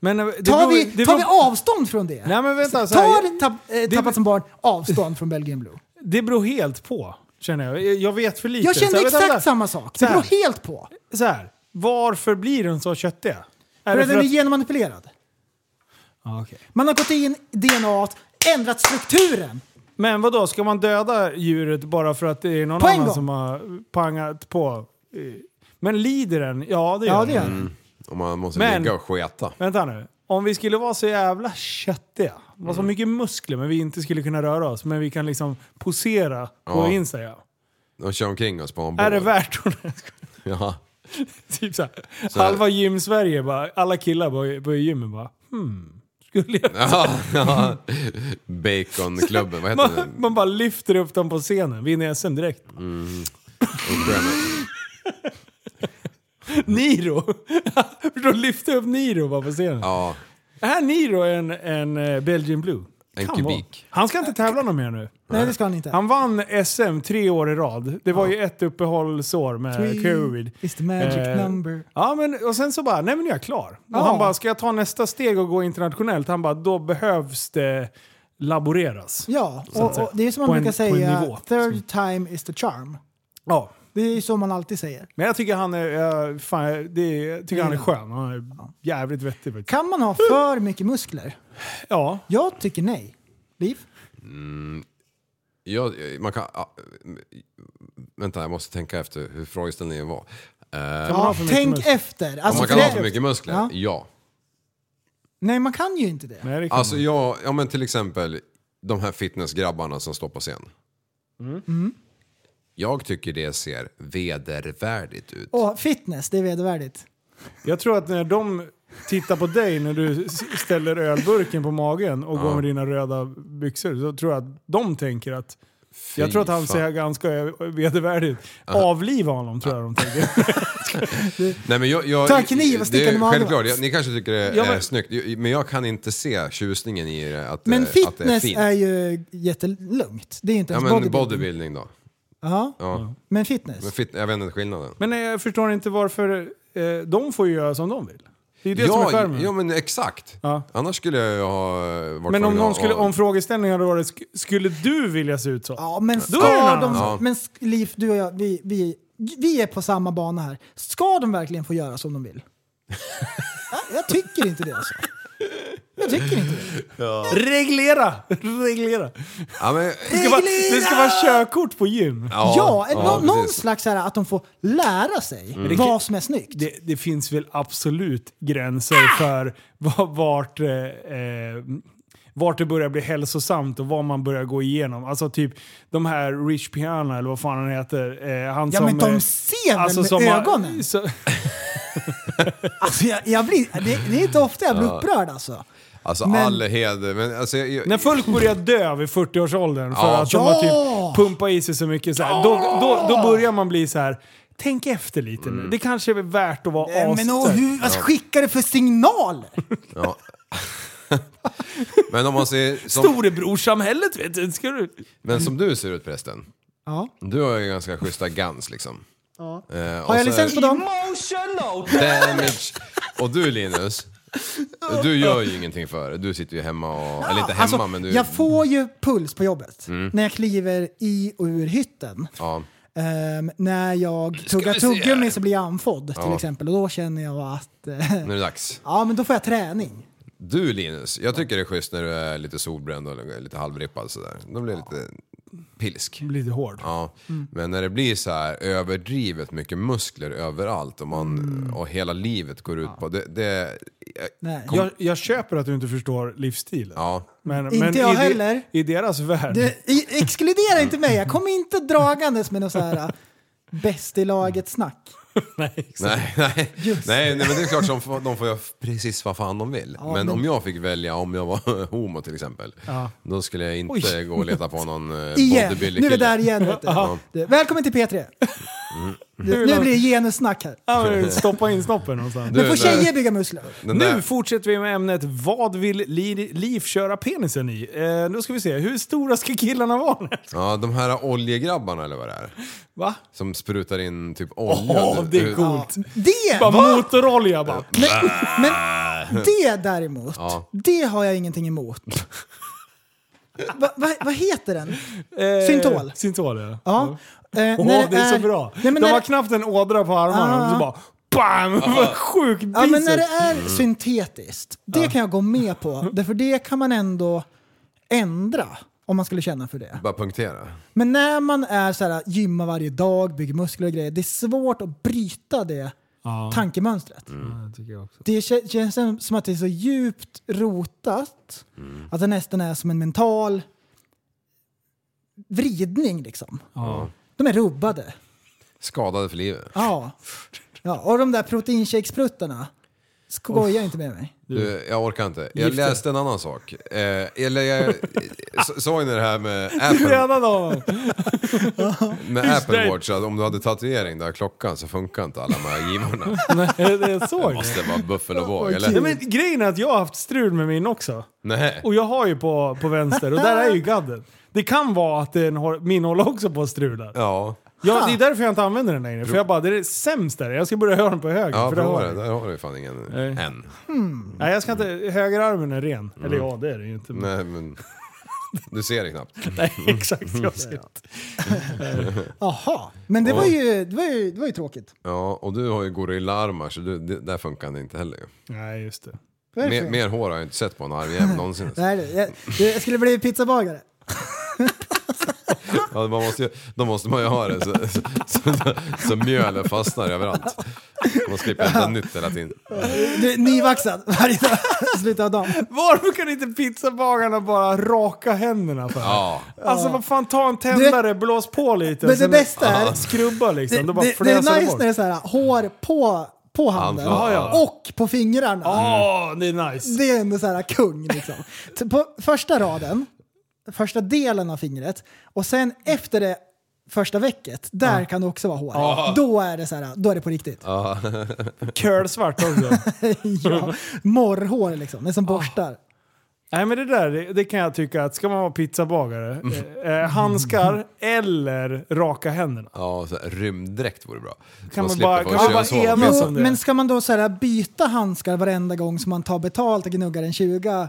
Speaker 5: Men, eh, det
Speaker 7: Tar
Speaker 5: beror-
Speaker 7: vi,
Speaker 5: det beror-
Speaker 7: tar vi avstånd från det?
Speaker 5: Nej men vänta. Så här,
Speaker 7: Tar tapp, eh,
Speaker 5: det-
Speaker 7: Tappat som barn avstånd från Belgian Blue?
Speaker 5: Det beror helt på, känner jag. Jag- Jag vet för lite.
Speaker 7: Jag
Speaker 5: Så
Speaker 7: kände
Speaker 5: här, vänta,
Speaker 7: exakt
Speaker 5: vänta.
Speaker 7: samma sak.
Speaker 5: Så
Speaker 7: Det
Speaker 5: här.
Speaker 7: beror helt på.
Speaker 5: Så här, varför blir den så köttig? Är
Speaker 7: För
Speaker 5: det
Speaker 7: att
Speaker 5: för
Speaker 7: den är
Speaker 5: att...
Speaker 7: genmanipulerad.
Speaker 5: Ah, okej.
Speaker 7: Man har gått in DNA, t, ändrat strukturen.
Speaker 5: Men vad då ska man döda djuret bara för att det är någon
Speaker 7: På en
Speaker 5: annan
Speaker 7: gång.
Speaker 5: som har pangat på? Eh, Men lider den? Ja, det gör
Speaker 7: Ja,
Speaker 5: den.
Speaker 7: det gör den.
Speaker 6: Mm. Och man måste
Speaker 5: Men-
Speaker 6: ligga och sketa.
Speaker 5: Vänta nu. Om vi skulle vara så jävla köttiga, mm. så mycket muskler men vi inte skulle kunna röra oss, men vi kan liksom posera på
Speaker 6: Ja.
Speaker 5: Instagram.
Speaker 6: De kör omkring oss på en båt.
Speaker 5: Är det värt det?
Speaker 6: Ja.
Speaker 5: *laughs* typ så här.
Speaker 6: Så här.
Speaker 5: Halva gym-Sverige bara, alla killar på, på gymmen bara, hmm, skulle jag...
Speaker 6: Ja, ja. Baconklubben, vad
Speaker 7: *laughs*
Speaker 5: *laughs*
Speaker 6: heter
Speaker 5: Man,
Speaker 6: den?
Speaker 5: man bara lyfter upp dem på scenen, vinner SM direkt.
Speaker 6: Mm. Instagram.
Speaker 5: Niro! *laughs* Förstår du? Lyfter upp Niro bara på scenen.
Speaker 6: Ja,
Speaker 5: Är Niro en, en eh, Belgian Blue?
Speaker 6: en
Speaker 5: Kan vara.
Speaker 6: kubik.
Speaker 5: Han ska inte tävla någon mer nu.
Speaker 7: Nej, det ska han inte.
Speaker 5: Han vann SM tre år i rad. Det var ju ett uppehållsår med covid.
Speaker 7: is the magic
Speaker 5: Eh,
Speaker 7: number.
Speaker 5: Ja, men, och sen så bara, nej men nu är jag klar.
Speaker 7: Ja.
Speaker 5: Och han bara, ska jag ta nästa steg och gå internationellt? Han bara, då behövs det laboreras.
Speaker 7: Ja,
Speaker 5: så att
Speaker 7: och,
Speaker 5: säga.
Speaker 7: och det är som
Speaker 5: På
Speaker 7: man
Speaker 5: en-
Speaker 7: brukar
Speaker 5: på en
Speaker 7: säga,
Speaker 5: nivå.
Speaker 7: third time is the charm.
Speaker 5: Ja.
Speaker 7: Det är ju så man alltid säger.
Speaker 5: Men jag tycker han är, jag, fan, jag- det, är- jag tycker han är
Speaker 7: Ja.
Speaker 5: skön. Han är jävligt vettig faktiskt.
Speaker 7: Kan man ha för mycket muskler?
Speaker 5: Ja.
Speaker 7: Jag tycker nej. Liv?
Speaker 6: Ja, man kan... ah, vänta, jag måste tänka efter hur frågeställningen var. Eh,
Speaker 5: man ha
Speaker 7: Ja,
Speaker 5: för mycket
Speaker 7: tänk
Speaker 5: muskler?
Speaker 7: efter.
Speaker 6: om
Speaker 7: Alltså,
Speaker 6: man kan
Speaker 7: för
Speaker 6: ha
Speaker 7: det-
Speaker 6: för mycket muskler?
Speaker 7: Ja.
Speaker 6: ja.
Speaker 7: Nej, man kan ju inte det.
Speaker 5: Nej, det kan
Speaker 6: Alltså
Speaker 5: man.
Speaker 6: jag, ja men till exempel de här fitnessgrabbarna som står på scen. Jag tycker det ser vedervärdigt ut.
Speaker 7: Och fitness, det är vedervärdigt.
Speaker 5: jag tror att när de tittar på dig när du s- ställer ölburken på magen och går med dina röda byxor så tror jag att de tänker att jag
Speaker 6: Fy
Speaker 5: tror att han
Speaker 6: fan.
Speaker 5: ser ganska vedervärdig ut. Avliva honom tror jag de
Speaker 6: *laughs*
Speaker 5: tänker.
Speaker 6: Nej, men jag, jag,
Speaker 7: Ta en kniv och
Speaker 6: det
Speaker 7: sticka
Speaker 6: är
Speaker 7: den i magen.
Speaker 6: Självklart, jag, ni kanske tycker det
Speaker 5: Ja,
Speaker 6: är
Speaker 5: men-
Speaker 6: snyggt. ju- Men jag kan inte se tjusningen i det. Att,
Speaker 7: Men
Speaker 6: eh, att det är
Speaker 7: fitness
Speaker 6: fint.
Speaker 7: är ju jättelugnt. Det är inte
Speaker 6: Ja
Speaker 7: ens
Speaker 6: men bodybuilding,
Speaker 7: bodybuilding.
Speaker 6: då.
Speaker 7: Ja,
Speaker 6: Ja.
Speaker 7: men fitness.
Speaker 6: Men fit, jag vet inte skillnaden.
Speaker 5: Men eh, jag förstår inte varför eh, de får ju göra som de vill. Det är ju det som är
Speaker 6: Ja,
Speaker 5: skärmen.
Speaker 6: ja men exakt.
Speaker 5: Ja.
Speaker 6: Annars skulle jag ju ha eh, varit
Speaker 5: men om,
Speaker 6: tvungen
Speaker 5: någon
Speaker 6: att-
Speaker 5: skulle, om frågeställningen hade varit sk- skulle du vilja se ut så?
Speaker 7: Ja, men
Speaker 5: Då är det en
Speaker 7: ska
Speaker 5: annan
Speaker 7: de...
Speaker 6: sak.
Speaker 7: Men sk- Liv, du och jag, vi, vi, vi är på samma bana här. Ska de verkligen få göra som de vill? Ja, jag tycker inte det alltså. Jag tycker inte det.
Speaker 6: Ja.
Speaker 5: Reglera! *laughs* Reglera! *laughs*
Speaker 6: Ja, men,
Speaker 5: Det ska, vara, det ska vara körkort på gym.
Speaker 7: Ja, eller nå- någon slags så här, att de får lära sig
Speaker 5: Mm.
Speaker 7: vad som är snyggt.
Speaker 5: Det, det finns väl absolut gränser
Speaker 7: Ah!
Speaker 5: för va- vart, eh, eh, vart det börjar bli hälsosamt och vad man börjar gå igenom. Alltså typ de här Rich Piana eller vad fan han heter. Eh, han
Speaker 7: Ja
Speaker 5: som,
Speaker 7: men de
Speaker 5: eh,
Speaker 7: ser väl
Speaker 5: alltså,
Speaker 7: med
Speaker 5: som har-
Speaker 7: ögonen? alltså jag, jag blir, det, det är inte ofta jag blir
Speaker 6: Ja.
Speaker 7: upprörd alltså.
Speaker 6: Alltså
Speaker 7: Men-
Speaker 6: all heder, men alltså, jag, jag,
Speaker 5: När folk börjar dö vid 40-årsåldern för
Speaker 6: Ja.
Speaker 5: att de har
Speaker 7: Ja!
Speaker 5: typ pumpat i sig så mycket så här, då, då, då börjar man bli så här. Tänk efter lite
Speaker 6: Mm.
Speaker 5: nu. Det kanske är värt att vara
Speaker 7: Nej,
Speaker 5: as...
Speaker 7: Eh, Men och hur, vad skickar det för signaler?
Speaker 6: ja. *laughs* men om man ser... Som,
Speaker 5: Storebrorsamhället vet du. Ska du...
Speaker 6: Men som du ser ut förresten.
Speaker 7: Ja.
Speaker 6: Du har ju ganska schyssta guns liksom. Eh,
Speaker 7: Ja.
Speaker 6: och
Speaker 7: Har jag
Speaker 6: så-
Speaker 7: licens på dem?
Speaker 6: Damage. Och du Linus, du gör ju ingenting för det. Du sitter ju hemma och... eller inte hemma
Speaker 7: Alltså,
Speaker 6: men du...
Speaker 7: Jag får ju puls på jobbet
Speaker 6: Mm.
Speaker 7: när jag kliver i och ur hytten.
Speaker 6: Ja.
Speaker 7: Ehm, när jag
Speaker 6: Ska
Speaker 7: tuggar
Speaker 6: vi se här.
Speaker 7: tuggummi så blir jag andfådd till
Speaker 6: Ja.
Speaker 7: exempel och då känner jag att... eh, *laughs*
Speaker 6: Nu är det dags.
Speaker 7: ja men då får jag träning.
Speaker 6: Du Linus, jag tycker det är schysst när du är lite solbränd och lite halvrippad sådär. Då blir det lite pilsk.
Speaker 5: Lite hård.
Speaker 6: Ja.
Speaker 5: Mm.
Speaker 6: Men när det blir så här överdrivet mycket muskler överallt och, man,
Speaker 7: Mm.
Speaker 6: och hela livet går ut på det. det
Speaker 7: Nej.
Speaker 6: Kom-
Speaker 5: Jag, jag köper att du inte förstår livsstilen.
Speaker 6: ja.
Speaker 5: Men,
Speaker 7: Inte
Speaker 5: men
Speaker 7: jag
Speaker 5: i de-
Speaker 7: heller.
Speaker 5: I deras värld.
Speaker 7: Du, i- exkludera inte mig, jag kommer inte dragandes med något så här eh, bäst i laget snack.
Speaker 6: Nej, *laughs* nej. nej, nej, men det är klart som f- de får göra precis vad fan de vill.
Speaker 7: Ja,
Speaker 6: men,
Speaker 7: men-
Speaker 6: om jag fick välja om jag var *laughs* homo till exempel,
Speaker 7: Ja.
Speaker 6: då skulle jag inte
Speaker 7: Oj.
Speaker 6: gå och leta på någon eh,
Speaker 7: *laughs* Igen,
Speaker 6: bodybuilder
Speaker 7: nu är vi där igen. Vet du.
Speaker 6: Ja.
Speaker 7: Du, Välkommen till P3.
Speaker 6: Mm.
Speaker 7: Du, nu blir det genussnack här.
Speaker 6: *laughs*
Speaker 5: Ja, men Stoppa in snoppen någonstans.
Speaker 6: Du,
Speaker 7: Men får
Speaker 6: den där-
Speaker 7: tjejer bygga muskler?
Speaker 6: den där-
Speaker 5: Nu fortsätter vi med ämnet Vad vill li- Liv köra penisen i? Eh, nu ska vi se, hur stora ska killarna vara?
Speaker 6: Ja, de här oljegrabbarna eller vad det är.
Speaker 5: Va?
Speaker 6: Som sprutar in typ olja.
Speaker 5: Åh, det är coolt.
Speaker 7: Det!
Speaker 5: Bara
Speaker 7: va?
Speaker 5: motorolja bara.
Speaker 7: Men, men det däremot,
Speaker 6: Ja.
Speaker 7: det har jag ingenting emot.
Speaker 6: *laughs*
Speaker 7: Va, va, vad heter den?
Speaker 5: Eh,
Speaker 7: Syntol.
Speaker 5: Syntol ja.
Speaker 7: Ja. Eh,
Speaker 5: Mm. Åh,
Speaker 7: när
Speaker 5: det är så bra.
Speaker 7: Nej, men
Speaker 5: de
Speaker 7: när,
Speaker 5: har knappt en ådra på armarna
Speaker 7: Ah.
Speaker 5: och så bara BAM! *laughs* Vad sjuk
Speaker 7: ja, men när det
Speaker 5: biceps.
Speaker 7: är syntetiskt, det kan jag gå med
Speaker 5: Mm.
Speaker 7: på. Därför det kan man ändå ändra om man skulle känna för det.
Speaker 6: Bara punktera.
Speaker 7: Men när man är så här, gymmar varje dag, bygger muskler och grejer, det är svårt att bryta det
Speaker 5: Ja. Mm.
Speaker 7: tankemönstret.
Speaker 5: Ja, det tycker jag också.
Speaker 7: Det kä- känns som- som att det är så djupt rotat
Speaker 5: Mm.
Speaker 7: att det nästan är som en mental vridning liksom.
Speaker 6: Ja.
Speaker 7: De är rubbade.
Speaker 6: Skadade för livet.
Speaker 7: Ja. ja. Och de där proteinshakespruttarna. Skoja inte med mig.
Speaker 6: Du, jag orkar inte. Jag
Speaker 7: Gifter.
Speaker 6: läste en annan sak. Eh, eller jag eh, så- såg ni det här med
Speaker 5: Du
Speaker 6: Apple,
Speaker 5: Redan
Speaker 6: *laughs*
Speaker 5: då!
Speaker 6: med Apple Watch? Att om du hade tatuering där klockan så funkar inte alla de här givarna.
Speaker 5: Nej, det
Speaker 6: Det
Speaker 5: såg jag.
Speaker 6: måste vara Buffalo Boy,
Speaker 5: Nej,
Speaker 6: eller?
Speaker 5: men grejen är att jag har haft strul med min också.
Speaker 6: Nej.
Speaker 5: Och jag har ju på, på vänster och där är
Speaker 7: *laughs*
Speaker 5: ju gadden. Det kan vara att den har, min håller också på att strula.
Speaker 6: Ja.
Speaker 5: Ja, det är därför jag inte använder den längre. För jag bara, det är det sämsta. Jag ska börja *laughs* höra den på höger.
Speaker 6: Ja,
Speaker 5: för där har
Speaker 6: prova det.
Speaker 5: jag.
Speaker 6: Där har du fan ingen än.
Speaker 5: Nej, jag ska inte... Högerarmen är ren.
Speaker 6: Mm.
Speaker 5: Eller ja, det är den ju inte. men-
Speaker 6: Nej, men... Du ser det knappt.
Speaker 5: Nej, *laughs* exakt. Jag ser
Speaker 6: *laughs*
Speaker 5: inte.
Speaker 7: Jaha, men det var ju, det var ju, det var ju tråkigt.
Speaker 6: Ja, och du har ju gorillaarmar så du, det, där funkar det inte heller ju.
Speaker 5: Nej, just det.
Speaker 7: Varför?
Speaker 6: Mer, mer hår har jag inte sett på en armjävel någonsin.
Speaker 7: Nej, det- jag, jag skulle bli pizzabagare.
Speaker 6: Ja, man måste ju, då måste man ju ha det så, så, så, så mjölet fastnar överallt. Man slipper hämta nytt hela tiden.
Speaker 7: Du, nyvaxad varje dag. *laughs* Slutet av dagen.
Speaker 5: Varför kan inte pizzabagarna bara raka händerna för?
Speaker 6: Ja.
Speaker 5: Alltså vad fan, ta en tändare, blås på lite.
Speaker 7: Men
Speaker 5: och
Speaker 7: det
Speaker 5: sen-
Speaker 7: bästa är-
Speaker 5: Skrubba liksom, då
Speaker 7: Det,
Speaker 5: bara
Speaker 7: det, det är
Speaker 5: fräser
Speaker 7: nice
Speaker 5: bort.
Speaker 7: när det är så här, hår på, på handen
Speaker 5: Handflatan. Ja, ja.
Speaker 7: och på fingrarna.
Speaker 5: Ja, det är nice.
Speaker 7: Det är ändå så här kung liksom. T- På första raden, första delen av fingret och sen efter det första vecket, där kan det också vara hår.
Speaker 6: Ja.
Speaker 7: Då är det så här, då är det på riktigt.
Speaker 6: Ja.
Speaker 5: Curlsvart också.
Speaker 7: *laughs* ja, morrhår liksom, det är som borstar.
Speaker 5: Nej men det där, det, det kan jag tycka att ska man vara pizzabagare,
Speaker 6: Mm.
Speaker 5: eh, eh, handskar eller raka händerna.
Speaker 6: Ja, så här, rymddräkt vore bra. Så
Speaker 5: Kan man
Speaker 6: slipper
Speaker 5: bara-
Speaker 6: få
Speaker 5: kan man bara
Speaker 6: könshår.
Speaker 5: ena-
Speaker 7: Jo,
Speaker 5: som det är.
Speaker 7: men ska man då så här byta handskar varenda gång som man tar betalt och gnuggar en 20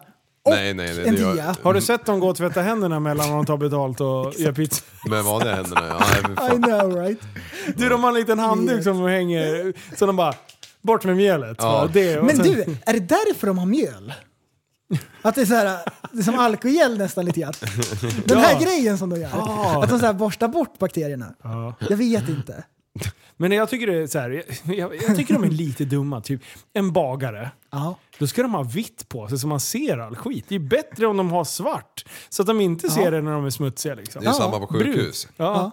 Speaker 6: Nej, nej, det,
Speaker 7: en
Speaker 6: det gör
Speaker 7: tia?
Speaker 5: Har du sett dem gå och tvätta händerna mellan när de tar betalt och gör pizza?
Speaker 6: med vanliga händerna. Ja, nej, men
Speaker 7: I
Speaker 6: fan.
Speaker 7: know right?
Speaker 5: Du, de har en liten handduk som de hänger, så de bara bort med mjölet.
Speaker 6: Ja.
Speaker 5: va? Det, och
Speaker 7: Men
Speaker 5: sen-
Speaker 7: du, är det därför de har mjöl? Att det är, så här, det är som alkogel nästan lite grann. Den här
Speaker 5: Ja.
Speaker 7: grejen som de gör.
Speaker 5: Ja.
Speaker 7: Att de så här borstar bort bakterierna.
Speaker 5: Ja.
Speaker 7: Jag vet inte.
Speaker 5: Men jag tycker, det är så här, jag, jag, jag tycker de är lite dumma. Typ en bagare. Då ska de ha vitt på sig så man ser all skit. Det är bättre om de har svart. Så att de inte ser det när de är smutsiga. Liksom.
Speaker 6: Det är samma på sjukhus.
Speaker 5: Brunt. Ja.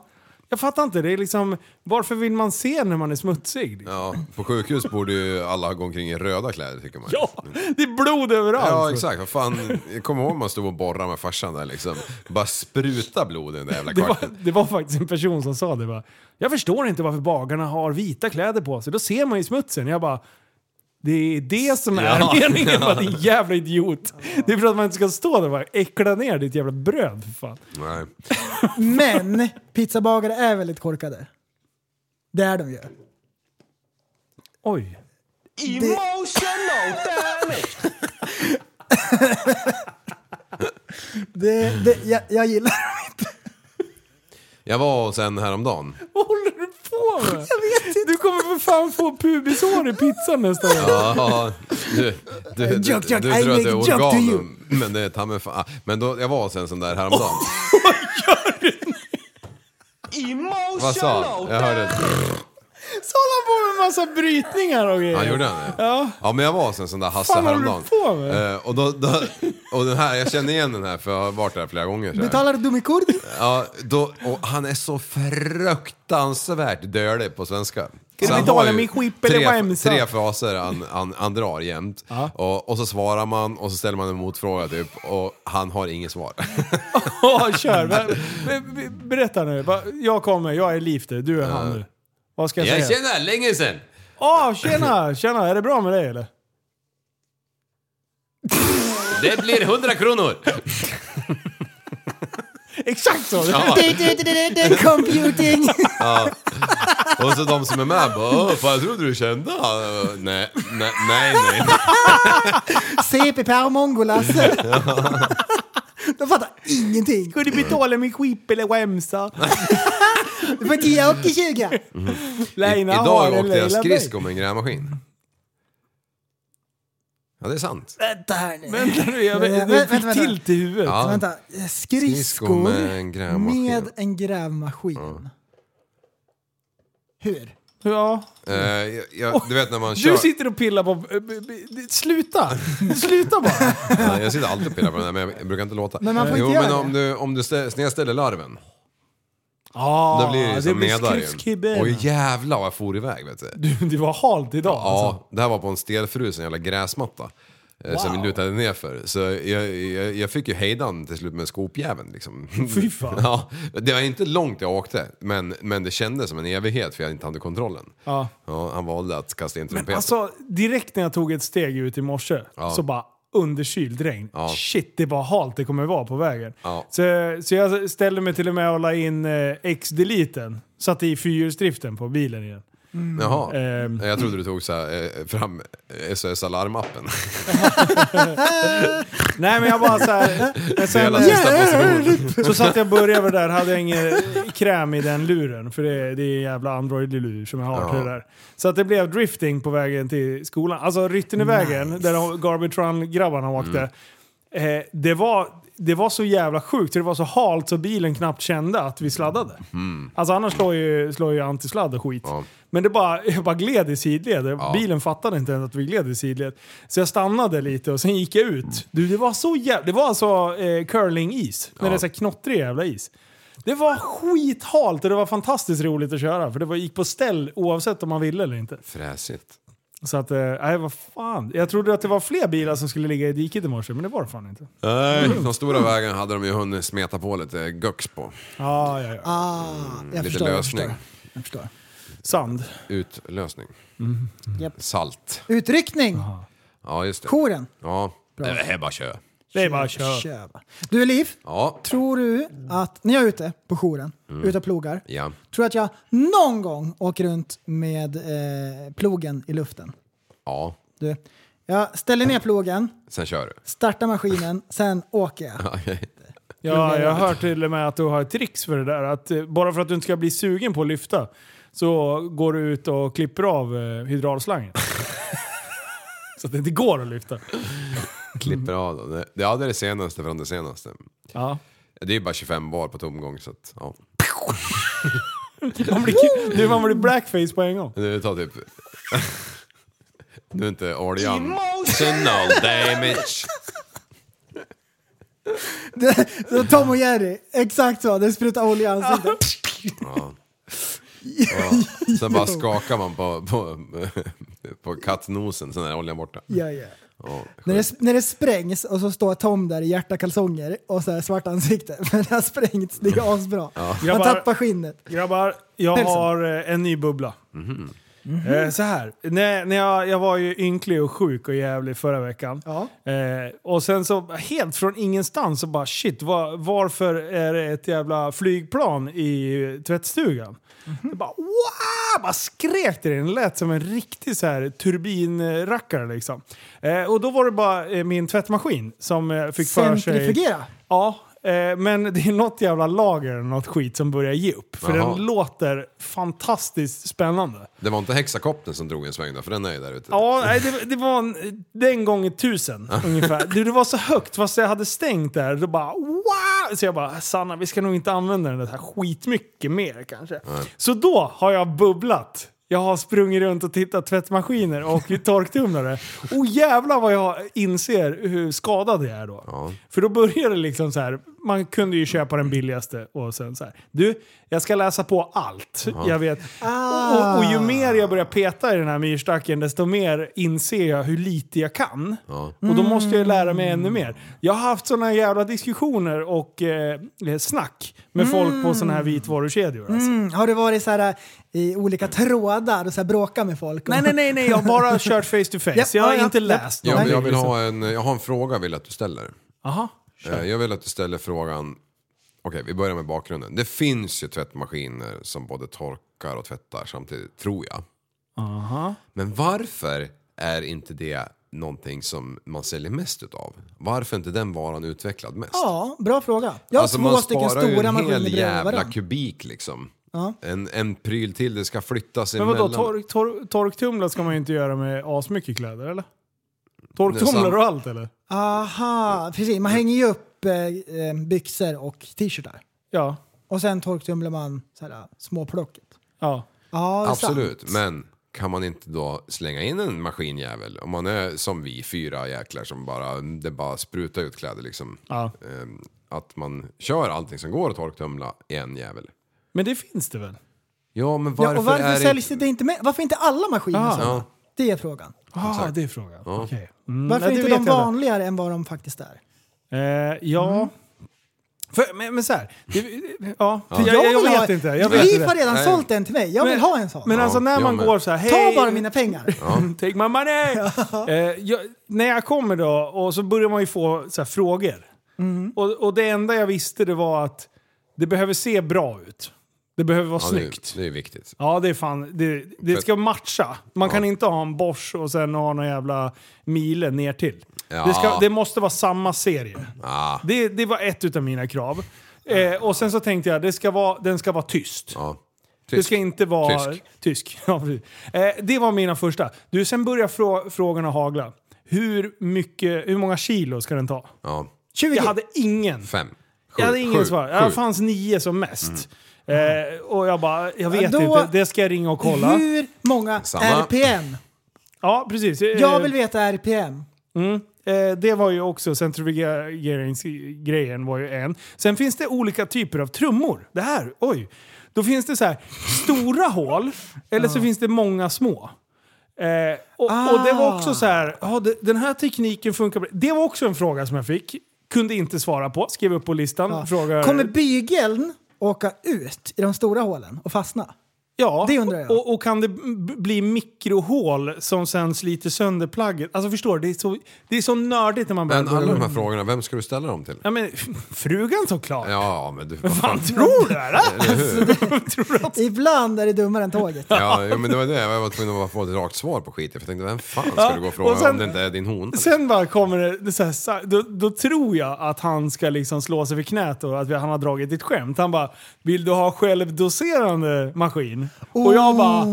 Speaker 5: Jag fattar inte. Det är liksom, varför vill man se när man är smutsig?
Speaker 6: Ja, på sjukhus borde ju alla gå omkring i röda kläder tycker man.
Speaker 5: Ja, det är blod överallt.
Speaker 6: Ja exakt, vad fan. Jag kommer ihåg man stod och borrade med farsan där liksom. Bara spruta blod i den där jävla
Speaker 5: Det var,
Speaker 6: kvarten.
Speaker 5: det var faktiskt en person som sa det. Bara, jag förstår inte varför bagarna har vita kläder på sig. Då ser man ju smutsen. Jag bara, det är det som är *laughs*
Speaker 6: Ja.
Speaker 5: meningen med
Speaker 6: Ja.
Speaker 5: att din jävla idiot. Det är för att man inte ska stå där och bara äckla ner ditt jävla bröd för fan.
Speaker 6: Nej.
Speaker 7: Men pizzabagare är väldigt korkade. Det är de ju.
Speaker 5: Oj.
Speaker 4: Emotional damage!
Speaker 7: Det, det, jag, jag gillar dem inte.
Speaker 6: Jag var hos en häromdagen.
Speaker 5: Vad håller du på med? *laughs* Du kommer för fan få pubishår i pizzan *laughs* nästa år.
Speaker 6: Ja, du, du, du, du,
Speaker 5: Joke, joke, I
Speaker 6: tror att det är
Speaker 5: make joke to you.
Speaker 6: organum. Men det är ta mig fan. Ah, Men då, jag var hos en sån
Speaker 5: *laughs*
Speaker 6: där häromdagen.
Speaker 4: Emotional
Speaker 6: Vad sa Jag hörde
Speaker 5: Så håller han på med en massa brytningar och grejer.
Speaker 6: Ja, gjorde han det?
Speaker 5: Ja.
Speaker 6: Ja men jag var hos en sån där Hasse
Speaker 5: Fan, vad håller du
Speaker 6: häromdagen.
Speaker 5: på med?
Speaker 6: Eh, och, då, då, och den här, jag känner igen den här för jag har varit där flera gånger. så här.
Speaker 7: Betalar du med kurd?
Speaker 6: Ja, då, och han är så fruktansvärt dölig på svenska.
Speaker 5: Kan
Speaker 6: Så
Speaker 5: du
Speaker 6: han
Speaker 5: betala
Speaker 6: har ju
Speaker 5: min skip eller
Speaker 6: tre,
Speaker 5: wemsa?
Speaker 6: tre fraser han, han, han drar jämt. Och, och så svarar man och så ställer man en motfråga typ och han har inget svar.
Speaker 5: *laughs* Ja, kör. Men, men, be- berätta nu. Va- Jag kommer, jag är Lifter, du är han nu. Vad ska jag säga?
Speaker 6: Jag känner länge sen.
Speaker 5: Åh, tjena! Tjena, är det bra med dig eller?
Speaker 6: Det blir 100 kronor!
Speaker 5: Exakt så!
Speaker 6: Ja.
Speaker 7: Du, du, du, du, du, Computing!
Speaker 6: Ja. Och så de som är med bara "Åh, fan, jag trodde du kände han." Nej, nej, nej.
Speaker 5: *laughs*
Speaker 6: nej.
Speaker 7: CP Per Mongolas. De fattar
Speaker 5: *laughs*
Speaker 7: ingenting.
Speaker 5: Kunde betala min skip eller wemsa.
Speaker 7: Du får 10 och 20.
Speaker 6: I,
Speaker 5: Leina har
Speaker 6: idag
Speaker 5: en
Speaker 6: åkte jag
Speaker 5: Leila
Speaker 6: skridsko med en grävmaskin. Ja, det är sant.
Speaker 7: Vänta här nu.
Speaker 5: Vänta nu, jag vet-
Speaker 7: Vänta,
Speaker 5: du
Speaker 7: vänta,
Speaker 5: fick
Speaker 7: vänta.
Speaker 5: tilt i huvudet.
Speaker 6: Ja.
Speaker 7: Vänta,
Speaker 6: Skridskor
Speaker 7: skridskor
Speaker 6: med en grävmaskin.
Speaker 7: med en grävmaskin. Hur?
Speaker 5: Bey. Ja.
Speaker 6: Eh, jag, jag, du vet när man kör...
Speaker 5: Mm. Du sitter och pillar på... eh, b- b- Sluta! Sluta bara!
Speaker 6: Nej, jag sitter alltid och pillar på den där, men jag brukar inte låta.
Speaker 5: Men man får
Speaker 6: jo,
Speaker 5: inte
Speaker 6: men
Speaker 5: göra
Speaker 6: om du, om du stä- snedställer larven,
Speaker 5: Ah,
Speaker 6: *laughs* då blir det ju som medar
Speaker 5: skridskibben.
Speaker 6: Och jävlar vad jag for iväg vet du.
Speaker 5: Du, Det var halt idag alltså.
Speaker 6: Ja, det här var på en stelfrusen jävla gräsmatta. Wow. Som vi lutade ner för. Så jag, jag, jag fick ju hejdan till slut med skopjäveln liksom.
Speaker 5: *laughs* Fy fan.
Speaker 6: Ja, det var inte långt jag åkte, men, men det kändes som en evighet för jag inte hade kontrollen.
Speaker 5: Ja.
Speaker 6: Ja, han valde att kasta in trumpeten.
Speaker 5: Alltså, direkt när jag tog ett steg ut i morse
Speaker 6: Ja.
Speaker 5: så bara underkyld regn.
Speaker 6: Ja.
Speaker 5: Shit, det var halt det kommer vara på vägen.
Speaker 6: Ja.
Speaker 5: Så, så jag ställde mig till och med och la in eh, X-deleten. Satte i fyrhjulsdriften på bilen igen.
Speaker 6: Jaha,
Speaker 5: Ehm.
Speaker 6: jag trodde du tog så här, eh, fram eh, SOS
Speaker 7: *laughs*
Speaker 6: Alarm-appen.
Speaker 5: Nej men jag bara
Speaker 6: *laughs*
Speaker 5: såhär... Men sen,
Speaker 6: Hela sista
Speaker 5: *laughs*
Speaker 6: positionen.
Speaker 5: så satt jag började där, hade jag ingen kräm i den luren. För det, det är en jävla Android-lur som jag har till det där. Så att det blev drifting på vägen till skolan. Alltså Ryttenevägen, där de- Garbitron-grabbarna åkte. Eh, det, var, det var så jävla sjukt, så det var så halt så bilen knappt kände att vi sladdade.
Speaker 6: Mm.
Speaker 5: Alltså annars slår ju, slår ju antisladd och skit. Men det bara, *laughs* jag bara gled i sidled. Bilen fattade inte ens att vi gled i sidled. Så jag stannade lite och sen gick jag ut. Du, det var så jävla... Det var alltså eh, curling-is. När det är så här knottrig jävla is. Det var skithalt och det var fantastiskt roligt att köra. För det var, gick på ställ oavsett om man ville eller inte.
Speaker 6: Fräsigt.
Speaker 5: Så att, eh, nej vad fan. Jag trodde att det var fler bilar som skulle ligga i diket i morse, men det var det fan inte.
Speaker 6: Nej, de stora vägarna hade de ju hunnit smeta på lite gux på.
Speaker 5: Ja, ja, ja.
Speaker 6: lite lösning.
Speaker 7: Ah, Jag förstår.
Speaker 5: Sand.
Speaker 6: Utlösning.
Speaker 7: Mm. Japp.
Speaker 6: Salt.
Speaker 7: Utryckning!
Speaker 6: Ja, just det.
Speaker 7: Koren.
Speaker 6: Ja.
Speaker 7: Bra.
Speaker 6: Det är bara kö.
Speaker 5: Det är bara att köra.
Speaker 7: Köra. Du Liv,
Speaker 6: Ja.
Speaker 7: tror du att när jag är ute på jouren,
Speaker 6: Mm.
Speaker 7: ute och plogar,
Speaker 6: Ja.
Speaker 7: tror du att jag någon gång åker runt med eh, plogen i luften?
Speaker 6: Ja.
Speaker 7: Du, jag ställer ner plogen,
Speaker 6: Sen kör du. *laughs*
Speaker 7: startar maskinen, sen åker jag.
Speaker 6: Okej.
Speaker 5: Ja, jag har hört till och med att du har ett tricks för det där. Att eh, bara för att du inte ska bli sugen på att lyfta så går du ut och *laughs* klipper av eh, hydraulslangen. så att det inte går att lyfta.
Speaker 6: Klipper av dem. Det- Ja, det är det senaste från det senaste.
Speaker 5: Ja.
Speaker 6: Det är ju bara 25 bar på tomgång så att, ja.
Speaker 5: Man blir, du, man blir blackface på en gång.
Speaker 6: Nu tar typ... nu är inte oljan... Emotional damage.
Speaker 7: Det, det var Tom och Jerry, exakt så. Det sprutar olja i ansiktet.
Speaker 6: Ja. Ja. Sen bara skakar man på, på, på kattnosen, sen är oljan borta.
Speaker 7: Ja, ja.
Speaker 6: Ja.
Speaker 7: När det, när det sprängs och så står Tom där i hjärtakalsonger och så här svart ansikte. *laughs* Men det har sprängts, det är asbra.
Speaker 5: Ja.
Speaker 7: Han
Speaker 5: Grabbar-
Speaker 7: tappar skinnet.
Speaker 5: Grabbar, jag
Speaker 7: Pälsen.
Speaker 5: har eh, en ny bubbla. Eh, så här. När, när jag, jag var ju ynklig och sjuk och jävlig förra veckan. Eh, och sen så helt från ingenstans så bara shit, var, varför är det ett jävla flygplan i tvättstugan? Det bara wow! Bara skrek det. Den lät som en riktig så här turbinrackare liksom. Eh, och då var det bara eh, min tvättmaskin som eh, fick för sig...
Speaker 7: Centrifugera.
Speaker 5: Ja, eh, men det är något jävla lager eller något skit som börjar ge upp. För
Speaker 6: Jaha.
Speaker 5: den låter fantastiskt spännande.
Speaker 6: Det var inte hexakopten som drog en sväng då, för den är ju där ute.
Speaker 5: Ja, nej, det, det var en, den gången tusen ungefär. Du, det var så högt fast jag hade stängt där. Då bara wow! Så jag bara Sanna, vi ska nog inte använda den här skitmycket mer kanske. Så då har jag bubblat. Jag har sprungit runt och tittat tvättmaskiner och torktumlare. Och jävlar vad jag inser hur skadad jag är då. För då började det liksom så här. Man kunde ju köpa den billigaste och sen så här. Du, jag ska läsa på allt. Jag vet. Och, och ju mer jag börjar peta i den här myrstacken desto mer inser jag hur lite jag kan. Och då måste jag ju lära mig ännu mer. Jag har haft sådana jävla diskussioner och eh, snack med folk på sådana här vitvarukedjor. Alltså.
Speaker 7: Mm. Har du varit så här i olika trådar och så här bråkat med folk?
Speaker 5: Nej, nej, nej, nej, jag har bara kört face to face. Jag har inte läst
Speaker 6: Jag, vill- jag, vill ha en, jag har en fråga jag vill att du ställer.
Speaker 5: Aha.
Speaker 6: Eh, Jag vill att du ställer frågan... Okej, vi börjar med bakgrunden. Det finns ju tvättmaskiner som både torkar och tvättar samtidigt, tror jag.
Speaker 5: Aha.
Speaker 6: Men varför är inte det någonting som man säljer mest utav? Varför är inte den varan utvecklad mest?
Speaker 7: Ja, bra fråga. Jag har två stycken stora
Speaker 6: Alltså, Man sparar ju
Speaker 7: maskiner
Speaker 6: en hel
Speaker 7: bredvid
Speaker 6: jävla
Speaker 7: varandra.
Speaker 6: kubik liksom.
Speaker 7: Ja.
Speaker 6: En, en pryl till, det ska flyttas
Speaker 5: Men vadå,
Speaker 6: emellan.
Speaker 5: tork, tork, torktumlar ska man ju inte göra med asmycket kläder eller?
Speaker 6: Det är
Speaker 5: Torktumlar
Speaker 6: sant.
Speaker 5: och allt eller?
Speaker 7: Aha, precis. Man hänger ju upp eh, eh, byxor och t-shirtar.
Speaker 5: Ja.
Speaker 7: Och sen torktumlar man så här, eh, småplocket.
Speaker 5: Ja.
Speaker 7: Ja, det är
Speaker 6: Absolut,
Speaker 7: sant.
Speaker 6: men kan man inte då slänga in en maskinjävel? Om man är som vi, fyra jäklar som bara, det bara sprutar ut kläder liksom.
Speaker 5: Ja.
Speaker 6: Ehm, Att man kör allting som går att torktumla i en jävel.
Speaker 5: Men det finns det väl?
Speaker 6: Ja, men varför,
Speaker 7: Ja, och varför
Speaker 6: är
Speaker 7: säljs det inte med? Varför inte alla maskiner
Speaker 6: Ja.
Speaker 7: sådana?
Speaker 6: Ja.
Speaker 7: Det är frågan.
Speaker 5: Ah, det är frågan.
Speaker 6: Ja.
Speaker 5: Okej.
Speaker 7: Varför
Speaker 5: Mm. nej,
Speaker 7: är
Speaker 5: det
Speaker 7: inte
Speaker 5: vet
Speaker 7: de
Speaker 5: jag inte.
Speaker 7: vanligare än vad de faktiskt är?
Speaker 5: Eh, ja. För, men, men så här. Det, ja,
Speaker 7: Ja.
Speaker 5: Jag,
Speaker 7: Jag
Speaker 5: jag,
Speaker 7: vill ha-
Speaker 5: vet inte. Jag vet
Speaker 7: Liv
Speaker 5: inte.
Speaker 7: har redan sålt en till mig. Jag vill ha en sån.
Speaker 5: Men alltså när
Speaker 7: jag
Speaker 5: man
Speaker 7: med.
Speaker 5: går så här,
Speaker 7: Ta
Speaker 5: hej!
Speaker 7: bara mina pengar.
Speaker 5: *laughs* Take my money! eh, jag, när jag kommer då, och så börjar man ju få så här, frågor. Och, och det enda jag visste det var att det behöver se bra ut. Det behöver vara
Speaker 6: Ja, det,
Speaker 5: snyggt.
Speaker 6: är- det är viktigt.
Speaker 5: Ja, det är fan. Det, det ska matcha. Man kan inte ha en Bosch och sen ha någon jävla mile ner till.
Speaker 6: Ja.
Speaker 5: Det, ska, det måste vara samma serie.
Speaker 6: Ah.
Speaker 5: Det, det var ett utav mina krav. Eh, och sen så tänkte jag, det ska vara, den ska vara tyst. Det
Speaker 6: Tysk.
Speaker 5: ska inte vara...
Speaker 6: Tysk.
Speaker 5: Tysk. *laughs* Ja, precis. eh, det var mina första. Du, sen börjar frå- frågorna hagla. Hur, mycket, hur många kilo ska den ta?
Speaker 6: Ja.
Speaker 5: 20. Jag hade ingen.
Speaker 6: Fem. Sju.
Speaker 5: Jag hade ingen
Speaker 6: Sju.
Speaker 5: svar.
Speaker 6: Sju. Mm.
Speaker 5: Jag fanns nio som mest. Eh, och jag bara, jag vet
Speaker 7: Då-
Speaker 5: inte. Det ska jag ringa och kolla.
Speaker 7: Hur många
Speaker 5: Samma.
Speaker 7: RPM?
Speaker 5: Ja, precis. Eh,
Speaker 7: Jag vill veta RPM.
Speaker 5: Mm. Eh, det var ju också centrifugeringsgrejen var ju en. Sen finns det olika typer av trummor. Det här, oj. Då finns det så här stora hål, eller så finns det många små. Eh, och, och det
Speaker 7: Ah.
Speaker 5: var också så här, ja, det, den här tekniken funkar bra. Det var också en fråga som jag fick. Kunde inte svara på, skrev upp på listan. Frågar,
Speaker 7: Kommer bygeln åka ut i de stora hålen och fastna?
Speaker 5: Ja,
Speaker 7: Det undrar jag.
Speaker 5: Och, och kan det b- bli mikrohål som sen sliter sönder plagget? Alltså förstår du? Det är så, det är så nördigt när man börjar
Speaker 6: Men alla de här frågorna, vem ska du ställa dem till?
Speaker 5: Ja, men, frugan såklart.
Speaker 6: Ja, men du...
Speaker 5: Vad fan tror du? Eller?
Speaker 7: Ibland är det dummare än tåget.
Speaker 6: Ja, jo, men det var det. Jag var tvungen att bara få ett rakt svar på skiten. För jag tänkte, vem fan ska
Speaker 5: Ja,
Speaker 6: du gå och
Speaker 5: och
Speaker 6: fråga om
Speaker 5: sen-
Speaker 6: det inte är din hona?
Speaker 5: Sen bara kommer det, det så här, sa- då, då tror jag att han ska liksom slå sig för knät och att vi- han har dragit ett skämt. Han bara “Vill du ha självdoserande maskin?” Och jag bara...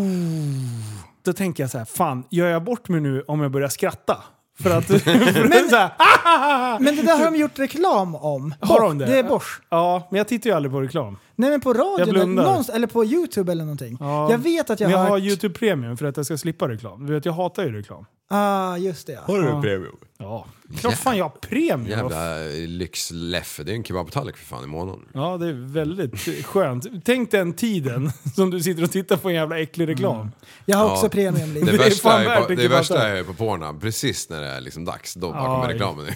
Speaker 5: Då tänker jag så här, fan gör jag bort mig nu om jag börjar skratta? För att... *laughs* men, så här, "Ah!"
Speaker 7: Men det där har de gjort reklam om.
Speaker 5: *laughs* har de det?
Speaker 7: Det är Bosch.
Speaker 5: Ja, men jag tittar ju aldrig på reklam.
Speaker 7: Nej men på
Speaker 5: Jag
Speaker 7: radion,
Speaker 5: blundar.
Speaker 7: någonstans, eller på Youtube eller någonting.
Speaker 5: Ja,
Speaker 7: Jag vet att jag,
Speaker 5: men jag
Speaker 7: har...
Speaker 5: har YouTube Premium för att jag ska slippa reklam. Du vet, jag hatar ju reklam.
Speaker 7: Ah, just det.
Speaker 5: Har du
Speaker 7: ja.
Speaker 6: premium?
Speaker 5: Ja. Klart fan jag har premium.
Speaker 6: Jävla lyxleffe. Det är en kebabtallrik för fan i månaden.
Speaker 5: Ja, det är väldigt skönt. Tänk den tiden *laughs* som du sitter och tittar på en jävla äcklig reklam.
Speaker 7: Jag
Speaker 6: Ja. Det,
Speaker 5: är
Speaker 6: värsta
Speaker 5: fan
Speaker 6: är,
Speaker 5: värt
Speaker 6: ju på,
Speaker 5: en
Speaker 6: det värsta
Speaker 5: kebabtallrik.
Speaker 6: är ju på Pornhub, precis när det är liksom dags, då bara
Speaker 7: Ja,
Speaker 6: kommer reklamen. *laughs*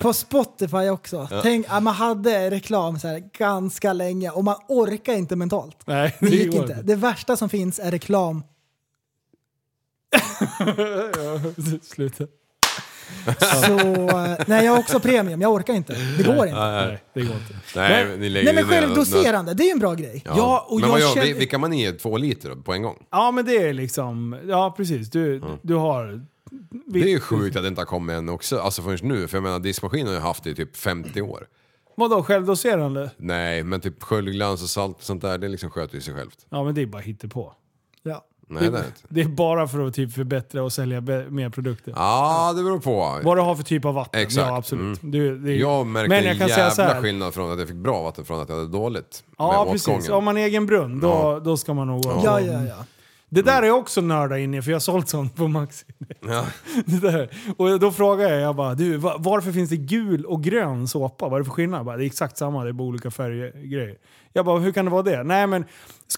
Speaker 7: På Spotify också.
Speaker 6: Ja.
Speaker 7: Tänk att man hade reklam så här ganska länge och man orkar inte mentalt.
Speaker 5: Nej,
Speaker 7: Det gick
Speaker 5: går
Speaker 7: inte. Det värsta som finns är reklam.
Speaker 5: *laughs* Ja, Sluta.
Speaker 7: Så, eh, nej jag har också premium, jag orkar inte. Det går inte.
Speaker 5: Nej, det går inte.
Speaker 6: Nej, ni lägger
Speaker 7: Nej men
Speaker 6: ner något-
Speaker 7: självdoserande, det är ju en bra grej.
Speaker 6: Ja. men vad gör, vi- Vilka man i två liter då, på en gång?
Speaker 5: Ja, men det är liksom... Ja, precis. Du,
Speaker 6: Mm.
Speaker 5: du har...
Speaker 6: Det är ju sjukt att det inte har kommit än också, alltså förrän nu. För jag menar diskmaskinen har ju haft det i typ 50 år.
Speaker 5: Vadå, självdoserande?
Speaker 6: Nej, men typ sköljglans och salt och sånt där, det liksom sköter ju sig självt.
Speaker 5: Ja, men det är bara hittepå.
Speaker 7: Ja.
Speaker 6: Nej, det är det inte.
Speaker 5: Det är bara för att typ förbättra och sälja be- mer produkter.
Speaker 6: Ja, det beror på.
Speaker 5: Vad du har för typ av vatten.
Speaker 6: Exakt.
Speaker 5: Ja, absolut.
Speaker 6: Mm.
Speaker 5: Du, det är-
Speaker 6: Jag märkte
Speaker 5: men jag kan
Speaker 6: en
Speaker 5: säga
Speaker 6: jävla
Speaker 5: så här.
Speaker 6: skillnad från att jag fick bra vatten från att jag hade dåligt.
Speaker 5: Ja,
Speaker 6: med
Speaker 5: precis.
Speaker 6: åtgången.
Speaker 5: Om man har egen brunn, då,
Speaker 6: Ja.
Speaker 5: då ska man nog...
Speaker 6: Ja, ja,
Speaker 7: ja.
Speaker 5: Det där är jag också nörda in i, för jag har sålt sånt på Maxi.
Speaker 6: Ja.
Speaker 5: *laughs* Det där. Och då frågar jag, jag bara, du, va- varför finns det gul och grön såpa? Vad är det för skillnad? Jag Bara, det är exakt samma, det är bara olika färggrejer. Jag bara, hur kan det vara det? Nej men,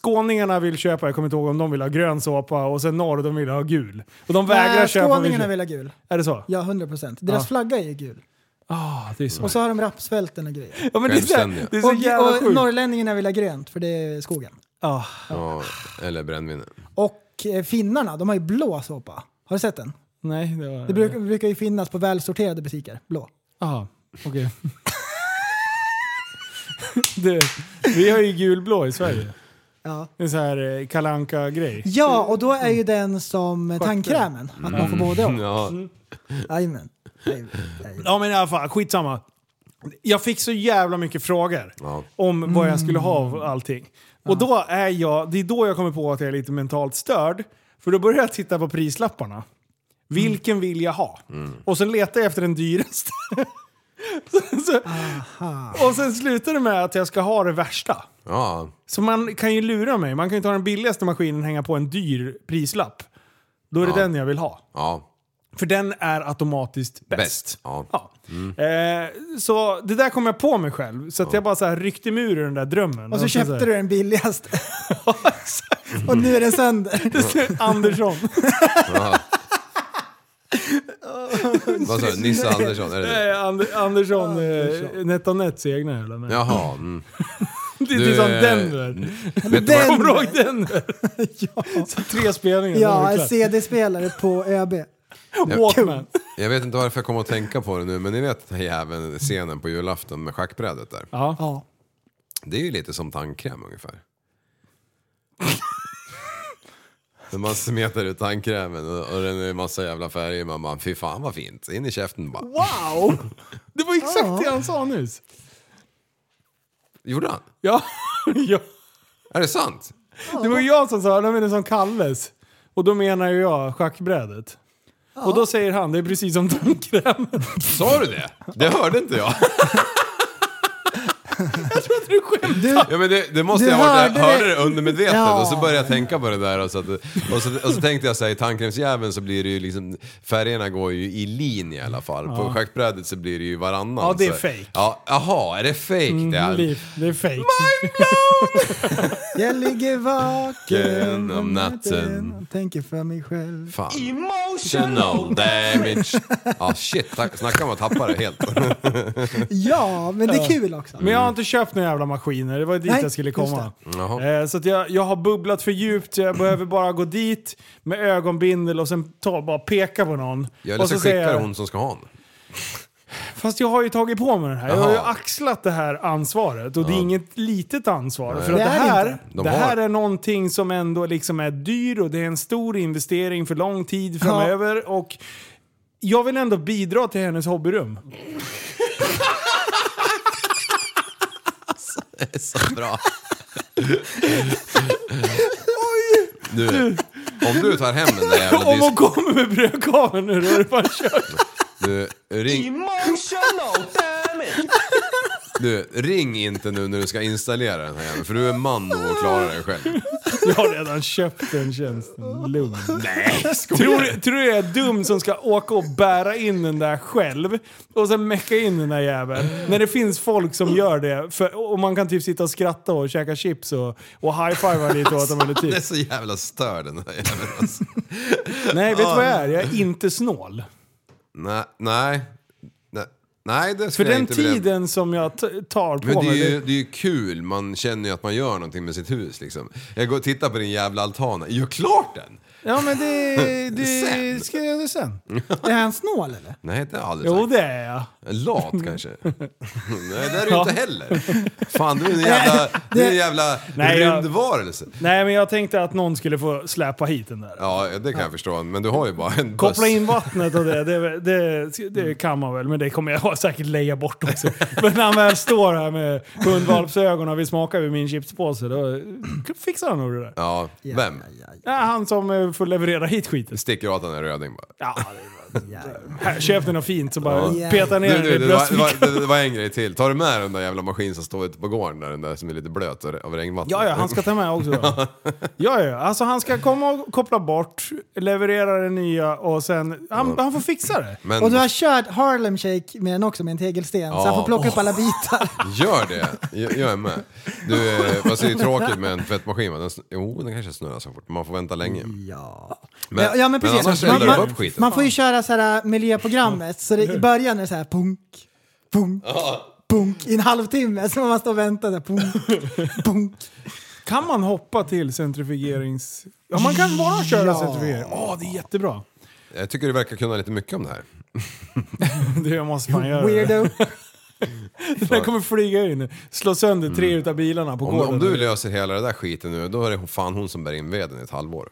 Speaker 5: skåningarna vill köpa, jag kommer inte ihåg om de vill ha grön såpa, och sen norr, de vill ha gul. Och de vägrar
Speaker 7: Nej,
Speaker 5: köpa...
Speaker 7: skåningarna vill ha gul.
Speaker 5: Är det så?
Speaker 7: Ja, 100%. Deras
Speaker 5: Ja.
Speaker 7: flagga är ju gul.
Speaker 5: Ah, det är så.
Speaker 7: Och så har de rapsfälten och grejer.
Speaker 5: Ja, men det är så- Självständiga. det är så jävla
Speaker 7: och, och
Speaker 5: sjukt. Ah,
Speaker 7: norrlänningarna vill ha grönt, för det är skogen.
Speaker 5: Ja.
Speaker 6: Ja, eller brännvin.
Speaker 7: Och eh, finnarna, de har ju blå såpa. Har du sett den?
Speaker 5: Nej, det var...
Speaker 7: Det brukar, brukar ju finnas på välsorterade butiker, blå.
Speaker 5: Aha, okej. *laughs* du, vi har ju gulblå i Sverige.
Speaker 7: Ja.
Speaker 5: En sån här eh, kalanka grej
Speaker 7: Ja, och då är ju den som eh, tandkrämen. Att man får både och.
Speaker 6: Mm. *laughs* Ja.
Speaker 7: Jajamän.
Speaker 5: Ja men i alla fall, skitsamma. Jag fick så jävla mycket frågor om vad jag skulle ha av allting. Och då är jag, det är då jag kommer på att jag är lite mentalt störd. För då börjar jag titta på prislapparna. Vilken vill jag ha? Och sen letar jag efter den dyraste. *laughs* så, så, och sen slutar det med att jag ska ha det värsta.
Speaker 6: Ja.
Speaker 5: Så man kan ju lura mig. Man kan ju ta den billigaste maskinen och hänga på en dyr prislapp. Då är det
Speaker 6: Ja.
Speaker 5: den jag vill ha.
Speaker 6: Ja.
Speaker 5: För den är automatiskt bäst.
Speaker 6: Ja. Mm.
Speaker 5: Eh, så det där kom jag på mig själv. Så att jag bara så här ryckte mig ur den där drömmen.
Speaker 7: Och
Speaker 5: sen
Speaker 7: så köpte
Speaker 5: här-
Speaker 7: du den *laughs* billigaste. och nu är den sönder.
Speaker 5: *laughs* Andersson.
Speaker 6: Ja. Vad sa du? Nisse Andersson? Är det
Speaker 5: *laughs*
Speaker 6: det?
Speaker 5: Nej, And Andersson. Eh, Netanets egna jävla märke.
Speaker 6: Jaha. Mm.
Speaker 5: *laughs* Det är
Speaker 6: Du,
Speaker 5: typ som
Speaker 6: eh,
Speaker 5: Denver.
Speaker 6: vet du vad-
Speaker 5: Kommer du ihåg Denver?
Speaker 7: *laughs*
Speaker 5: Så tre spelningar. då är
Speaker 7: Ja,
Speaker 5: det
Speaker 7: en
Speaker 5: klart.
Speaker 7: CD-spelare på ÖB.
Speaker 5: Walkman.
Speaker 6: Jag vet inte varför jag kommer att tänka på det nu, men ni vet den här jäveln, scenen på julafton med schackbrädet där.
Speaker 5: Ja.
Speaker 6: Det är ju lite som tandkräm ungefär. När man smetar ut tandkrämen och, och den är en massa jävla färger, man bara fy fan vad fint. In i käften bara.
Speaker 5: Wow! Det var exakt det han sa nyss.
Speaker 6: Gjorde han?
Speaker 5: Ja. *laughs* ja.
Speaker 6: Är det sant?
Speaker 5: Det var ju jag som sa, de är det som Kalles. Och då menar ju jag schackbrädet. Och då säger han, det är precis som tandkrämen.
Speaker 6: Sa du det? Det hörde inte jag. ja, men det, det måste
Speaker 5: du
Speaker 6: jag ha varit,
Speaker 5: hörde
Speaker 6: jag hörde
Speaker 5: det.
Speaker 6: det undermedvetet
Speaker 5: Ja.
Speaker 6: och så började jag tänka på det där och så, att, och så, och så tänkte jag så här, i tandkrämsjäveln så blir det ju liksom, färgerna går ju i linje i alla fall. På
Speaker 5: Ja.
Speaker 6: schackbrädet så blir det ju varannan.
Speaker 5: Ja, det är
Speaker 6: så.
Speaker 5: fake. Mm,
Speaker 6: Ja, jaha, är det fake det? här?
Speaker 5: Liv, det är fake.
Speaker 7: Jag ligger vaken
Speaker 6: Vaken om natten.
Speaker 7: och tänker för mig själv.
Speaker 6: Fan. Emotional damage. Ja, shit, tack- snacka om att tappa det
Speaker 5: *laughs*
Speaker 6: helt.
Speaker 7: Ja, men det är kul också.
Speaker 5: Men jag har inte köpt några jävla maskiner, det var dit
Speaker 7: Nej,
Speaker 5: jag skulle
Speaker 7: just
Speaker 5: komma.
Speaker 6: det. Jaha.
Speaker 5: Eh, så att jag, jag har bubblat för djupt, jag behöver bara gå dit med ögonbindel och sen ta, bara peka på någon. och
Speaker 6: Jag eller så
Speaker 5: säger
Speaker 6: skickar
Speaker 5: jag,
Speaker 6: hon som ska ha den.
Speaker 5: Fast jag har ju tagit på mig den här. Jag har ju
Speaker 6: Jaha.
Speaker 5: axlat det här ansvaret. Och det är
Speaker 6: Ja.
Speaker 5: inget litet ansvar.
Speaker 6: Nej.
Speaker 5: För att det,
Speaker 6: Det är det
Speaker 5: här,
Speaker 6: inte. De
Speaker 5: det
Speaker 6: har-
Speaker 5: här är någonting som ändå liksom är dyr och det är en stor investering för lång tid framöver. Och jag vill ändå bidra till hennes hobbyrum.
Speaker 6: Det är så bra. Du, Om du tar hem den där
Speaker 5: *laughs*
Speaker 6: jävla
Speaker 5: Om hon
Speaker 6: disken.
Speaker 5: kommer med brödkaveln nu, då är det bara kört.
Speaker 6: Du, ring,
Speaker 14: Emotional damage!
Speaker 6: du, ring inte nu när du ska installera den här jäveln. För du är man nog och klarar dig själv.
Speaker 5: Jag har redan köpt den tjänsten. Lugn. *laughs*
Speaker 6: Nej,
Speaker 5: tror, tror du jag är dum som ska åka och bära in den där själv och sen mecka in den där jäveln? När det finns folk som gör det för, och man kan typ sitta och skratta och käka chips och, och high-fiva lite åt dem *laughs* eller
Speaker 6: Han är
Speaker 5: typ.
Speaker 6: så jävla störd den där jäveln. Alltså.
Speaker 5: Nej, vet du vad jag är? Jag är inte snål.
Speaker 6: Nej, nej. Nej, nej det
Speaker 5: För
Speaker 6: skulle jag
Speaker 5: den
Speaker 6: inte vilja-
Speaker 5: tiden som jag t- tar på
Speaker 6: Men det är,
Speaker 5: mig.
Speaker 6: ju,
Speaker 5: Det,
Speaker 6: det är ju kul, man känner ju att man gör någonting med sitt hus liksom. Jag går och tittar på din jävla altan, gör klart den!
Speaker 5: ja, men det, *laughs*
Speaker 6: Sen.
Speaker 5: det ska jag göra det sen.
Speaker 7: Är han snål eller?
Speaker 6: Nej, det har jag aldrig
Speaker 5: Jo,
Speaker 6: sagt.
Speaker 5: det är jag.
Speaker 6: Lat kanske? Nej, det är du
Speaker 5: Ja.
Speaker 6: inte heller. Fan, du är en jävla, du är en jävla
Speaker 5: Nej, jag-
Speaker 6: rymdvarelse.
Speaker 5: Nej, men jag tänkte att någon skulle få släpa hit den där.
Speaker 6: Ja, det kan jag förstå. Men du har ju bara en
Speaker 5: Koppla
Speaker 6: buss. Mm.
Speaker 5: in vattnet och det, det, det, det kan man väl, men det kommer jag *laughs* säkert leja bort också. Men när han väl står här med hundvalpsögon och vill smaka vid min chipspåse, då fixar han nog det där.
Speaker 6: Ja, vem?
Speaker 5: Ja, han som eh, får leverera hit skiten.
Speaker 6: Sticker åt den där röding bara.
Speaker 5: Ja, Här, köp den något fint så bara
Speaker 6: Ja.
Speaker 5: petar ner
Speaker 6: Du,
Speaker 5: den
Speaker 6: du,
Speaker 5: i
Speaker 6: det, var, det,
Speaker 5: bröstfickan.
Speaker 6: var, det var en grej till. Tar du med den där jävla maskinen som står ute på gården där, den där som är lite blöt av av regnvattnet?
Speaker 5: Ja, ja, han ska ta med också. då. Ja, ja, alltså han ska komma och koppla bort, leverera det nya och sen... Han, han får fixa det.
Speaker 6: *laughs* Men-
Speaker 7: och du har kört Harlem Shake med den också med en tegelsten så
Speaker 6: Ja.
Speaker 7: han får plocka upp
Speaker 6: Åh. *laughs*
Speaker 7: alla bitar.
Speaker 6: Gör det! Jag, jag är med. Du, eh, fast det är ju tråkigt med en tvättmaskin va? Den, sn- jo, den kanske snurrar så fort. Man får vänta länge.
Speaker 7: Ja.
Speaker 6: Men,
Speaker 7: ja, men precis.
Speaker 6: annars
Speaker 7: man,
Speaker 6: eldar du upp
Speaker 7: man,
Speaker 6: skiten.
Speaker 7: man får ju köra så här äh, miljöprogrammet så det, i början är det så här punk, punk, punk i en halvtimme så man står och väntar där,
Speaker 6: *laughs*
Speaker 7: punk.
Speaker 5: Kan man hoppa till centrifugerings... Ja, man kan bara köra
Speaker 7: Ja.
Speaker 5: centrifugering. Ja, det är jättebra.
Speaker 6: Jag tycker du verkar kunna lite mycket om det här.
Speaker 5: *laughs* Det måste man göra. *laughs*
Speaker 7: Weirdo.
Speaker 5: Den där kommer flyga in. Slå sönder tre utav bilarna på
Speaker 6: Mm. Om,
Speaker 5: gården.
Speaker 6: om du löser hela det där skiten nu, då är det fan hon som bär in veden i ett halvår.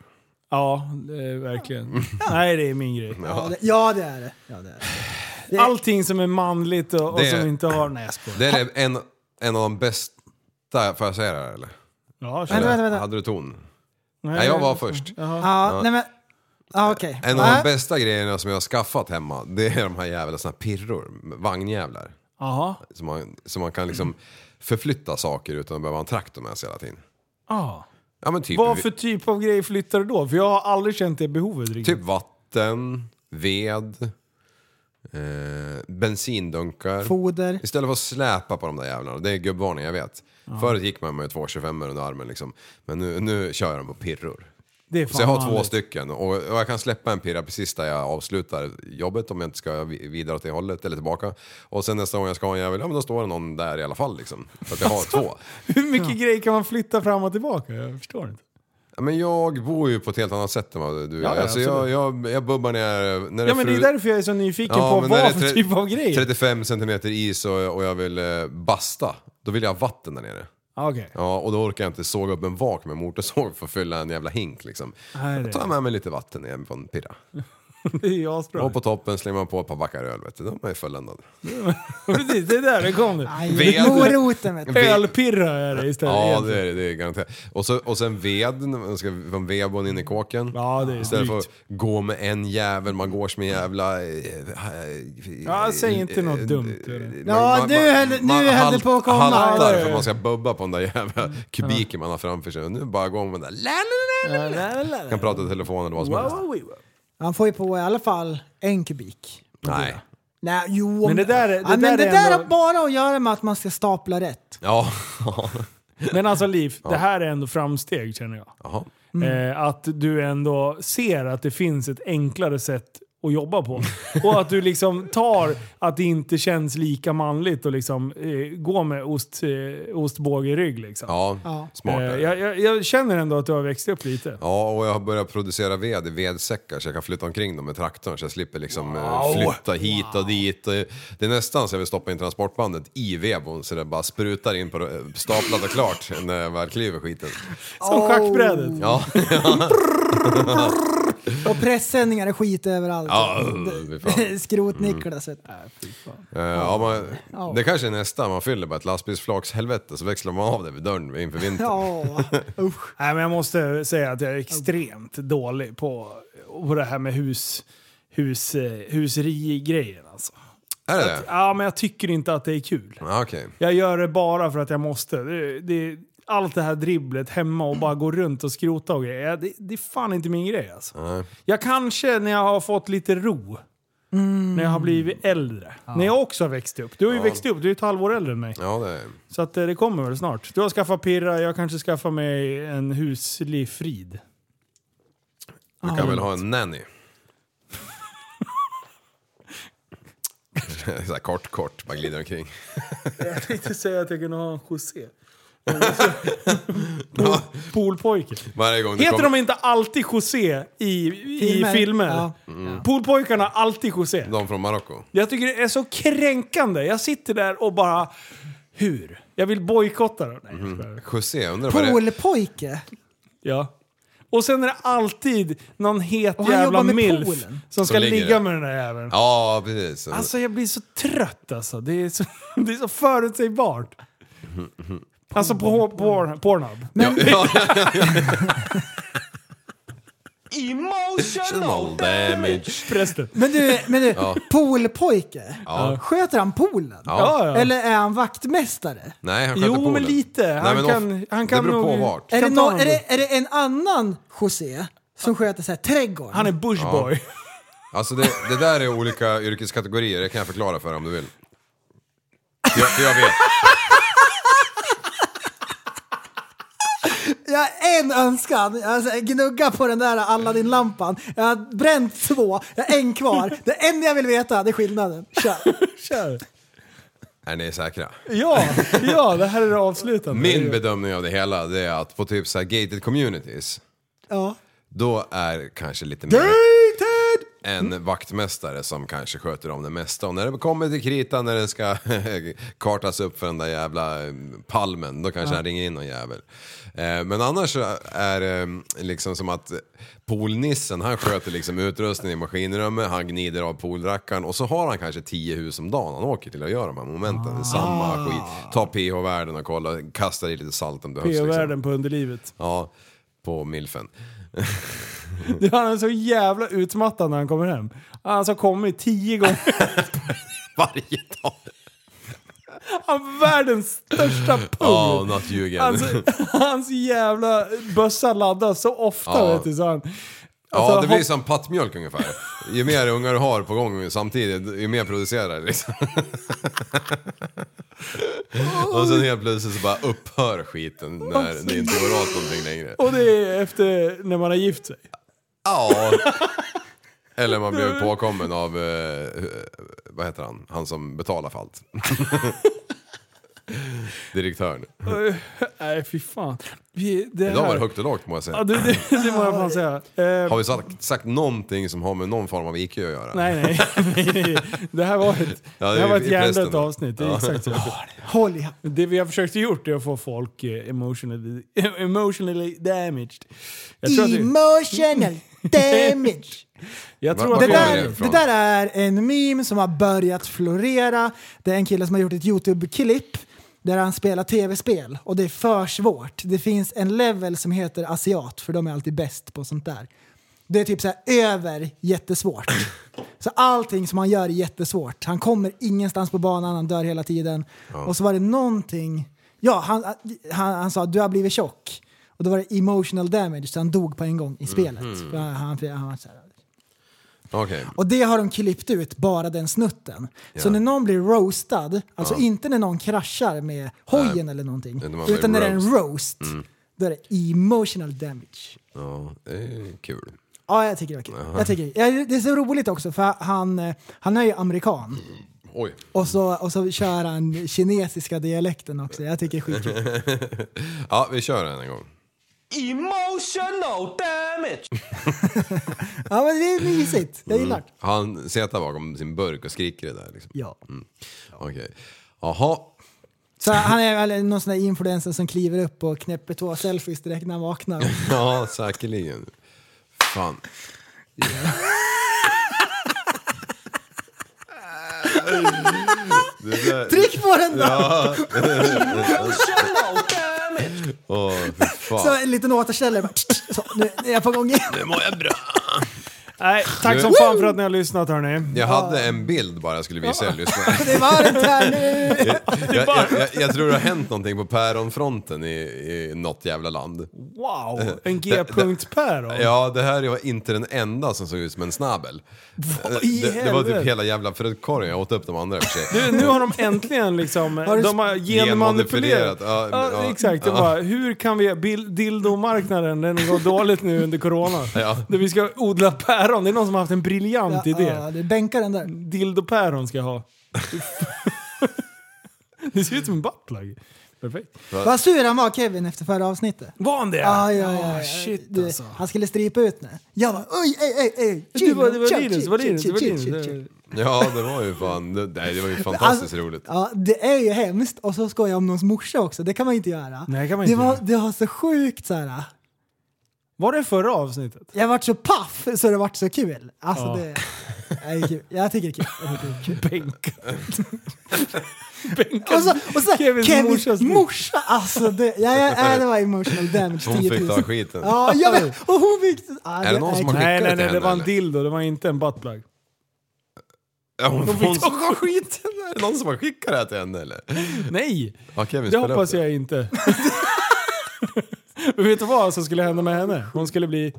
Speaker 5: Ja, det är
Speaker 6: Mm.
Speaker 5: verkligen. Nej, det är min
Speaker 6: *laughs*
Speaker 5: grej.
Speaker 7: Ja, det- Ja, det är det. Ja, det, är det.
Speaker 5: Allting som är manligt och, och
Speaker 6: Det-
Speaker 5: som inte har... Nej, jag skojar.
Speaker 6: Det är en, en av de bästa, får jag säga det här eller?
Speaker 5: Ja,
Speaker 7: Vänta, vänta, vänta.
Speaker 6: Hade du ton? Nej, jag var först.
Speaker 7: Ja, nej men. Ja, okej.
Speaker 6: En av
Speaker 7: Ja.
Speaker 6: de bästa grejerna som jag har skaffat hemma, det är de här jävla såna här pirror, vagnjävlar.
Speaker 5: Jaha.
Speaker 6: Så man, så man kan liksom förflytta saker utan att behöva ha en traktor med sig hela tiden.
Speaker 5: Ah.
Speaker 6: Ja men typ,
Speaker 5: Vad för typ av grej flyttar du då? För jag har aldrig känt det behovet riktigt.
Speaker 6: typ vatten, ved, eh, bensindunkar.
Speaker 7: Foder.
Speaker 6: Istället för att släpa på de där jävlarna, det är gubbvarning jag vet. Förut gick man med 225 under armen liksom. Men nu, nu kör jag dem på pirror.
Speaker 5: Det är
Speaker 6: Så jag har två
Speaker 5: vanligt.
Speaker 6: stycken och, och jag kan släppa en pirra precis där jag avslutar jobbet om jag inte ska vi- vidare åt det hållet eller tillbaka. Och sen nästa gång jag ska ha en jävel, ja men då står det någon där i alla fall liksom. För att
Speaker 5: *laughs*
Speaker 6: jag har två.
Speaker 5: Hur mycket grejer kan man flytta fram och tillbaka? Jag förstår inte.
Speaker 6: Ja, Men jag bor ju på ett helt annat sätt än vad du
Speaker 5: Ja,
Speaker 6: gör.
Speaker 5: ja,
Speaker 6: Alltså jag, jag, jag bubbar ner... När
Speaker 5: Ja, men det är
Speaker 6: fru-
Speaker 5: därför jag är så nyfiken
Speaker 6: Ja,
Speaker 5: på
Speaker 6: men när
Speaker 5: vad
Speaker 6: det
Speaker 5: för
Speaker 6: är tre-
Speaker 5: typ av grej.
Speaker 6: 35 centimeter is och, och jag vill eh, basta. Då vill jag ha vatten där nere.
Speaker 5: Ah, Okej. *laughs*
Speaker 6: Ja, och då orkar jag inte såga upp en vak med motorsåg för att fylla en jävla hink liksom.
Speaker 5: Nej, det-
Speaker 6: Då tar jag med mig lite vatten igen på en pirra.
Speaker 5: Det är ju asbra.
Speaker 6: Och på toppen slänger man på ett par backar öl vet du. De är ju fulländade.
Speaker 5: *laughs* Precis, det är där det kom nu.
Speaker 6: Ved.
Speaker 7: Moroten vet du.
Speaker 6: Ved.
Speaker 5: Ölpirra är det istället.
Speaker 6: Ja,
Speaker 5: egentligen.
Speaker 6: det är det. Det är garanterat. Och, så, och sen ved, man ska från vedbon in i kåken.
Speaker 5: Ja, det är
Speaker 6: Istället för att
Speaker 5: drygt.
Speaker 6: gå med en jävel, man går som en jävla... eh, eh,
Speaker 5: Ja, säg inte
Speaker 6: eh,
Speaker 5: något
Speaker 6: eh,
Speaker 5: dumt,
Speaker 6: eh,
Speaker 5: eller?
Speaker 6: man-
Speaker 7: Ja,
Speaker 6: man-
Speaker 7: nu höll- nu
Speaker 6: man
Speaker 7: höll
Speaker 6: halt-
Speaker 7: det på att komma. Ja,
Speaker 6: haltar
Speaker 7: ja,
Speaker 6: för
Speaker 7: ja.
Speaker 6: att man ska bubba på den där jävla kubiken man har framför sig. Och nu bara går man där... la, la, la, la, la. Kan prata i telefon eller vad som helst.
Speaker 7: Han får ju på i alla fall en kubik.
Speaker 6: Nej.
Speaker 7: Nej, jo.
Speaker 5: Men det där är- det
Speaker 7: ja, men
Speaker 5: där
Speaker 7: det
Speaker 5: är
Speaker 7: där
Speaker 5: ändå-
Speaker 7: har bara att göra med att man ska stapla rätt.
Speaker 6: Ja. *laughs*
Speaker 5: Men alltså Liv, det här är ändå framsteg känner jag.
Speaker 6: Jaha. Mm.
Speaker 5: Eh, att du ändå ser att det finns ett enklare sätt att jobba på. *laughs*
Speaker 6: Mm.
Speaker 5: Och att du liksom tar att det inte känns lika manligt att liksom, eh, gå med ost, eh, ostbåge i rygg. Liksom.
Speaker 6: Ja,
Speaker 5: Ja.
Speaker 6: smart är
Speaker 5: Eh,
Speaker 6: det.
Speaker 5: jag, jag, jag känner ändå att du har växt upp lite.
Speaker 6: Ja, och jag har börjat producera ved i vedsäckar så jag kan flytta omkring dem med traktorn så jag slipper liksom eh,
Speaker 5: Wow.
Speaker 6: flytta hit och dit. Eh, Det är nästan så jag vill stoppa in transportbandet i vedbon så det bara sprutar in på det- staplat och klart
Speaker 7: Oh.
Speaker 6: när jag väl kliver skiten.
Speaker 5: Som schackbrädet.
Speaker 6: Ja.
Speaker 7: *laughs* Och pressändningar är skit överallt.
Speaker 6: Ja,
Speaker 7: Det-
Speaker 6: fy
Speaker 7: *laughs*
Speaker 6: fan. Mm.
Speaker 7: Skrot-Niklas. vet du.
Speaker 6: Eh, ja, man,
Speaker 7: Ja.
Speaker 6: Det kanske är nästa, man fyller bara ett lastbilsflakshelvete så växlar man av det vid dörren inför vintern.
Speaker 5: Nej, men jag måste säga att jag är extremt dålig på, på det här med hus, hus, eh, huseri-grejen. Alltså.
Speaker 6: Är det
Speaker 5: att, Ja, men jag tycker inte att det är kul.
Speaker 6: Ja, Okej.
Speaker 5: Jag gör det bara för att jag måste. Det, det, allt det här dribblet hemma och bara gå runt och skrota och grejer. Det, det är fan inte min grej alltså.
Speaker 6: Nej.
Speaker 5: Jag kanske när jag har fått lite ro. När jag har blivit äldre. När jag också har växt upp. Du har ju
Speaker 6: Ja.
Speaker 5: växt upp, du är ju ett halvår äldre än mig.
Speaker 6: Ja, det är...
Speaker 5: Så att eh, det kommer väl snart. Du har skaffat pirra, jag kanske skaffar mig en huslig frid.
Speaker 6: Du kan väl ha en nanny?
Speaker 5: *laughs*
Speaker 6: så här kort, kort, bara glider omkring.
Speaker 5: Jag tänkte säga att jag kunde ha en José. Pool, poolpojke.
Speaker 6: Varje gång du
Speaker 5: Heter
Speaker 6: kommer-
Speaker 5: de inte alltid José i, i
Speaker 6: Filmer.
Speaker 5: filmer?
Speaker 6: Ja. Mm.
Speaker 5: Poolpojkarna har alltid José.
Speaker 6: De från Marocko?
Speaker 5: Jag tycker det är så kränkande. Jag sitter där och bara... Hur? Jag vill bojkotta dem. Nej. Mm.
Speaker 6: José, undrar vad det är?
Speaker 7: Poolpojke?
Speaker 5: Ja. Och sen är det alltid någon het
Speaker 7: Och han
Speaker 5: jävla
Speaker 7: jobbar med
Speaker 5: milf
Speaker 7: poolen.
Speaker 5: som
Speaker 6: Som
Speaker 5: ska
Speaker 6: ligger
Speaker 5: ligga
Speaker 6: där.
Speaker 5: med den där jäveln.
Speaker 6: Ja, precis.
Speaker 5: Alltså jag blir så trött alltså. Det är så, *laughs* det är så förutsägbart. Alltså på, på Pornhub.
Speaker 14: Emotional
Speaker 6: damage.
Speaker 5: Prästen.
Speaker 7: Men du, men du
Speaker 6: Ja.
Speaker 7: poolpojke?
Speaker 6: Ja.
Speaker 7: Sköter han poolen?
Speaker 6: Ja. Ja, ja.
Speaker 7: Eller är han vaktmästare?
Speaker 6: Nej, han sköter
Speaker 5: Jo,
Speaker 6: poolen.
Speaker 5: men lite. Han
Speaker 6: Nej, men
Speaker 5: kan-
Speaker 6: of-
Speaker 5: han kan
Speaker 6: det beror på
Speaker 5: nog-
Speaker 6: vart.
Speaker 7: Är det,
Speaker 5: Kan ta
Speaker 7: nå-
Speaker 5: honom.
Speaker 7: är, det, är det en annan José som sköter så här, trädgården?
Speaker 5: Han är bushboy.
Speaker 6: Alltså det, det där är olika yrkeskategorier, det kan jag förklara för dig om du vill. För jag, för jag vet.
Speaker 7: Jag har en önskan. Alltså, gnugga på den där Aladdin-lampan. Jag har bränt två, jag har en kvar. Det enda jag vill veta det är skillnaden. Kör!
Speaker 5: *laughs* Kör!
Speaker 6: Är ni säkra?
Speaker 5: Ja, ja, det här är det avslutande.
Speaker 6: Min bedömning av det hela det är att på typ så här gated communities,
Speaker 7: Ja.
Speaker 6: då är kanske lite mer en vaktmästare som kanske sköter om det mesta. Och när det kommer till kritan när den ska *laughs* kartas upp för den där jävla eh, palmen, då kanske
Speaker 15: Ja.
Speaker 6: han ringer in någon jävel. Eh, Men annars så är det liksom som att poolnissen, han sköter liksom utrustningen i maskinrummet, han gnider av poolrackaren och så har han kanske tio hus om dagen han åker till och gör de här momenten. Samma skit. Ta pH-värden och kolla, kastar i lite salt om det behövs. Liksom.
Speaker 5: PH-världen på underlivet.
Speaker 6: Ja, på milfen. *laughs*
Speaker 5: Det var han är så jävla utmattad när han kommer hem. Han har alltså kommit tio gånger.
Speaker 6: Varje dag.
Speaker 5: Han har världens största pung.
Speaker 6: *laughs* Ja, not you again.
Speaker 5: Hans, hans jävla bössa laddas så ofta
Speaker 6: Ja.
Speaker 5: vet du. Så han,
Speaker 6: ja,
Speaker 5: alltså,
Speaker 6: det blir
Speaker 5: hopp-
Speaker 6: som pattmjölk ungefär. Ju mer ungar du har på gång samtidigt, ju mer producerar
Speaker 5: *laughs*
Speaker 6: det liksom. Och sen helt plötsligt så bara upphör skiten när det inte går åt någonting längre.
Speaker 5: Och det är efter när man har gift sig.
Speaker 6: Ja. Eller man blev påkommen av, eh, vad heter han, han som betalar för allt. *laughs* Direktören.
Speaker 5: Oj, Nej, fy fan. Vi, det
Speaker 6: Idag var
Speaker 5: här-
Speaker 6: det högt och lågt må jag säga.
Speaker 5: Ja, det, det, det må jag fan säga. Eh,
Speaker 6: Har vi sagt, sagt någonting som har med någon form av IQ att göra?
Speaker 5: Nej, *laughs* nej. nej, nej. Det här var ett,
Speaker 6: Ja, det
Speaker 5: det här
Speaker 6: är
Speaker 5: var
Speaker 6: i
Speaker 5: ett hjärndött
Speaker 6: prästen.
Speaker 5: avsnitt. Det är
Speaker 6: Ja.
Speaker 5: exakt så.
Speaker 7: Håll i hand.
Speaker 5: Det vi har försökt gjort är att få folk eh, emotionally, *laughs* emotionally damaged. Jag tror att det, *laughs*
Speaker 7: Emotional damage.
Speaker 5: jag tror
Speaker 7: Det
Speaker 5: att
Speaker 7: där, det där är en meme som har börjat florera. Det är en kille som har gjort ett YouTube-klipp där han spelar tv-spel och det är för svårt. Det finns en level som heter asiat för de är alltid bäst på sånt där. Det är typ så här över jättesvårt. Så allting som han gör är jättesvårt. Han kommer ingenstans på banan, han dör hela tiden.
Speaker 16: Ja.
Speaker 7: Och så var det någonting... Ja, han, han, han sa du har blivit tjock. Och då var det emotional damage, så han dog på en gång i spelet.
Speaker 6: Mhm.
Speaker 7: För Han, han, han var så här,
Speaker 6: Okej.
Speaker 7: och det har de klippt ut, bara den snutten. Så
Speaker 6: Ja.
Speaker 7: när någon blir roastad, alltså
Speaker 6: Ja.
Speaker 7: inte när någon kraschar med hojen
Speaker 6: Nej.
Speaker 7: eller någonting,
Speaker 6: Utan man blir
Speaker 7: utan när det är en
Speaker 6: roast.
Speaker 7: roast,
Speaker 6: Mm.
Speaker 7: då är det emotional damage.
Speaker 6: Ja, det är kul.
Speaker 7: Ja, jag tycker det var kul.
Speaker 6: Jaha.
Speaker 7: Jag tycker, ja, det är så roligt också, för han, eh, han är ju amerikan.
Speaker 6: Oj.
Speaker 7: Och så, och så kör han kinesiska dialekten också. Jag tycker det är skitkul.
Speaker 6: ja, vi kör den en gång.
Speaker 14: Emotional damage!
Speaker 7: Ja, men det är mysigt. Jag
Speaker 6: Mm.
Speaker 7: gillar det.
Speaker 6: Han sitter bakom sin burk och skriker det där liksom.
Speaker 7: Ja.
Speaker 6: Mm. Okej. Jaha. *laughs*
Speaker 7: Så han är väl någon sån där influencer som kliver upp och knäpper två selfies direkt när han vaknar.
Speaker 6: Ja, säkerligen. Fan. Det där-
Speaker 7: Tryck på den då!
Speaker 6: Ja.
Speaker 14: Damn it!
Speaker 6: Åh, fy fan.
Speaker 7: Så en liten återställare. bara, Så, nu är jag på gång igen.
Speaker 6: Nu mår jag bra.
Speaker 5: Nej, tack som
Speaker 6: Du-
Speaker 5: fan för att ni har lyssnat hörni.
Speaker 6: Jag hade en bild bara jag skulle visa er
Speaker 5: *laughs*
Speaker 6: lyssnare.
Speaker 7: Det var det här nu.
Speaker 6: Jag, jag, jag, jag tror det har hänt någonting på päronfronten i, i något jävla land.
Speaker 5: Wow, en
Speaker 6: Eh, Det- det-
Speaker 5: G-punkt Per då?
Speaker 6: Ja, det här var inte den enda som såg ut som en snabel.
Speaker 5: i
Speaker 6: Det, det var
Speaker 5: helvete?
Speaker 6: typ hela jävla fruktkorgen, jag åt upp de andra i och för sig.
Speaker 5: Du, nu har de äntligen liksom,
Speaker 6: *laughs* Har du
Speaker 5: de har
Speaker 6: s-
Speaker 5: genmanipulerat.
Speaker 6: genmanipulerat, ja, ja.
Speaker 5: exakt,
Speaker 6: Ja.
Speaker 5: det var, hur kan vi, bil- dildomarknaden, den går dåligt nu under corona.
Speaker 6: *laughs* Ja.
Speaker 5: Där vi ska odla päron, det är någon som har haft en briljant idé.
Speaker 7: Ja, det bänkar den där.
Speaker 5: Dildopäron ska jag ha. *laughs* det ser ut som en buttplug. Perfekt.
Speaker 7: Vad sur han var Kevin efter förra avsnittet.
Speaker 5: Var han det?
Speaker 7: Ja, ja, ja.
Speaker 5: Ah,
Speaker 7: ja.
Speaker 5: shit,
Speaker 7: Du,
Speaker 5: alltså.
Speaker 7: Han skulle stripa ut nu. Jag bara oj, ej, ej, ej.
Speaker 5: Det var, det var
Speaker 7: Chill,
Speaker 5: Linus, det
Speaker 7: chill,
Speaker 5: var
Speaker 7: chill,
Speaker 5: Linus, det var
Speaker 7: chill,
Speaker 5: Linus.
Speaker 7: chill,
Speaker 5: Det-
Speaker 7: chill.
Speaker 6: Ja, det var ju fan, det, nej, det var
Speaker 5: Alltså-
Speaker 6: ju fantastiskt roligt.
Speaker 7: Ja, det är ju hemskt. Och så ska jag om någons morsa också. Det kan man ju inte göra.
Speaker 5: Nej, det kan man
Speaker 7: det,
Speaker 5: inte
Speaker 7: var,
Speaker 5: göra.
Speaker 7: det var så sjukt så här.
Speaker 5: Var det förra avsnittet?
Speaker 7: Jag vart så paff så det vart så kul. Alltså
Speaker 5: Ja.
Speaker 7: det... Nej, det är kul. Jag tycker det är kul. Jag tycker det är kul.
Speaker 5: Bänka.
Speaker 7: Och så, och så
Speaker 5: *laughs* Kevins
Speaker 7: Kevins,
Speaker 5: morsas
Speaker 7: morsa. Alltså det, ja, ja, ja, det var emotional damage
Speaker 6: Hon
Speaker 7: 10
Speaker 6: fick
Speaker 7: 000.
Speaker 6: ta skiten.
Speaker 7: Ja, jag vet. Och hon fick... Ja,
Speaker 6: Är det någon som har skickat
Speaker 5: Nej, nej, nej,
Speaker 6: till
Speaker 5: det
Speaker 6: henne,
Speaker 5: var en
Speaker 6: eller?
Speaker 5: dildo, det var inte en buttplug.
Speaker 6: Ja, hon,
Speaker 5: De fick
Speaker 6: hon,
Speaker 5: ta
Speaker 6: skiten! Är det någon som har skickat det här till henne eller?
Speaker 5: Nej!
Speaker 6: Ja, Kevin,
Speaker 5: Det
Speaker 6: spela upp
Speaker 5: hoppas jag inte. *laughs* Men vet du vad som skulle hända med henne? Hon skulle bli...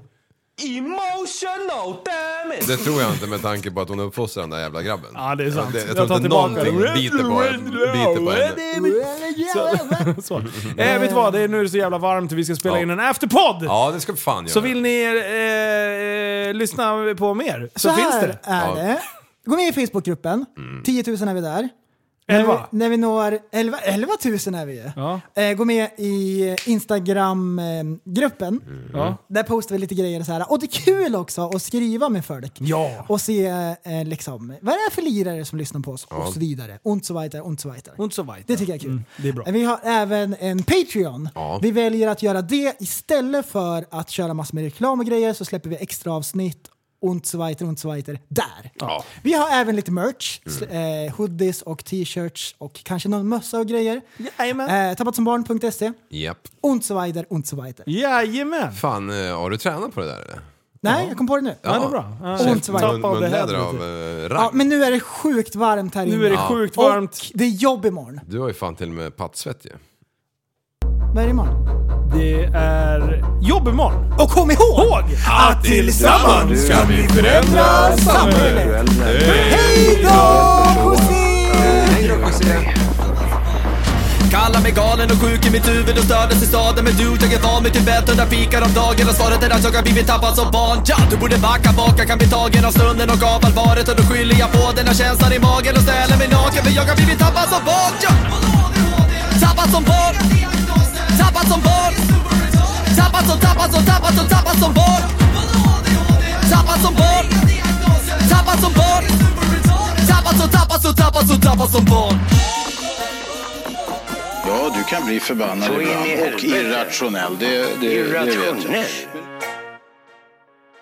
Speaker 14: Emotional damage!
Speaker 6: Det tror jag inte med tanke på att hon uppfostrar den där jävla grabben.
Speaker 5: Ja, det är sant.
Speaker 6: Jag, jag,
Speaker 5: Jag
Speaker 6: tror
Speaker 5: tar
Speaker 6: inte
Speaker 5: tillbaka
Speaker 6: någonting
Speaker 5: det.
Speaker 6: biter på henne. Biter på henne.
Speaker 5: Så,
Speaker 6: *laughs*
Speaker 5: så. Eh, vet du vad? Det är nu det är så jävla varmt och vi ska spela
Speaker 6: Ja.
Speaker 5: in en afterpodd!
Speaker 6: Ja, det ska fan
Speaker 5: Så
Speaker 6: göra.
Speaker 5: vill ni eh, eh, lyssna på mer *laughs* så,
Speaker 7: Så här
Speaker 5: finns det.
Speaker 7: är
Speaker 6: Ja.
Speaker 7: det. Gå med i Facebookgruppen. 10 000 är vi där.
Speaker 5: Elva.
Speaker 7: När vi, när vi når 11, 11 000 är vi ju.
Speaker 5: Ja.
Speaker 7: Eh, gå med i Instagram-gruppen.
Speaker 6: Mm.
Speaker 5: Ja.
Speaker 7: Där postar vi lite grejer så här. Och det är kul också att skriva med folk.
Speaker 5: Ja.
Speaker 7: Och se eh, liksom, vad det är för lirare som lyssnar på oss
Speaker 5: Ja.
Speaker 7: och så vidare. Und so weiter, und so weiter.
Speaker 5: Und so weiter.
Speaker 7: Det tycker jag är kul.
Speaker 5: Det är bra.
Speaker 7: Vi har även en Patreon.
Speaker 5: Ja.
Speaker 7: Vi väljer att göra det istället för att köra massor med reklam och grejer så släpper vi extra avsnitt und so weiter, und so weiter där.
Speaker 14: Ja.
Speaker 7: Vi har även lite merch,
Speaker 5: Mm.
Speaker 7: sl- eh, hoodies och t-shirts och kanske någon mössa och grejer. Eh, Tappatsombarn.se.
Speaker 6: Japp.
Speaker 7: Und so weiter, und so weiter.
Speaker 5: Jajamän!
Speaker 6: Fan, eh, har du tränat på det där eller?
Speaker 7: Nej, jag kom på det nu. Und so weiter.
Speaker 6: Munläder av eh, rang.
Speaker 7: Ja, men nu är det sjukt varmt här
Speaker 5: Nu
Speaker 7: inne.
Speaker 5: är det
Speaker 6: Ja.
Speaker 5: sjukt
Speaker 7: Och
Speaker 5: varmt.
Speaker 7: det är jobb imorgon.
Speaker 6: Du har ju fan till och med pattsvett ju.
Speaker 7: Vad är det imorgon?
Speaker 5: Det är jobb imorgon.
Speaker 7: Och kom ihåg
Speaker 5: att tillsammans ska vi förändra samhället.
Speaker 7: Hej då José!
Speaker 1: Kallar mig galen och sjuk i mitt huvud och stördes i staden Men du, jag är van vid Tibet och där fikar om dagen Och svaret är att jag har blivit tappad som barn ja, Du borde backa bak, jag kan bli tagen av stunden och av allvaret Och då skyller jag på den här känslan i magen och ställer mig naken För jag har blivit tappad som barn ja. Tappad som barn Tappad som barn Tappad som, tappad som, tappad som, tappad som barn Tappad som barn Tappad som barn Tappad som, tappad som, tappad som, tappad som barn
Speaker 2: Ja, du kan bli förbannad
Speaker 1: Så in i
Speaker 2: ibland och
Speaker 1: helvete.
Speaker 2: irrationell. Det, det, det vet jag.
Speaker 1: Irrationell.